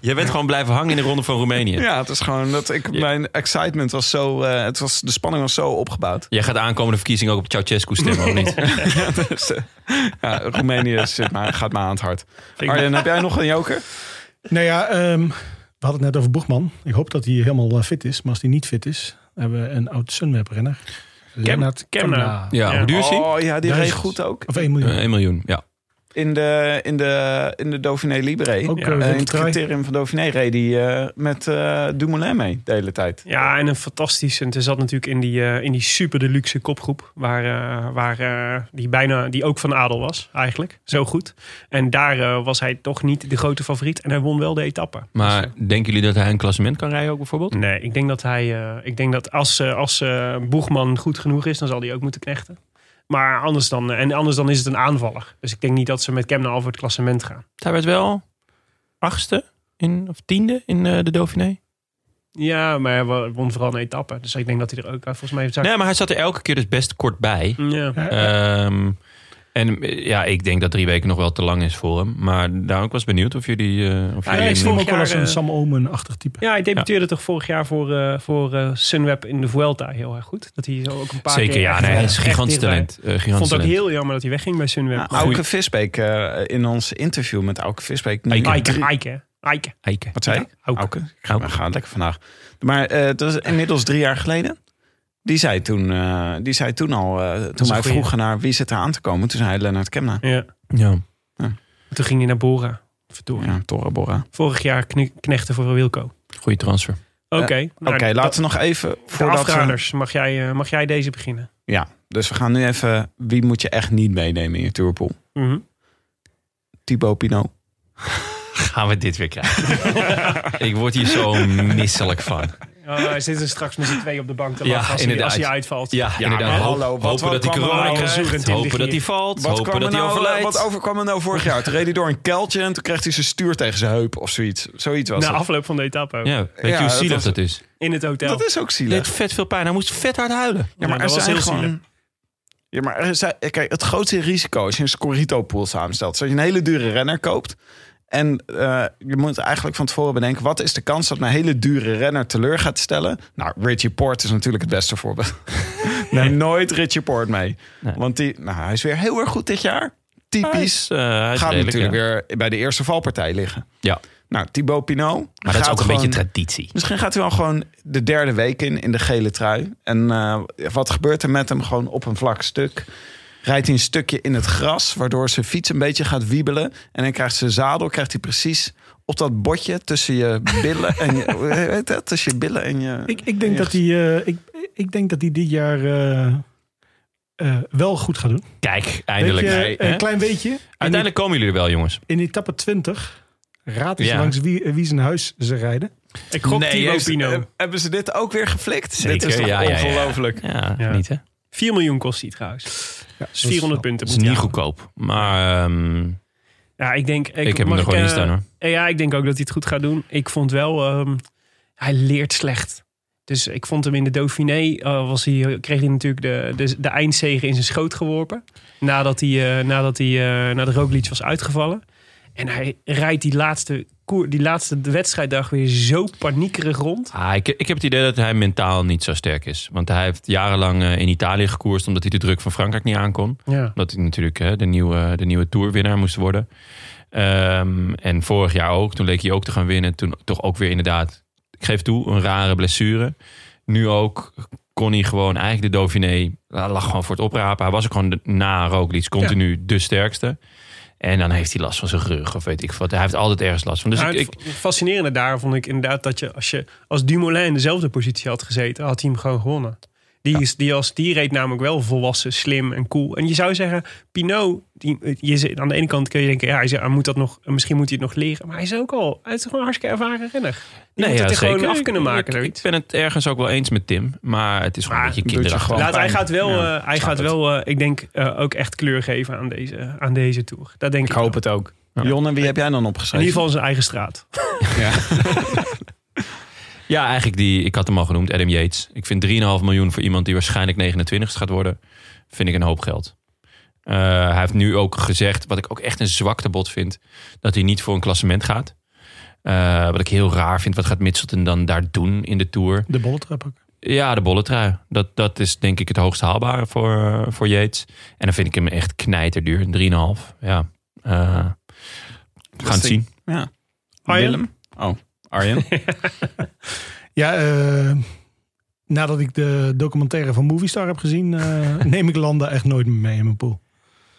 Jij bent gewoon blijven hangen in de ronde van Roemenië.
Ja, het is gewoon dat ik. Mijn excitement was zo. eh, het was, de spanning was zo opgebouwd.
Jij gaat de aankomende verkiezing ook op Ceausescu stemmen, of niet?
Dus, eh, ja, Roemenië zit maar, gaat me aan het hart. Arjen, heb jij nog een joker?
Nou ja, ehm, we hadden het net over Boegman. Ik hoop dat hij helemaal eh, fit is. Maar als hij niet fit is, hebben we een oud Sunweb-renner. Lennart
Kemna.
Kemna.
Ja,
Ja.
hoe duur is hij?
Oh ja, die reed
Duizend.
goed ook.
Of 1 miljoen.
Eh, 1 miljoen, ja.
In de, in de, in de Dauphiné Libre.
Ook
ja,
eh,
Eh, in
witte
het
trui.
criterium van Dauphiné reed hij eh, met eh, Dumoulin mee de hele tijd.
Ja, en een fantastische. En het zat natuurlijk in die, eh, in die super deluxe kopgroep. Waar, eh, waar eh, die bijna die ook van adel was, eigenlijk. Zo goed. En daar eh, was hij toch niet de grote favoriet. En hij won wel de etappe.
Maar
Dus,
denken jullie dat hij een klassement kan rijden ook bijvoorbeeld?
eh, nee, ik denk dat hij. eh, ik denk dat als, eh, als eh, Boegman goed genoeg is, dan zal hij ook moeten knechten. Maar anders dan, eh, en anders dan is het een aanvaller. Dus ik denk niet dat ze met Kemna al voor het klassement gaan.
Hij werd wel achtste in, of tiende in eh, de Dauphiné.
Ja, maar hij wa- won vooral een etappe. Dus ik denk dat hij er ook. Volgens mij. zou-
Nee, maar hij zat er elke keer dus best kort bij.
Ja.
Ehm, en eh, ja, ik denk dat drie weken nog wel te lang is voor hem. Maar daarom ik was benieuwd of jullie... eh, of
Ja,
jullie
Ja, ik
hem-
zie hem ook
Vorig
wel als
jaar,
een
eh,
Sam Omen-achtig type.
Ja, hij debuteerde toch vorig jaar voor, eh, voor eh, Sunweb in de Vuelta heel erg goed. Dat hij zo ook een paar
Zeker,
keer
ja.
echt,
Nee, hij
eh,
is
echt
gigantisch
dichtbij-
talent. Eh, gigantisch
Ik vond het ook
talent.
heel jammer dat hij wegging bij Sunweb.
Nou,
Maar
Auke Visbeek eh, in ons interview met Auke Visbeek. nu-
Eike.
goed. Eike,
drie-
Eike, hè? Eike.
Eike.
Wat zei
Ja,
ik?
Auke.
Auke. Ik ga, we gaan lekker vandaag. Maar eh, dat is inmiddels drie jaar geleden. Die zei toen, eh, die zei toen al, eh, toen
een
wij
goeie.
vroegen naar wie zit er aan te komen. Toen zei hij Lennart Kemna.
Ja.
Ja.
Toen ging hij naar Bora. Verdorie.
Ja, Tora Bora.
Vorig jaar kne- knechten voor Wilco.
Goede transfer.
Oké,
Oké, laten we nog even...
voor de
we-
afraders. Mag jij, eh, mag jij deze beginnen?
Ja, Dus we gaan nu even, wie moet je echt niet meenemen in je tourpool?
Mhm.
Thibaut Pinot.
Gaan we dit weer krijgen? ik word hier zo misselijk van.
Oh, hij zit er straks met z'n twee op de bank te
Ja,
lachen als, hij,
inderdaad.
als hij uitvalt.
Ja, inderdaad.
maar
Hoop-
hallo, wat-
hopen
wat
dat hij
kwam er
corona
nou
krijgt.
zoekend in de
Hopen dat hij
gier?
valt.
Wat,
hopen
kwam er
dat hij
nou,
overlijdt.
wat overkwam er nou vorig jaar? Toen reed hij door een kuiltje en toen kreeg hij zijn stuur tegen zijn heup of zoiets. Zoiets was
Na
Nou,
het.
afloop van de etappe ook.
Ja, weet
Ja,
je hoe
dat
zielig
was-
dat is?
in het hotel.
Dat is ook
Hij
zielig.
deed vet veel pijn. Hij moest vet hard huilen.
Ja, maar
Ja,
er
dat was
zijn
heel zielig.
gewoon... Ja, maar er zijn, kijk, het grootste risico als je een Scorito-pool samenstelt... is dat je een hele dure renner koopt. En eh, je moet eigenlijk van tevoren bedenken... wat is de kans dat een hele dure renner teleur gaat stellen? Nou, Richie Port is natuurlijk het beste voorbeeld. Neem nooit Richie Port mee.
Nee.
Want die, nou, hij is weer heel erg goed dit jaar. Typisch.
eh, hij is
gaat
redelijk,
natuurlijk
ja.
weer bij de eerste valpartij liggen.
Ja,
Nou, Thibaut Pinot.
maar dat is
gaat
ook een
gewoon-
beetje traditie.
Misschien gaat hij wel gewoon de derde week in, in de gele trui. En eh, wat gebeurt er met hem? Gewoon op een vlak stuk. Rijdt hij een stukje in het gras, waardoor zijn fiets een beetje gaat wiebelen. En dan krijgt zijn zadel, krijgt hij precies op dat botje tussen je billen en je... hoe heet dat? Tussen je billen en je...
Ik, ik, denk dat hij, eh, ik, ik denk dat hij dit jaar eh, eh, wel goed gaat doen.
Kijk, eindelijk.
Weet je,
Nee, hè?
een klein beetje.
Uiteindelijk komen jullie er wel, jongens.
In etappe 20 raad eens
Ja.
langs wie, eh, wie zijn huis ze rijden.
Ik gok Thibaut
heeft- eh,
Pinot.
hebben ze dit ook weer geflikt? dit
Zeker,
is toch
ja, ja, ja.
ongelooflijk?
Ja,
Ja.
niet hè? Het
4 miljoen kost hij trouwens.
Ja,
Dus 400 punten.
is
moet
niet
hij halen.
goedkoop. Maar ehm,
Ja, ik denk... Ik,
ik, heb hem
mag
er gewoon
ik,
in
eh,
staan hoor.
eh, Ja, ik denk ook dat hij het goed gaat doen. Ik vond wel... ehm, hij leert slecht. Dus ik vond hem in de Dauphiné... eh, was hij, kreeg hij natuurlijk de, de, de eindzege in zijn schoot geworpen. Nadat hij, eh, nadat hij eh, na de Roglic was uitgevallen. En hij rijdt die laatste, koer, die laatste wedstrijddag weer zo paniekerig rond.
Ah, ik, ik heb het idee dat hij mentaal niet zo sterk is. Want hij heeft jarenlang eh, in Italië gekoerst omdat hij de druk van Frankrijk niet aankon.
Ja.
Omdat hij natuurlijk hè, de, nieuwe, de nieuwe toerwinnaar moest worden. Ehm, en vorig jaar ook. Toen leek hij ook te gaan winnen. Toen toch ook weer inderdaad, ik geef toe, een rare blessure. Nu ook kon hij gewoon eigenlijk de Dauphiné la- lag gewoon voor het oprapen. Hij was ook gewoon de, na Roglic continu de sterkste. En dan heeft hij last van zijn rug of weet ik wat. Hij heeft altijd ergens last van. Dus
Nou,
ik,
het
ik-
fascinerende daar vond ik inderdaad dat je als, je als Dumoulin in dezelfde positie had gezeten, had hij hem gewoon gewonnen. Die, is, die, als, die reed namelijk wel volwassen, slim en cool. En je zou zeggen, Pinot, die, je, zit- aan de ene kant kun je denken, ja, hij, zegt, hij moet dat nog, misschien moet hij het nog leren. Maar hij is ook al, hij is gewoon een hartstikke ervaren renner. Die moet
ja,
het er gewoon
zeker.
af kunnen
Ik-
maken.
Ik,
zoiets.
ben het ergens ook wel eens met Tim. Maar het is gewoon
Maar
een beetje
doet je
kinderachtig.
gewoon
Laat, hij
pijn.
gaat wel,
Ja,
eh, hij
snap
gaat
het.
wel eh, ik denk, eh, ook echt kleur geven aan deze, aan deze tour. Dat denk ik,
Ik hoop
wel.
het ook.
Ja.
Jonne, wie heb jij dan
In
opgeschreven?
ieder geval in zijn eigen straat.
Ja, eigenlijk die, ik had hem al genoemd, Adam Yates. Ik vind 3,5 miljoen voor iemand die waarschijnlijk 29 gaat worden, vind ik een hoop geld. Eh, hij heeft nu ook gezegd, wat ik ook echt een zwaktebod vind, dat hij niet voor een klassement gaat. Eh, wat ik heel raar vind, wat gaat Mitchelton dan daar doen in de Tour?
De bolletrap ook.
Ja, de bolletrui. Dat, dat is denk ik het hoogst haalbare voor, eh, voor Yates. En dan vind ik hem echt knijterduur, 3,5. Ja, Eh, we gaan het zien.
Ja.
Arjen?
Willem? Oh, Arjen.
Ja, eh, nadat ik de documentaire van Movistar heb gezien, eh, neem ik Landa echt nooit meer mee in mijn pool.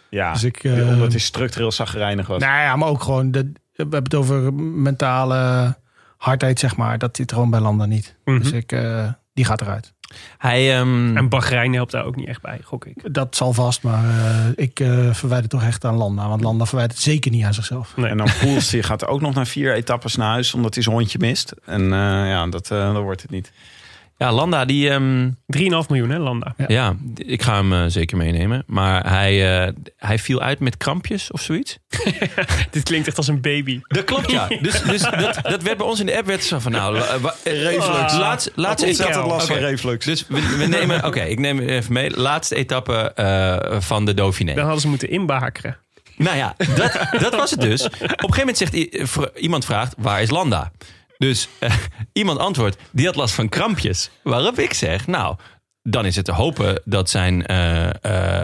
ja,
Dus ik, eh,
Ehm.
omdat hij structureel zagrijnig was.
Nou ja, maar ook gewoon, de, we hebben het over mentale hardheid, zeg maar. Dat zit er gewoon bij Landa niet. Dus
Mhm.
ik, eh, die gaat eruit.
Hij, ehm,
En Bahrein helpt daar ook niet echt bij, gok ik.
Dat zal vast, maar eh, ik eh verwijder het toch echt aan Landa. Want Landa verwijt het zeker niet aan zichzelf.
Nee.
En dan Poels, die gaat ook nog naar vier etappes naar huis, omdat hij zijn hondje mist. En eh, ja, dat, eh, dat wordt het niet.
ja, Landa, die... ehm,
3,5 miljoen, hè, Landa?
Ja, ik ga hem eh, zeker meenemen. Maar hij, eh, hij viel uit met krampjes of zoiets.
Dit klinkt echt als een baby.
Dat klopt, ja. dus dus dat, dat werd bij ons in de app werd zo van... Nou, eh, wa- eh,
Reflux.
Laatst, laatste
ontzettend
etappe.
last
Oké,
reflux.
Dus we, we nemen... Oké, ik neem even mee. Laatste etappe eh, van de Dauphiné.
Dan hadden ze moeten inbakeren.
Nou ja, dat, dat was het dus. Op een gegeven moment zegt i- eh, vr- iemand vraagt, waar is Landa? Dus eh, iemand antwoordt, die had last van krampjes. Waarop ik zeg, nou, dan is het te hopen dat zijn eh,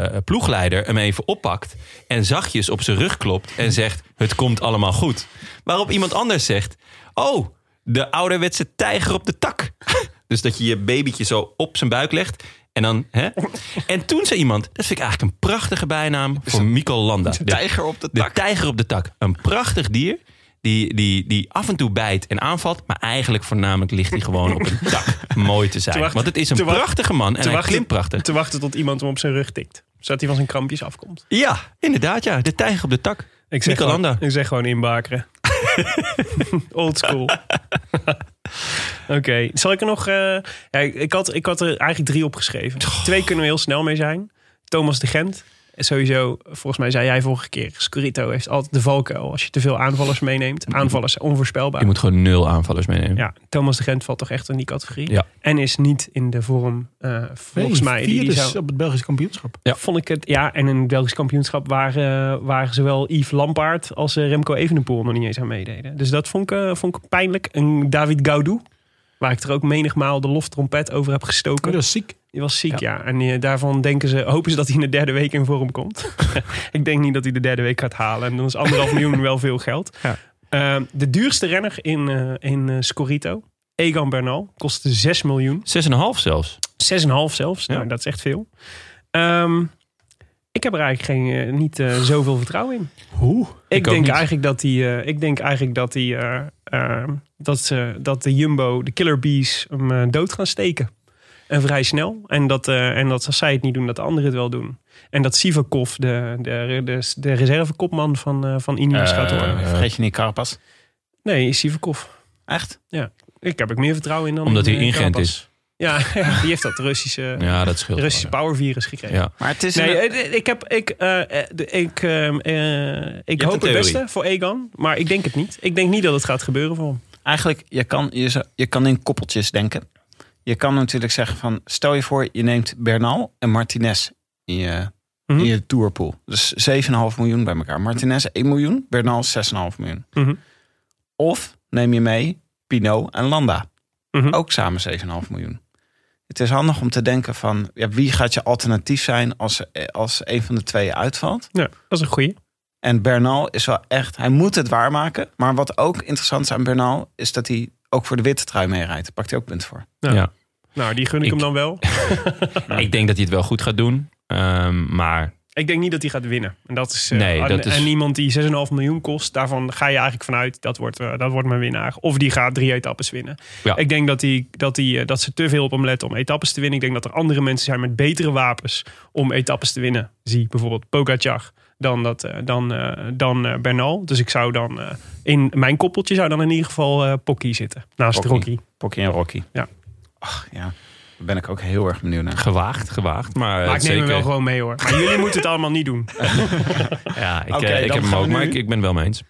eh, ploegleider hem even oppakt... en zachtjes op zijn rug klopt en zegt, het komt allemaal goed. Waarop iemand anders zegt, oh, de ouderwetse tijger op de tak. Dus dat je je babytje zo op zijn buik legt... En, dan, hè? en toen zei iemand, dat vind ik eigenlijk een prachtige bijnaam voor Mikel Landa. De-
Tijger op de
de
tak.
tijger op de tak. Een prachtig dier. Die, die, die af en toe bijt en aanvalt. Maar eigenlijk voornamelijk ligt hij gewoon op een dak. Mooi te zijn.
Te wachten-
Want het is een
te wa-
prachtige man. En hij klimt prachtig.
te wachten tot iemand hem op zijn rug tikt. Zodat hij van zijn krampjes afkomt.
Ja, inderdaad ja. De tijger op de tak.
Ik zeg,
Michelanda.
gewoon, ik zeg gewoon inbakeren. Old school. Oké, zal ik er nog... eh, ja, ik, ik had, ik had er eigenlijk drie opgeschreven. Twee kunnen we heel snel mee zijn. Thomas de Gent. Sowieso, volgens mij zei jij vorige keer... Scurrito heeft altijd de valkuil als je te veel aanvallers meeneemt. Aanvallers zijn onvoorspelbaar.
Je moet gewoon nul aanvallers meenemen.
Ja, Thomas de Gent valt toch echt in die categorie.
Hm. Ja.
En is niet in de vorm, eh, volgens mij... Die, die
Vierde
zou-
op het Belgisch kampioenschap.
Ja.
Vond ik het, ja, en in het Belgisch kampioenschap waren, eh, waren zowel Yves Lampaard als eh, Remco Evenepoel nog niet eens aan meededen. Dus dat vond ik, eh, vond ik pijnlijk. En David Gaudou, waar ik er ook menigmaal de loftrompet over heb gestoken.
Dat is ziek.
Die was ziek, ja. En eh, daarvan denken ze, hopen ze dat hij in de derde week in vorm komt. ik denk niet dat hij de derde week gaat halen. En dan is anderhalf miljoen wel veel geld.
Ja.
Eh, de duurste renner in, eh, in eh, Scorito, Egan Bernal, kostte 6 miljoen.
6,5 zelfs.
6,5 zelfs. Nou,
Ja.
dat is echt veel. Ehm, ik heb er eigenlijk geen, eh, niet eh, zoveel vertrouwen in.
Hoe?
Ik,
Ik ook
denk
niet.
eigenlijk dat die, eh, ik denk eigenlijk dat die, eh, ehm, dat, ze, dat de Jumbo, de Killer Bees, hem eh, dood gaan steken. En vrij snel. En dat, eh, en dat als zij het niet doen, dat de anderen het wel doen. En dat Sivakov, de, de, de, de reservekopman van, eh, van Ineos gaat worden.
Vergeet je niet Carpas.
Nee, Sivakov.
Echt?
Ik heb ik meer vertrouwen in dan
Omdat
in,
hij
eh,
ingent
Carapaz.
is.
Ja, ja, die heeft dat Russische,
Ja, dat scheelt.
Russische
wel,
powervirus gekregen.
ja.
Maar het is
Nee,
een-
eh, ik, heb, ik, eh, eh, de- ik, ehm, eh, ik
een
hoop het
theorie.
beste voor Egan, maar ik denk het niet. Ik denk niet dat het gaat gebeuren voor hem.
eigenlijk, je kan, je, zou- je kan in koppeltjes denken. Je kan natuurlijk zeggen van, stel je voor, je neemt Bernal en Martinez in je,
Mhm.
in je tourpool. Dus 7,5 miljoen bij elkaar. Martinez 1 miljoen, Bernal 6,5 miljoen.
Mhm.
Of neem je mee Pinot en Landa.
Mhm.
Ook samen 7,5 miljoen. Het is handig om te denken van, ja, wie gaat je alternatief zijn als, eh, als een van de twee uitvalt?
Ja, dat is een goeie.
En Bernal is wel echt, hij moet het waarmaken. Maar wat ook interessant is aan Bernal, is dat hij ook voor de witte trui meerijdt. Daar pakt hij ook punt voor.
Ja.
Ja.
Nou, die gun ik,
Ik-
hem dan wel.
Ik denk dat hij het wel goed gaat doen. Ehm, maar
Ik denk niet dat hij gaat winnen. En, dat is, eh,
Nee,
en,
dat is-
en iemand die 6,5 miljoen kost, daarvan ga je eigenlijk vanuit dat wordt, eh, dat wordt mijn winnaar. Of die gaat drie etappes winnen.
Ja.
Ik denk dat, die, dat, die, eh, dat ze te veel op hem letten om etappes te winnen. Ik denk dat er andere mensen zijn met betere wapens om etappes te winnen. Zie bijvoorbeeld Pogacar dan, dat, eh, dan, eh, dan eh, Bernal. Dus ik zou dan eh, in mijn koppeltje zou dan in ieder geval eh Pocky zitten. Naast
Pocky.
Rocky.
Eh,
Pocky en Rocky.
Ja.
Ach ja, daar ben ik ook heel erg benieuwd naar.
gewaagd, gewaagd. Maar,
Maar
het
ik
zeker.
neem hem wel gewoon mee hoor. Maar jullie moeten het allemaal niet doen.
Ja, ik,
Oké,
eh, ik
dan
heb hem
gaan we
ook, maar
nu-
ik, ik ben het wel mee eens.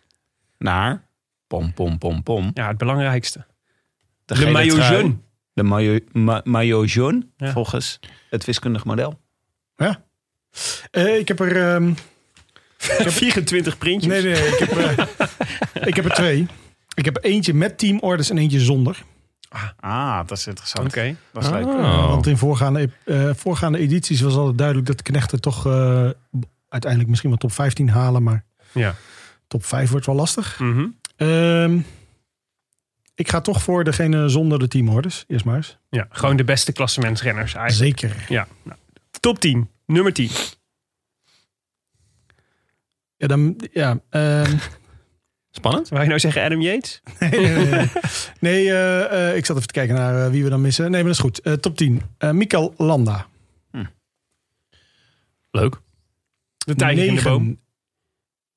Naar, pom pom pom pom.
Ja, het belangrijkste.
De,
Le
gele
maillot
trui.
jaune.
De maillot, ma- maillot jaune,
Ja.
volgens het wiskundig model.
Eh, ik heb er... ehm,
24 printjes.
nee, nee, ik heb, eh, ik heb er twee. Ik heb eentje met teamorders en eentje zonder.
Ah, dat is interessant.
Oké. Ah.
Dat is
Oh.
Oh.
leuk.
Eh, want in voorgaande, ep- eh, voorgaande edities was altijd duidelijk dat knechten toch eh, uiteindelijk misschien wel top 15 halen. Maar
Ja.
top 5 wordt wel lastig.
Mhm.
Ehm, ik ga toch voor degene zonder de teamorders. Eerst maar eens.
Ja, gewoon de beste klassementsrenners eigenlijk.
Zeker.
Ja. Nou, top 10. Nummer 10.
Ja, dan, ja, ehm,
Spannend.
Wou je nou zeggen Adam Yates?
nee, nee, nee, nee. Nee, eh, eh, ik zat even te kijken naar eh, wie we dan missen. Nee, maar dat is goed. Eh, top 10. Eh Mikael Landa.
Leuk.
De tijger in de
Negen,
boom.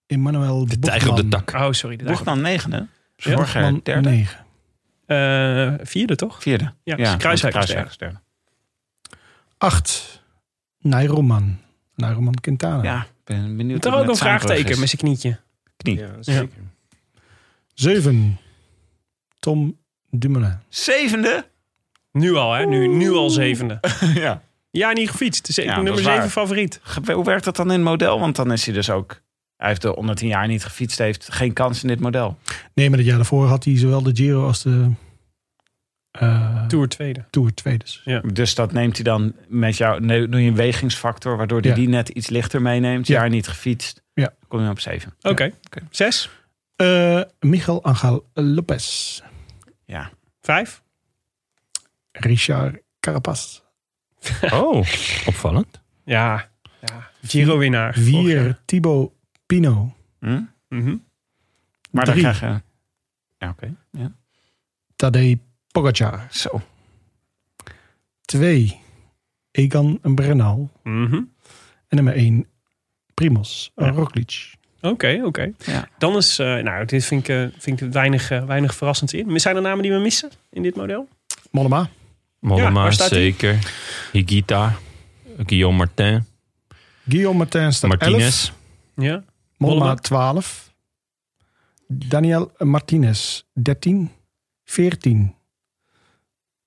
Emmanuel
De tijger op de tak.
Oh, sorry. De tijger.
Boegman negende,
Ja,
Zorger derde,
Eh, vierde toch?
vierde.
Ja, Kruiswijk was derde.
is derde.
8. Nairoman. Nairoman Quintana.
Ja, ik ben benieuwd.
Moet er
hoe
ook
het
een
met Zaanbrug
vraagteken
is.
met zijn knietje.
Knie.
zeker.
7. Tom Dumoulin.
Zevende?
Nu al, hè? Nu, nu al zevende.
ja.
Ja, niet gefietst. Dus ik
Ja,
ben nummer
dat is
zeven
waar.
favoriet.
Ge- Hoe werkt dat dan in het model? Want dan is hij dus ook. Hij heeft de 110 jaar niet gefietst, heeft geen kans in dit model.
Nee, maar het jaar daarvoor had hij zowel de Giro als de eh,
Tour tweede.
Tour tweedes.
Dus dat neemt hij dan met jou. nee, Doe je een wegingsfactor, waardoor hij
Ja.
die net iets lichter meeneemt.
Ja.
Jaar niet gefietst.
Ja.
Kom je op 7.
Oké.
oké.
Zes.
Eh Miguel Angel Lopez.
Ja.
Vijf.
Richard Carapaz.
Oh, opvallend.
Ja. ja. Giro-winnaar. Vorig jaar.
Vier, Thibaut Pino.
Hm?
Mhm.
Maar
Drie.
dan krijg je... Ja, oké. Ja.
Tadej Pogacar.
Zo.
Twee, Egan en Brenal.
Mhm.
En nummer één, Primoz
Ja.
Roglic.
Oké, oké.
Ja.
Dan is, eh, nou, dit vind ik, eh, vind ik weinig, eh, weinig verrassend in. Zijn er namen die we missen in dit model?
Mollema.
Ja,
Mollema,
waar staat die?
zeker. Higita. Guillaume Martin.
Guillaume Martens staat
Martinez.
11.
Ja.
Mollema
Mollema.
12. Daniel Martinez 13. 14.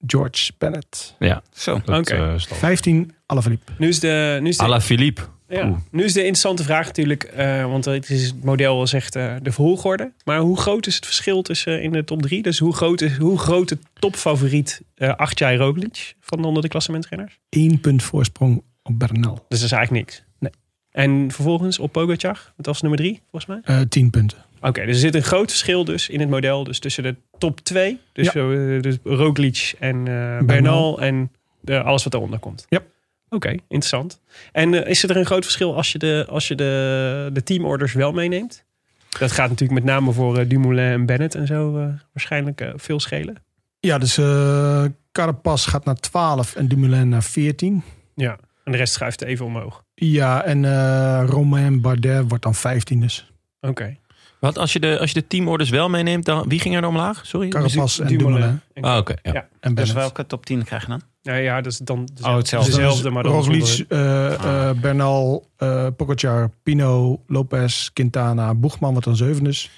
George Bennett.
Zo.
Dat,
Oké.
eh, is al-
15. Alaphilippe.
Nu is de, nu is de,
Ala Philippe.
ja.
Oeh.
nu is de interessante vraag natuurlijk, eh, want het, is, het model zegt eh, de volgorde. Maar hoe groot is het verschil tussen in de top drie? Dus hoe groot is hoe groot de topfavoriet eh Achtjai Roglic van onder de klassementrenners?
1 punt voorsprong op Bernal.
Dus dat is eigenlijk niks.
Nee.
En vervolgens op Pogacar, dat was nummer drie volgens mij.
Eh 10 punten.
Oké, dus er zit een groot verschil dus in het model. Dus tussen de top 2. Dus, eh dus Roglic en eh, Bernal,
Bernal.
en eh, alles wat daaronder komt.
Ja.
Oké, interessant. En eh, is er een groot verschil als je, de, als je de, de teamorders wel meeneemt? Dat gaat natuurlijk met name voor eh, Dumoulin en Bennett en zo eh, waarschijnlijk eh, veel schelen.
Ja, dus eh Carapaz gaat naar 12 en Dumoulin naar 14.
Ja. En de rest schuift even omhoog.
Ja, en eh Romain Bardet wordt dan 15 dus.
Oké.
Wat, als je de, als je de teamorders wel meeneemt, dan, wie ging er dan omlaag? Sorry?
Carapaz en Dumoulin,
En-
Ah, oké. ja.
Ja.
en
Dus
Bennett.
welke top 10 krijg je dan?
Nou ja, dat is dan
Oh, hetzelfde.
dezelfde, maar dan
Dus Roglic,
zonder-
eh, eh, Bernal, eh Pogacar, Pino, Lopez, Quintana, Boegman wordt dan zeven dus.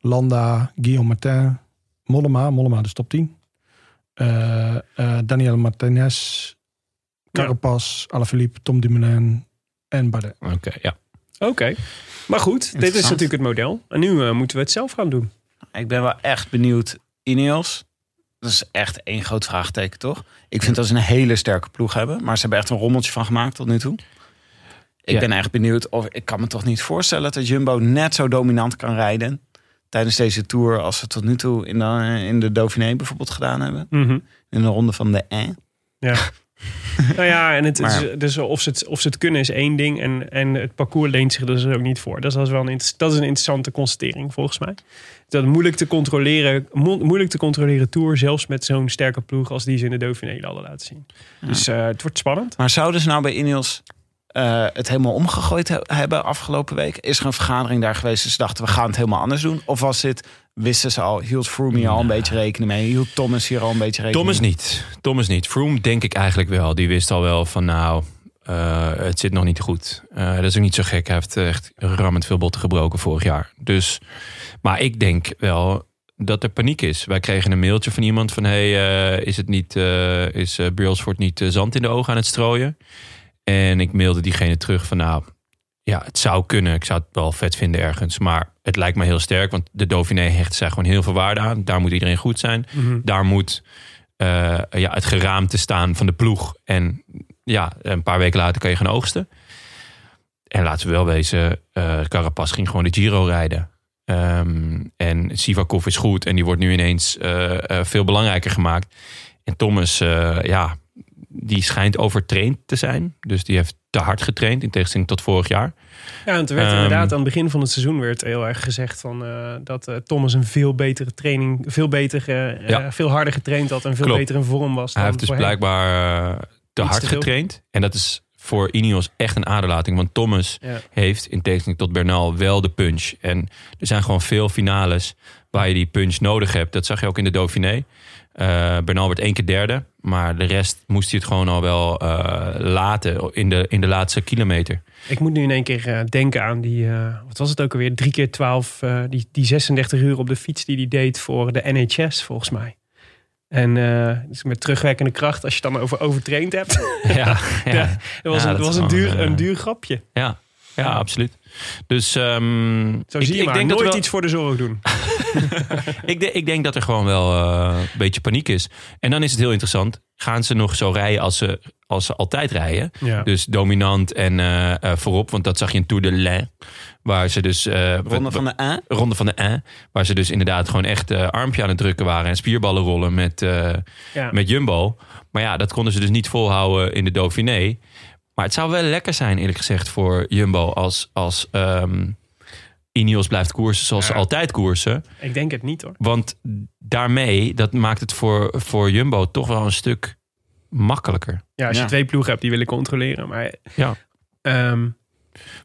Landa, Guillaume Martin, Mollema, Mollema dus top 10. Eh, eh, Daniel Martinez, Carapaz, Alaphilippe, Tom Dumoulin en Bardet.
Oké, ja.
Oké. Maar goed, dit is
Interessant.
natuurlijk het model. En nu eh, moeten we het zelf gaan doen.
Ik ben wel echt benieuwd. Ineos, dat is echt één groot vraagteken, toch? Ik vind dat ze een hele sterke ploeg hebben. Maar ze hebben echt een rommeltje van gemaakt tot nu toe. Ik
Ja.
ben echt benieuwd. Of, ik kan me toch niet voorstellen dat Jumbo net zo dominant kan rijden... tijdens deze Tour als ze tot nu toe in de, in de Dauphiné bijvoorbeeld gedaan hebben.
Mhm.
In de ronde van de E.
Nou ja, en het, het
Maar-
is- dus of, ze het, of ze het kunnen is één ding. En, en het parcours leent zich er dus ook niet voor. Dat is, dat is wel een, inter- dat is een interessante constatering volgens mij. Dat moeilijk te controleren, mo- moeilijk te controleren tour. Zelfs met zo'n sterke ploeg als die ze in de Dauphiné hadden laten zien. Dus eh, het wordt spannend.
Maar zouden ze nou bij Ineos eh, het helemaal omgegooid he- hebben afgelopen week? Is er een vergadering daar geweest en ze dachten we gaan het helemaal anders doen? Of was dit, wisten ze al, hield Froome hier al een beetje rekening mee? Hield Thomas hier al een beetje rekening
Thomas
mee?
niet. Thomas niet. Froome denk ik eigenlijk wel. Die wist al wel van nou, eh, het zit nog niet goed. Eh, dat is ook niet zo gek. Hij heeft echt rammend veel botten gebroken vorig jaar. Dus, maar ik denk wel dat er paniek is. Wij kregen een mailtje van iemand van... hey, eh, is het niet, eh, is eh, Brailsford niet eh, zand in de ogen aan het strooien? En ik mailde diegene terug van nou... Ja, het zou kunnen. Ik zou het wel vet vinden ergens. Maar het lijkt me heel sterk. Want de Dauphiné hecht zij gewoon heel veel waarde aan. Daar moet iedereen goed zijn daar moet eh, ja, het geraamte staan van de ploeg. En ja, een paar weken later kan je gaan oogsten. En laten we wel wezen, eh Carapaz ging gewoon de Giro rijden. Ehm, en Sivakov is goed en die wordt nu ineens eh, eh, veel belangrijker gemaakt. En Thomas, eh, ja, die schijnt overtraind te zijn. Dus die heeft te hard getraind in tegenstelling tot vorig jaar.
Ja, want er werd
Ehm.
inderdaad aan het begin van het seizoen werd heel erg gezegd van, eh, dat eh, Thomas een veel betere training, veel, beter, eh,
Ja.
eh, veel harder getraind had en veel
Klopt.
beter in vorm was.
Hij
dan
heeft dus
voorheen.
blijkbaar eh, te
Iets
hard
te veel.
getraind. En dat is voor Ineos echt een aderlating. Want Thomas
Ja.
heeft in tegenstelling tot Bernal wel de punch. En er zijn gewoon veel finales waar je die punch nodig hebt. Dat zag je ook in de Dauphiné. Eh, Bernal werd één keer derde. Maar de rest moest hij het gewoon al wel eh, laten in de, in de laatste kilometer.
Ik moet nu in één keer eh, denken aan die, eh, wat was het ook alweer, drie keer twaalf, eh, die, die 36 uur op de fiets die hij deed voor de NHS volgens mij. En eh, dus met terugwerkende kracht, als je het dan over overtraind hebt.
ja, ja.
Ja. Dat was,
Ja, dat
een, dat was
is gewoon,
een, duur,
eh,
een duur grapje.
ja. ja, absoluut. Dus ehm,
Zo zie je maar,
denk dat
nooit
wel-
iets voor de zorg doen.
ik, de- ik denk dat er gewoon wel eh, een beetje paniek is. En dan is het heel interessant. Gaan ze nog zo rijden als ze, als ze altijd rijden?
Ja.
Dus dominant en eh, eh, voorop. Want dat zag je in Tour de Lain. Waar ze dus... eh,
Ronde van de E?
Ronde van de Ain. Waar ze dus inderdaad gewoon echt eh, armpje aan het drukken waren. En spierballen rollen met, eh,
Ja.
met Jumbo. Maar ja, dat konden ze dus niet volhouden in de Dauphiné. Maar het zou wel lekker zijn, eerlijk gezegd, voor Jumbo als, als ehm, Ineos blijft koersen zoals ze
Ja.
altijd koersen.
Ik denk het niet hoor.
Want daarmee, dat maakt het voor, voor Jumbo toch wel een stuk makkelijker.
Ja, als je
Ja.
twee ploegen hebt die willen controleren. Maar
Ja.
Ehm,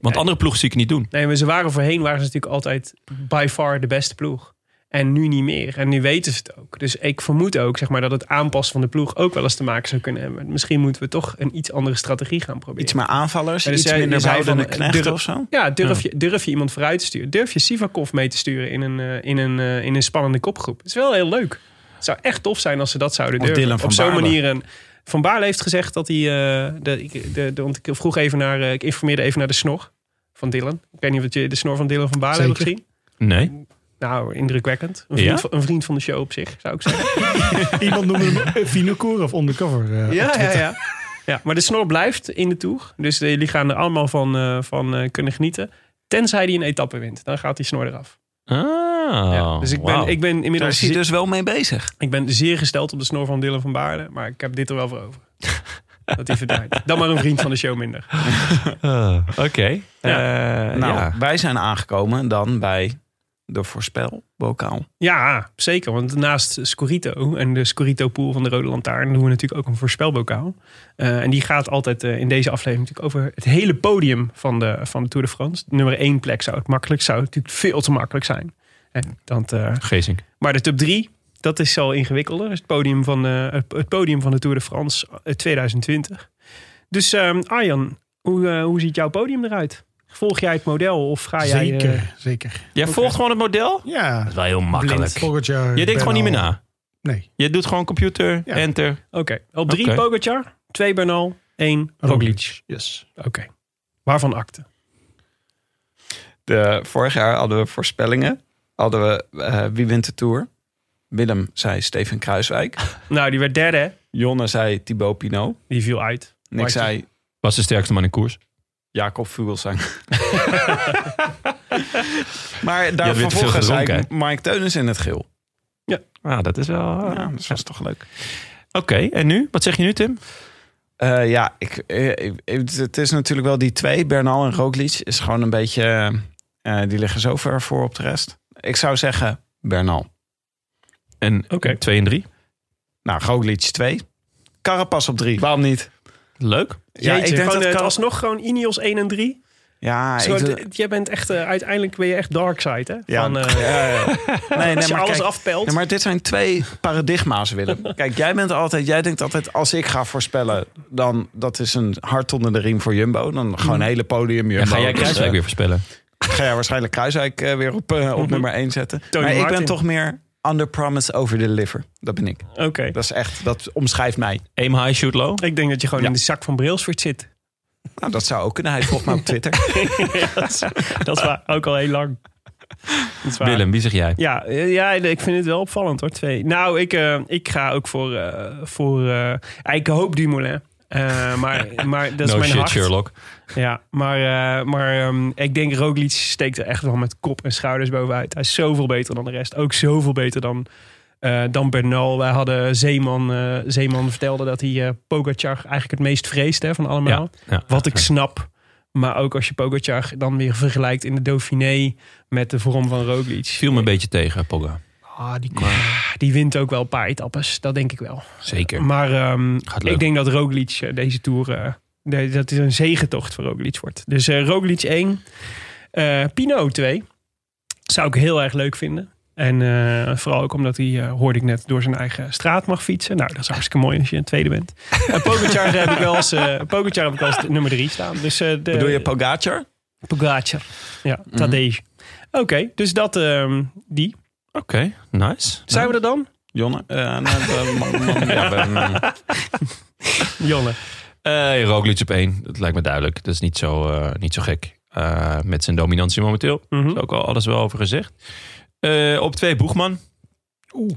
Want
Ja.
andere ploegen zie ik het niet doen.
nee, maar ze waren voorheen waren ze natuurlijk altijd by far de beste ploeg. En nu niet meer. En nu weten ze het ook. Dus ik vermoed ook zeg maar, dat het aanpassen van de ploeg ook wel eens te maken zou kunnen hebben. Misschien moeten we toch een iets andere strategie gaan proberen.
eh, Iets meer aanvallers,
Ja, dus
iets
jij-
minder
je zei
behoudende
van, eh,
knechten
durf-
of zo.
Ja, durf, Je, durf je iemand vooruit te sturen? Durf je Sivakov mee te sturen in een, eh, in een, eh, in een spannende kopgroep? Het is wel heel leuk. Het zou echt tof zijn als ze dat zouden
Of
durven.
Dylan van
Op zo'n
Baarle.
manier. Een, van Baarle heeft gezegd dat hij... eh, de, ik- de, de- want ik vroeg even naar... eh, ik informeerde even naar de snor van Dylan. Ik weet niet of je de snor van Dylan van Baarle hebt
Zeker.
gezien.
Nee.
Nou, indrukwekkend. Een vriend,
Ja?
van, een vriend van de show op zich, zou ik zeggen.
Iemand noemde hem Vinokour of Undercover. eh, op
ja,
Twitter.
ja. ja, maar de snor blijft in de Tour. Dus eh, jullie gaan er allemaal van, eh, van eh, kunnen genieten. Tenzij hij een etappe wint. Dan gaat die snor eraf.
Ah,
Ja, dus ik ben,
wauw.
ik ben
Daar
inmiddels
is hij
ze-
dus wel mee bezig.
ik ben zeer gesteld op de snor van Dylan van Baarle. Maar ik heb dit er wel voor over. dat hij verdwijnt. Dan maar een vriend van de show minder.
Ah, Oké. Eh,
nou,
ja.
wij zijn aangekomen dan bij de voorspelbokaal.
Ja, zeker. Want naast Scorito en de Scorito-pool van de Rode Lantaarn... doen we natuurlijk ook een voorspelbokaal. Eh, en die gaat altijd eh, in deze aflevering natuurlijk over het hele podium van de, van de Tour de France. Nummer één plek zou het makkelijk, zou het natuurlijk veel te makkelijk zijn. En dan
Gezink.
Maar de top 3, dat is al ingewikkelder. Het podium van de, het podium van de Tour de France eh, 2020. Dus ehm, Arjan, hoe, eh, hoe ziet jouw podium eruit? Volg jij het model of ga jij... eh,
zeker, zeker.
Jij volgt gewoon het model? Dat
Ja,
is wel heel makkelijk.
volgend jaar.
Je denkt
ben
gewoon niet meer
al-
na.
Nee.
Je doet gewoon computer,
Ja.
enter.
Oké, op 3
Oké.
Pogacar, 2 Bernal, 1 Roglic.
Roglic. Yes.
Oké, waarvan akte?
De, vorig jaar hadden we voorspellingen. Hadden we eh, Wie wint de Tour? Willem zei Steven Kruiswijk.
Nou, die werd derde, hè?
Jonne zei Thibaut Pinot.
Die viel uit.
En ik
Maartje.
zei
Was de sterkste man in koers.
Jacob Vugelsang. maar
weer te
daar
veel
vervolgens zei
gedronken,
ik Mike Teunis in het geel.
Ah, dat is wel... eh,
Ja, dat was toch leuk.
Oké, en nu? Wat zeg je nu, Tim?
Eh, ja, ik, eh, ik- het- het is natuurlijk wel die twee. Bernal en Roglic is gewoon een beetje... eh, die liggen zo ver voor op de rest. Ik zou zeggen Bernal.
En
Oké.
twee en drie.
Nou, Roglic 2. Carapas op 3. Waarom niet?
Leuk.
Ja, ik denk eh, dat
het
Car-
alsnog gewoon Ineos 1 en 3.
Ja,
Zo,
Ah, ik,
d- jij bent echt, eh, uiteindelijk ben je echt dark side, hè?
Ja.
Van, eh,
Ja, ja. Nee,
als
nee,
je
maar,
alles
kijk,
afpelt.
nee, maar dit zijn twee paradigma's, Willem. Kijk, jij, bent altijd, jij denkt altijd, als ik ga voorspellen... dan dat is een hart onder de riem voor Jumbo. Dan gewoon een hele podium Jumbo.
En ga jij
Dus,
Kruiswijk
eh,
weer voorspellen?
Ga jij waarschijnlijk Kruiswijk eh, weer op, eh, op nummer 1 zetten.
Tony
maar ik
Martin.
ben toch meer under promise over deliver. Dat ben ik.
Oké.
Dat is echt, dat omschrijft mij.
Aim high, shoot low.
Ik denk dat je gewoon
Ja.
in de zak van Brailsford zit.
Nou, dat zou ook kunnen. Hij volgt mij op Twitter.
Ja, dat, is, dat is waar. Ook al heel lang. Dat is waar.
Willem, wie zeg jij?
Ja, eh, ja, ik vind het wel opvallend hoor. Twee. Nou, ik, eh, ik ga ook voor. eh, voor eh, ik hoop Dumoulin. Eh, maar, maar dat is
no
mijn
shit,
hart.
Sherlock.
Ja, maar, eh, maar ehm, ik denk Roglic steekt er echt wel met kop en schouders bovenuit. Hij is zoveel beter dan de rest. Ook zoveel beter dan, eh, dan Bernal. Wij hadden Zeeman. eh, Zeeman vertelde dat hij eh Pogacar eigenlijk het meest vreest hè, van allemaal.
Ja.
Wat ik snap. Maar ook als je Pogacar dan weer vergelijkt in de Dauphiné met de vorm van Roglic.
viel me een beetje tegen, Pogga.
Ah, die, die wint ook wel een paar etappes. Dat denk ik wel.
Zeker.
Maar ehm,
Gaat leuk.
ik denk dat Roglic eh, deze Tour... eh, de- dat is een zegentocht voor Roglic wordt. Dus eh Roglic 1. eh Pino 2. Zou ik heel erg leuk vinden. En eh, vooral ook omdat hij, eh, hoorde ik net, door zijn eigen straat mag fietsen. Nou, dat is hartstikke mooi als je een tweede bent. En Pogacar heb ik wel als, eh, Pogacar heb ik als nummer 3 staan. Dus, eh, de,
Bedoel je Pogacar?
Pogacar. Ja,
Mhm.
dat deze. Oké, dus dat ehm, die.
Oké, nice.
Zijn we er dan?
Jonne? Eh, nou, eh, man- man- ja, we- mm.
Jonne.
Eh Roglic op één. Dat lijkt me duidelijk. Dat is niet zo, eh, niet zo gek. Eh, met zijn dominantie momenteel.
Mhm.
Daar is ook al alles wel over gezegd. Eh, op twee, Boegman.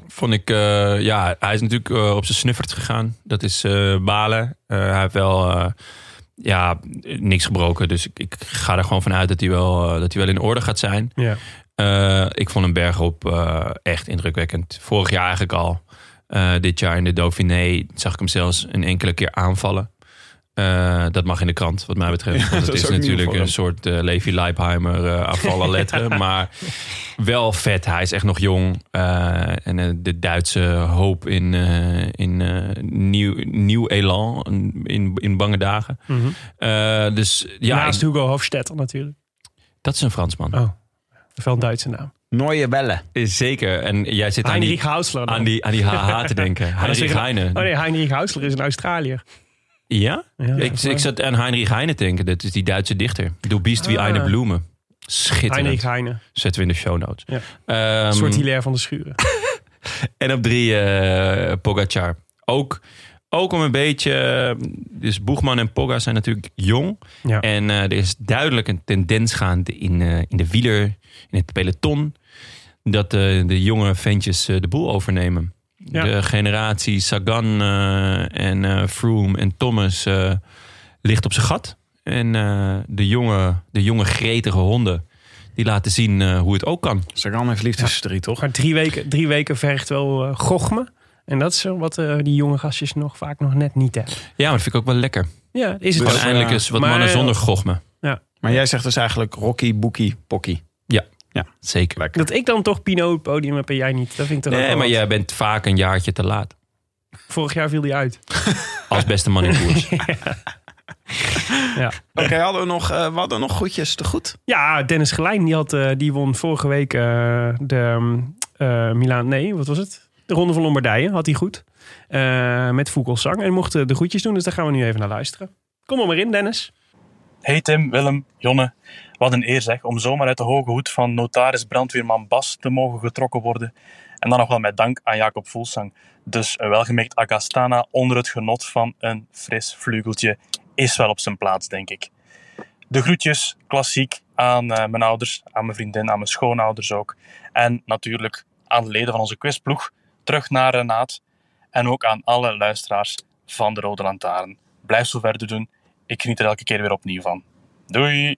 Vond ik, eh, ja, hij is natuurlijk eh, op zijn snuffert gegaan. Dat is eh, balen. Eh, hij heeft wel, eh, ja, niks gebroken. Dus ik, ik ga er gewoon vanuit dat hij wel, eh, dat hij wel in orde gaat zijn.
Ja.
Eh, ik vond hem bergop eh, echt indrukwekkend. Vorig jaar eigenlijk al. Eh, dit jaar in de Dauphiné zag ik hem zelfs een enkele keer aanvallen. Eh, Eh, dat mag in de krant, wat mij betreft. want
dat
het
is
is,
ook nieuw
natuurlijk
voor hem.
een soort eh, Levi Leipheimer eh afvallen letteren. Maar wel vet. Hij is echt nog jong. Eh, en eh, de Duitse hoop in, eh, in eh, nieuw, nieuw elan. In, in bange dagen.
Mhm.
Eh, dus ja,
Naast
ik-
Hugo Hofstetter natuurlijk.
dat is een Fransman.
Oh, wel een Duitse naam.
mm. Nooie bellen.
Zeker. En jij zit aan
Heinrich
die,
Hausler. dan.
aan die, aan die HH te denken.
Maar dat is
Heinrich
een-
Heine.
Oh nee, Heinrich Hausler is een Australiër.
Ja?
Ja,
Ik, ik zat aan Heinrich Heine te denken. Dat is die Duitse dichter. Du bist wie
Ah.
eine Blume. Schitterend.
Heinrich Heine. Een
Zetten we in de show notes.
Ja.
Ehm,
soort Hilaire van de Schuren.
en op drie eh Pogacar. Ook, ook om een beetje... Dus Boegman en Poga zijn natuurlijk jong.
Ja.
En eh, er is duidelijk een tendens gaande in, eh, in de wieler, in het peloton. Dat eh, de jonge ventjes eh, de boel overnemen.
Ja.
De generatie Sagan eh, en eh, Froome en Thomas eh, ligt op zijn gat. En eh, de, jonge, de jonge gretige honden, die laten zien eh, hoe het ook kan.
Sagan heeft liefdesverdriet, toch?
Maar drie weken, drie weken vergt wel eh gochme. En dat is eh, wat eh, die jonge gastjes nog vaak nog net niet hebben.
Ja, maar dat vind ik ook wel lekker.
Ja, is het
Dus,
wel.
Gewoon eindelijk
eh,
eens wat
maar-
mannen zonder gochme.
Maar jij zegt dus eigenlijk Rocky, Boekie, Pocky.
Zeker.
Lekker.
Dat ik dan toch Pino het podium heb en jij niet. Dat vind ik toch ook
Nee,
wel
maar
wat.
jij bent vaak een jaartje te laat.
Vorig jaar viel die uit.
Als beste man in koers.
Ja,
Oké, hadden we, nog, eh, we hadden nog goedjes te goed.
ja Dennis Gelijn die, had, eh, die won vorige week eh, de ehm, eh Milaan. Nee, wat was het? De Ronde van Lombardije had hij goed. Eh, met Vogelsang. En mocht eh, de groetjes doen, dus daar gaan we nu even naar luisteren. Kom er maar in, Dennis.
Hey Tim, Willem, Jonne. Wat een eer zeg, om zomaar uit de hoge hoed van notaris brandweerman Bas te mogen getrokken worden. En dan nog wel met dank aan Jacob Voelsang. Dus een welgemerkt Agastana onder het genot van een fris vleugeltje is wel op zijn plaats, denk ik. De groetjes, klassiek, aan eh, mijn ouders, aan mijn vriendin, aan mijn schoonouders ook. En natuurlijk aan de leden van onze quizploeg, terug naar Renaat. En ook aan alle luisteraars van de Rode Lantaarn. Blijf zo verder doen, ik geniet er elke keer weer opnieuw van. Doei!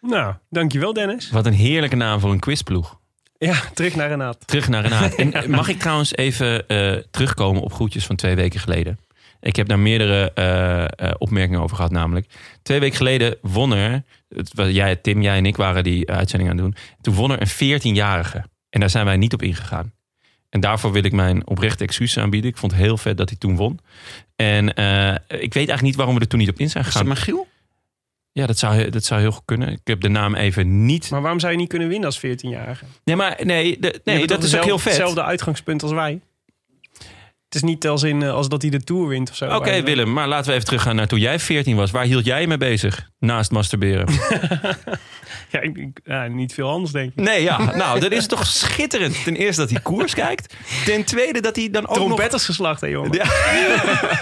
Nou, dankjewel Dennis.
Wat een heerlijke naam voor een quizploeg.
Ja, terug naar Renaat.
Terug naar Renaat. En mag ik trouwens even eh, terugkomen op groetjes van twee weken geleden? Ik heb daar meerdere eh, eh, opmerkingen over gehad namelijk. Twee weken geleden won er... Het, was- jij, Tim, jij en ik waren die eh, uitzending aan het doen. Toen won er een 14-jarige. En daar zijn wij niet op ingegaan. En daarvoor wil ik mijn oprechte excuses aanbieden. Ik vond het heel vet dat hij toen won. En eh, ik weet eigenlijk niet waarom we er toen niet op in zijn
Is het
gegaan.
Magiel?
Ja, dat zou, dat zou heel goed kunnen. Ik heb de naam even niet.
Maar waarom zou je niet kunnen winnen als 14-jarige? Je
Nee, maar nee, de, nee dat
hebt toch
is ook
dezelfde-
heel vet.
Hetzelfde uitgangspunt als wij. Het is niet als in eh, als dat hij de Tour wint of zo.
Oké,
Wij-
Willem, maar laten we even teruggaan naar toen jij 14 was. Waar hield jij je mee bezig naast masturberen?
Ja, ik- ik- ja, niet veel anders denk ik.
Nee, ja, nou, dat is toch schitterend. Ten eerste dat hij koers kijkt. Ten tweede dat hij dan ook nog...
Trompettersgeslacht, hè jongen.
Ja.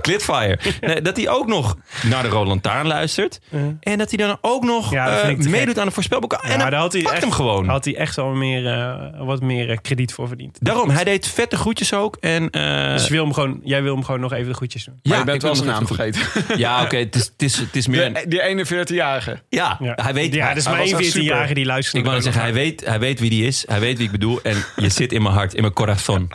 Clitfire. Nee, dat hij ook nog naar de Roland Taarn luistert. En dat hij dan ook nog
Ja, dat vind
eh,
ik te gek.
meedoet aan de voorspelboek. En
Ja,
dan
daar had hij
pakt
echt-
hem gewoon.
Daar had hij echt wel meer, eh, wat meer eh, krediet voor verdiend.
Daarom, hij deed vette groetjes ook. En, eh,
Dus je wil hem gewoon, jij wil hem gewoon nog even de goedjes doen.
Ja, je bent
ik
wel
wil
zijn
nog
naam
even goed-
vergeten.
Ja, oké, het is- het is- het is meer... een-
Die, die 41-jarige.
Ja,
Ja.
hij weet.
ja, dus
hij
maar
was
één
echt super.
14-jarige die luistert.
Ik wou net zeggen, hij weet, hij weet wie die is. Hij weet wie ik bedoel. En je zit in mijn hart, in mijn corazon.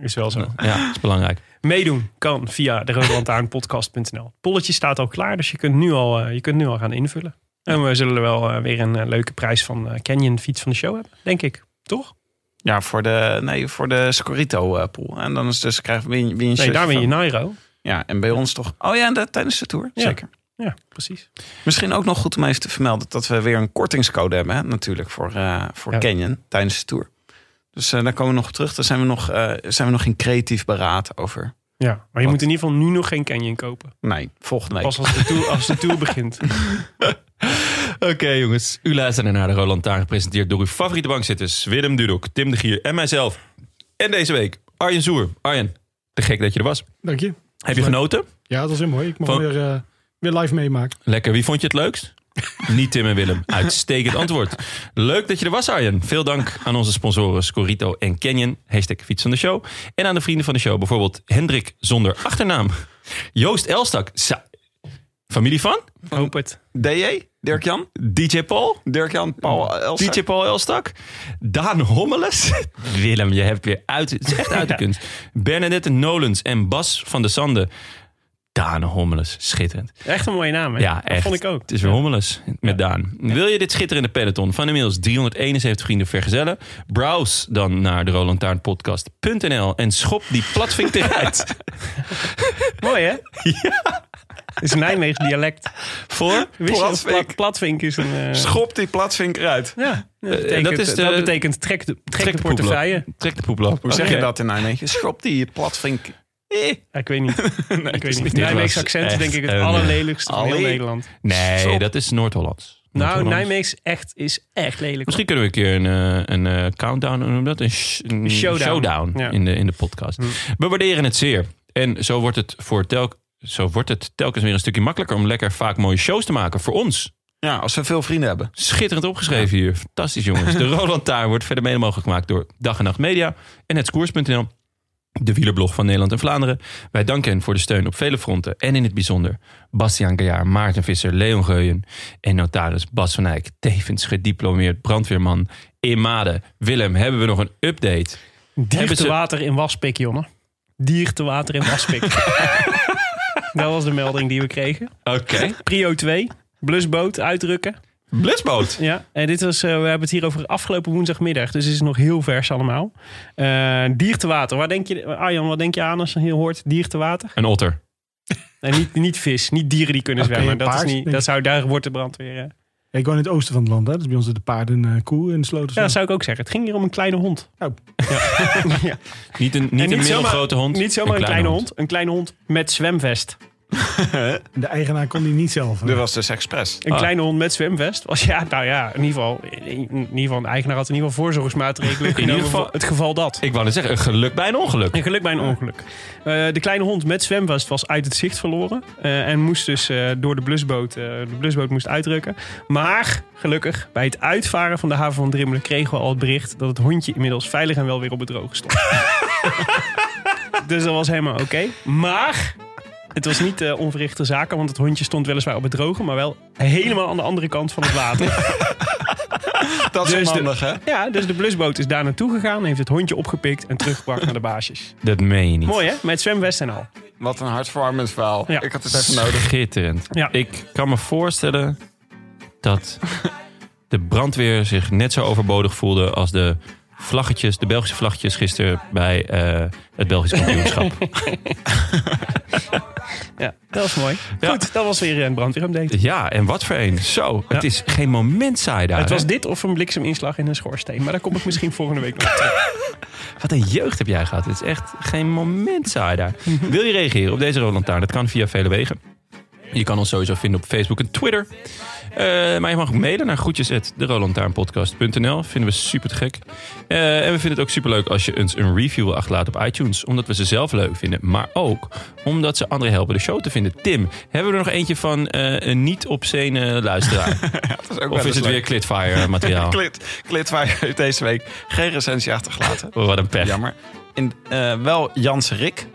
Is wel zo.
Ja, dat is belangrijk.
Meedoen kan via de roodlantaarnpodcast.nl. Polletje staat al klaar, dus je kunt nu al, eh, je kunt nu al gaan invullen. En we zullen wel eh, weer een eh, leuke prijs van eh, Canyon Fiets van de Show hebben, denk ik. Toch?
Ja, voor de, nee, voor de Scorito-pool. En dan is dus, krijg, win, win
Nee, daar win je Nairo.
Ja, en bij ons toch. Oh ja, en dat, tijdens de Tour,
Ja.
zeker.
Ja, precies.
Misschien ook nog goed om even te vermelden... dat we weer een kortingscode hebben, hè, natuurlijk, voor, eh, voor
Ja.
Canyon tijdens de Tour. Dus eh, daar komen we nog op terug. Daar zijn we nog, eh, zijn we nog in creatief beraad over.
Ja, maar je moet in ieder geval nu nog geen Canyon kopen.
Nee, volgende week.
Pas als de tour, als de tour begint.
Oké jongens, u luistert naar de Roland Taar. Gepresenteerd door uw favoriete bankzitters. Willem Dudok, Tim de Gier en mijzelf. En deze week Arjen Zoer. Arjen, te gek dat je er was.
Dank je.
Heb je genoten?
Ja, dat was heel mooi. Ik mag
Van-
weer, eh, weer live meemaken.
Lekker. Wie vond je het leukst? Niet Tim en Willem. Uitstekend antwoord. Leuk dat je er was, Arjen. Veel dank aan onze sponsoren Scorito en Canyon. Hashtag fiets van de show. En aan de vrienden van de show. Bijvoorbeeld Hendrik zonder achternaam. Joost Elstak. Sa- Familie van?
Hoop het.
DJ, Dirk-Jan.
DJ Paul?
Dirk-Jan, Paul, Elsa.
DJ Paul Elstak? Daan Hommeles? Willem, je hebt weer uit... Het is echt uit de kunst. Bernadette Nolens en Bas van de Sande. Daan Hommeles. Schitterend.
Echt een mooie naam, hè?
Ja,
dat
echt.
vond ik ook.
Het is weer Hommeles met Daan. Wil je dit schitterende peloton van inmiddels 371 vrienden vergezellen? Browse dan naar de Roland Taarn podcast.nl en schop die platvink eruit.
Mooi, hè? Ja. Het is een Nijmeegen dialect.
Voor?
Wist je dat
Platvink.
plat- platvink is een... eh,
Schop die platvink eruit.
ja, dat
Eh,
betekent,
dat is de-
dat betekent trek de, trek de
poepel op.
portefeuille.
Trek de poepel
Hoe zeg je dat in nou Nijmegen? Schop die platvink. Eh.
Ja, ik weet niet. ik weet niet.
Dit
Nijmeegse
was
accent is
echt
denk ik het
een-
allerlelijkste van heel
Allee.
Nederland.
Nee,
Schop.
dat is Noord-Hollands.
Nou,
Noord-Hollands.
Nijmeegs echt, is echt lelijk.
Misschien kunnen we een keer een, eh, een eh, countdown hoe noem je dat. Een, sh- een
showdown.
showdown,
Ja.
in, de, in de podcast. We waarderen het zeer. En zo wordt het, voor telk, zo wordt het telkens weer een stukje makkelijker om lekker vaak mooie shows te maken. Voor ons.
Ja, als we veel vrienden hebben.
Schitterend opgeschreven hier. Fantastisch jongens. De Roland Taar wordt verder mede mogelijk gemaakt door Dag en Nacht Media en hetskoers.nl. De wielerblog van Nederland en Vlaanderen. Wij danken hen voor de steun op vele fronten. En in het bijzonder Bastiaan Gajaar, Maarten Visser, Leon Geuyen en notaris Bas van Eyck. Tevens gediplomeerd brandweerman in Maden. Willem, hebben we nog een update?
Dier
Hebben
te
ze-
water in Waspik, jongen. Dier te water in Waspik. dat was de melding die we kregen.
Oké.
Prio 2, blusboot, uitrukken.
Blisboot.
Ja, en dit was, eh, we hebben het hier over afgelopen woensdagmiddag. Dus het is nog heel vers allemaal. Eh dier te water. Waar denk je, Arjan, wat denk je aan als je hier hoort dier te water?
Een otter.
Nee, niet, niet vis, niet dieren die kunnen
Oké,
zwemmen.
een
dat, is
paard,
niet,
denk
dat
ik.
zou, daar wordt de brandweer... eh.
Ja, ik woon in het oosten van het land. Hè. Dus bij ons de paarden eh koe in de sloot. of
Ja,
zo.
dat zou ik ook zeggen. Het ging hier om een kleine hond.
Oh.
Ja. Ja.
Niet een, niet
En
een
zomaar-
middelgrote hond.
Niet zomaar een kleine, hond. Een kleine hond met zwemvest.
De eigenaar kon die niet zelf. hè.
Dit was dus expres.
Een
Ah.
kleine hond met zwemvest. Was, ja, nou ja, in ieder geval. In, in ieder geval, een eigenaar had in ieder geval voorzorgsmaatregelen. genomen
ieder geval-
voor het geval dat.
Ik wou net zeggen, een geluk bij een ongeluk.
En geluk bij een ongeluk. Eh, de kleine hond met zwemvest was uit het zicht verloren. eh, en moest dus eh, door de blusboot. eh, de blusboot moest uitrukken. Maar gelukkig, bij het uitvaren van de haven van Drimmelen kregen we al het bericht dat het hondje inmiddels veilig en wel weer op het droge stond. dus dat was helemaal oké. Maar. Het was niet eh, onverrichte zaken, want het hondje stond weliswaar op het droge, maar wel helemaal aan de andere kant van het water.
Dat is
Dus de-
onhandig, hè?
Ja, dus de blusboot is daar naartoe gegaan, heeft het hondje opgepikt en teruggebracht naar de baasjes.
Dat meen je niet.
Mooi hè? Met zwemvest en al.
Wat een hartverwarmend verhaal.
Ja.
Ik had het even nodig.
Schitterend.
Ja.
Ik kan me voorstellen dat de brandweer zich net zo overbodig voelde als de vlaggetjes, de Belgische vlaggetjes gisteren bij eh, het Belgisch kampioenschap.
Ja, dat was mooi.
Ja.
Goed, dat was weer een brandweerupdate.
ja, en wat voor een. Zo, het
Ja.
is geen moment saai daar.
Het was
hè?
dit of een blikseminslag in een schoorsteen, maar daar kom ik misschien volgende week nog op terug.
Wat een jeugd heb jij gehad. Het is echt geen moment saai daar. Wil je reageren op deze Roland Taarn? Dat kan via vele wegen. Je kan ons sowieso vinden op Facebook en Twitter. Eh, maar je mag ook mailen naar groetjes Vinden we super te gek. Eh, en we vinden het ook super leuk als je ons een review wil achterlaten op iTunes. Omdat we ze zelf leuk vinden. Maar ook omdat ze anderen helpen de show te vinden. Tim, hebben we er nog eentje van eh, een niet op scène luisteraar?
Dat is ook wel
of
eens
is het
leuk.
weer Clitfire
Nou.
materiaal?
Klit, Klitwaaier heeft deze week geen recensie achtergelaten.
Oh, Wat een pech.
Jammer. In, eh, wel Jans Rik.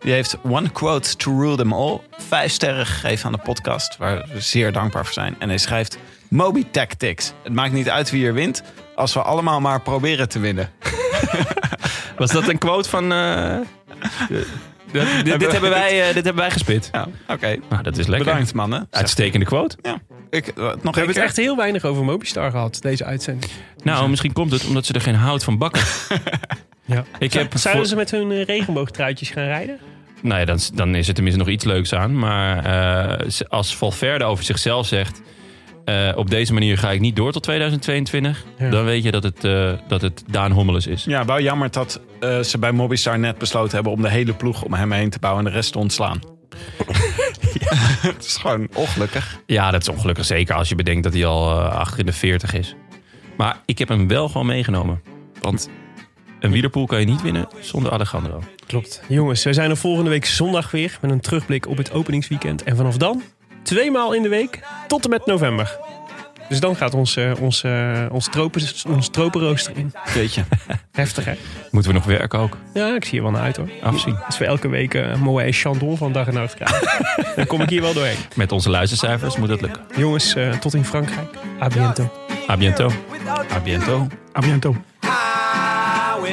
Die heeft One Quote to Rule Them All. Vijf sterren gegeven aan de podcast. Waar we zeer dankbaar voor zijn. En hij schrijft Moby Tactics. Het maakt niet uit wie er wint. Als we allemaal maar proberen te winnen.
Was dat een quote van. eh, dit, dit, dit hebben wij, eh, dit hebben wij gespit.
Ja, oké.
Nou, dat is lekker.
Bedankt mannen.
Uitstekende quote.
Ja. Ik, eh, nog
We
een
hebben
keer.
het echt heel weinig over Mobistar gehad, deze uitzending.
Nou, misschien komt het omdat ze er geen hout van bakken.
Ja.
Ik heb
Zouden
voor-
ze met hun eh, regenboogtruitjes gaan rijden?
Nou ja, dan, dan is er tenminste nog iets leuks aan. Maar eh, ze- als Valverde over zichzelf zegt... eh, op deze manier ga ik niet door tot 2022...
Ja.
dan weet je dat het, eh, dat het Daan Hommeles is.
Ja, wel jammer dat eh, ze bij Mobistar net besloten hebben om de hele ploeg om hem heen te bouwen en de rest te ontslaan. Het is gewoon ongelukkig.
Ja, dat is ongelukkig. Zeker als je bedenkt dat hij al eh, achter in de 40 is. Maar ik heb hem wel gewoon meegenomen. Want een wielerpool kan je niet winnen zonder Alejandro.
Klopt. Jongens, we zijn er volgende week zondag weer met een terugblik op het openingsweekend. En vanaf dan, tweemaal in de week, tot en met november. Dus dan gaat ons, eh, ons, eh, ons, tropen, ons tropenrooster in.
Weet je.
Heftig, hè?
Moeten we nog werken ook?
Ja, ik zie er wel naar uit, hoor.
Afzien.
Als we elke week eh, een mooie Chandon van dag en nacht krijgen, dan kom ik hier wel doorheen.
Met onze luistercijfers moet dat lukken.
Jongens, eh, tot in Frankrijk. A biento.
A biento.
A
biento.
A bientôt.
I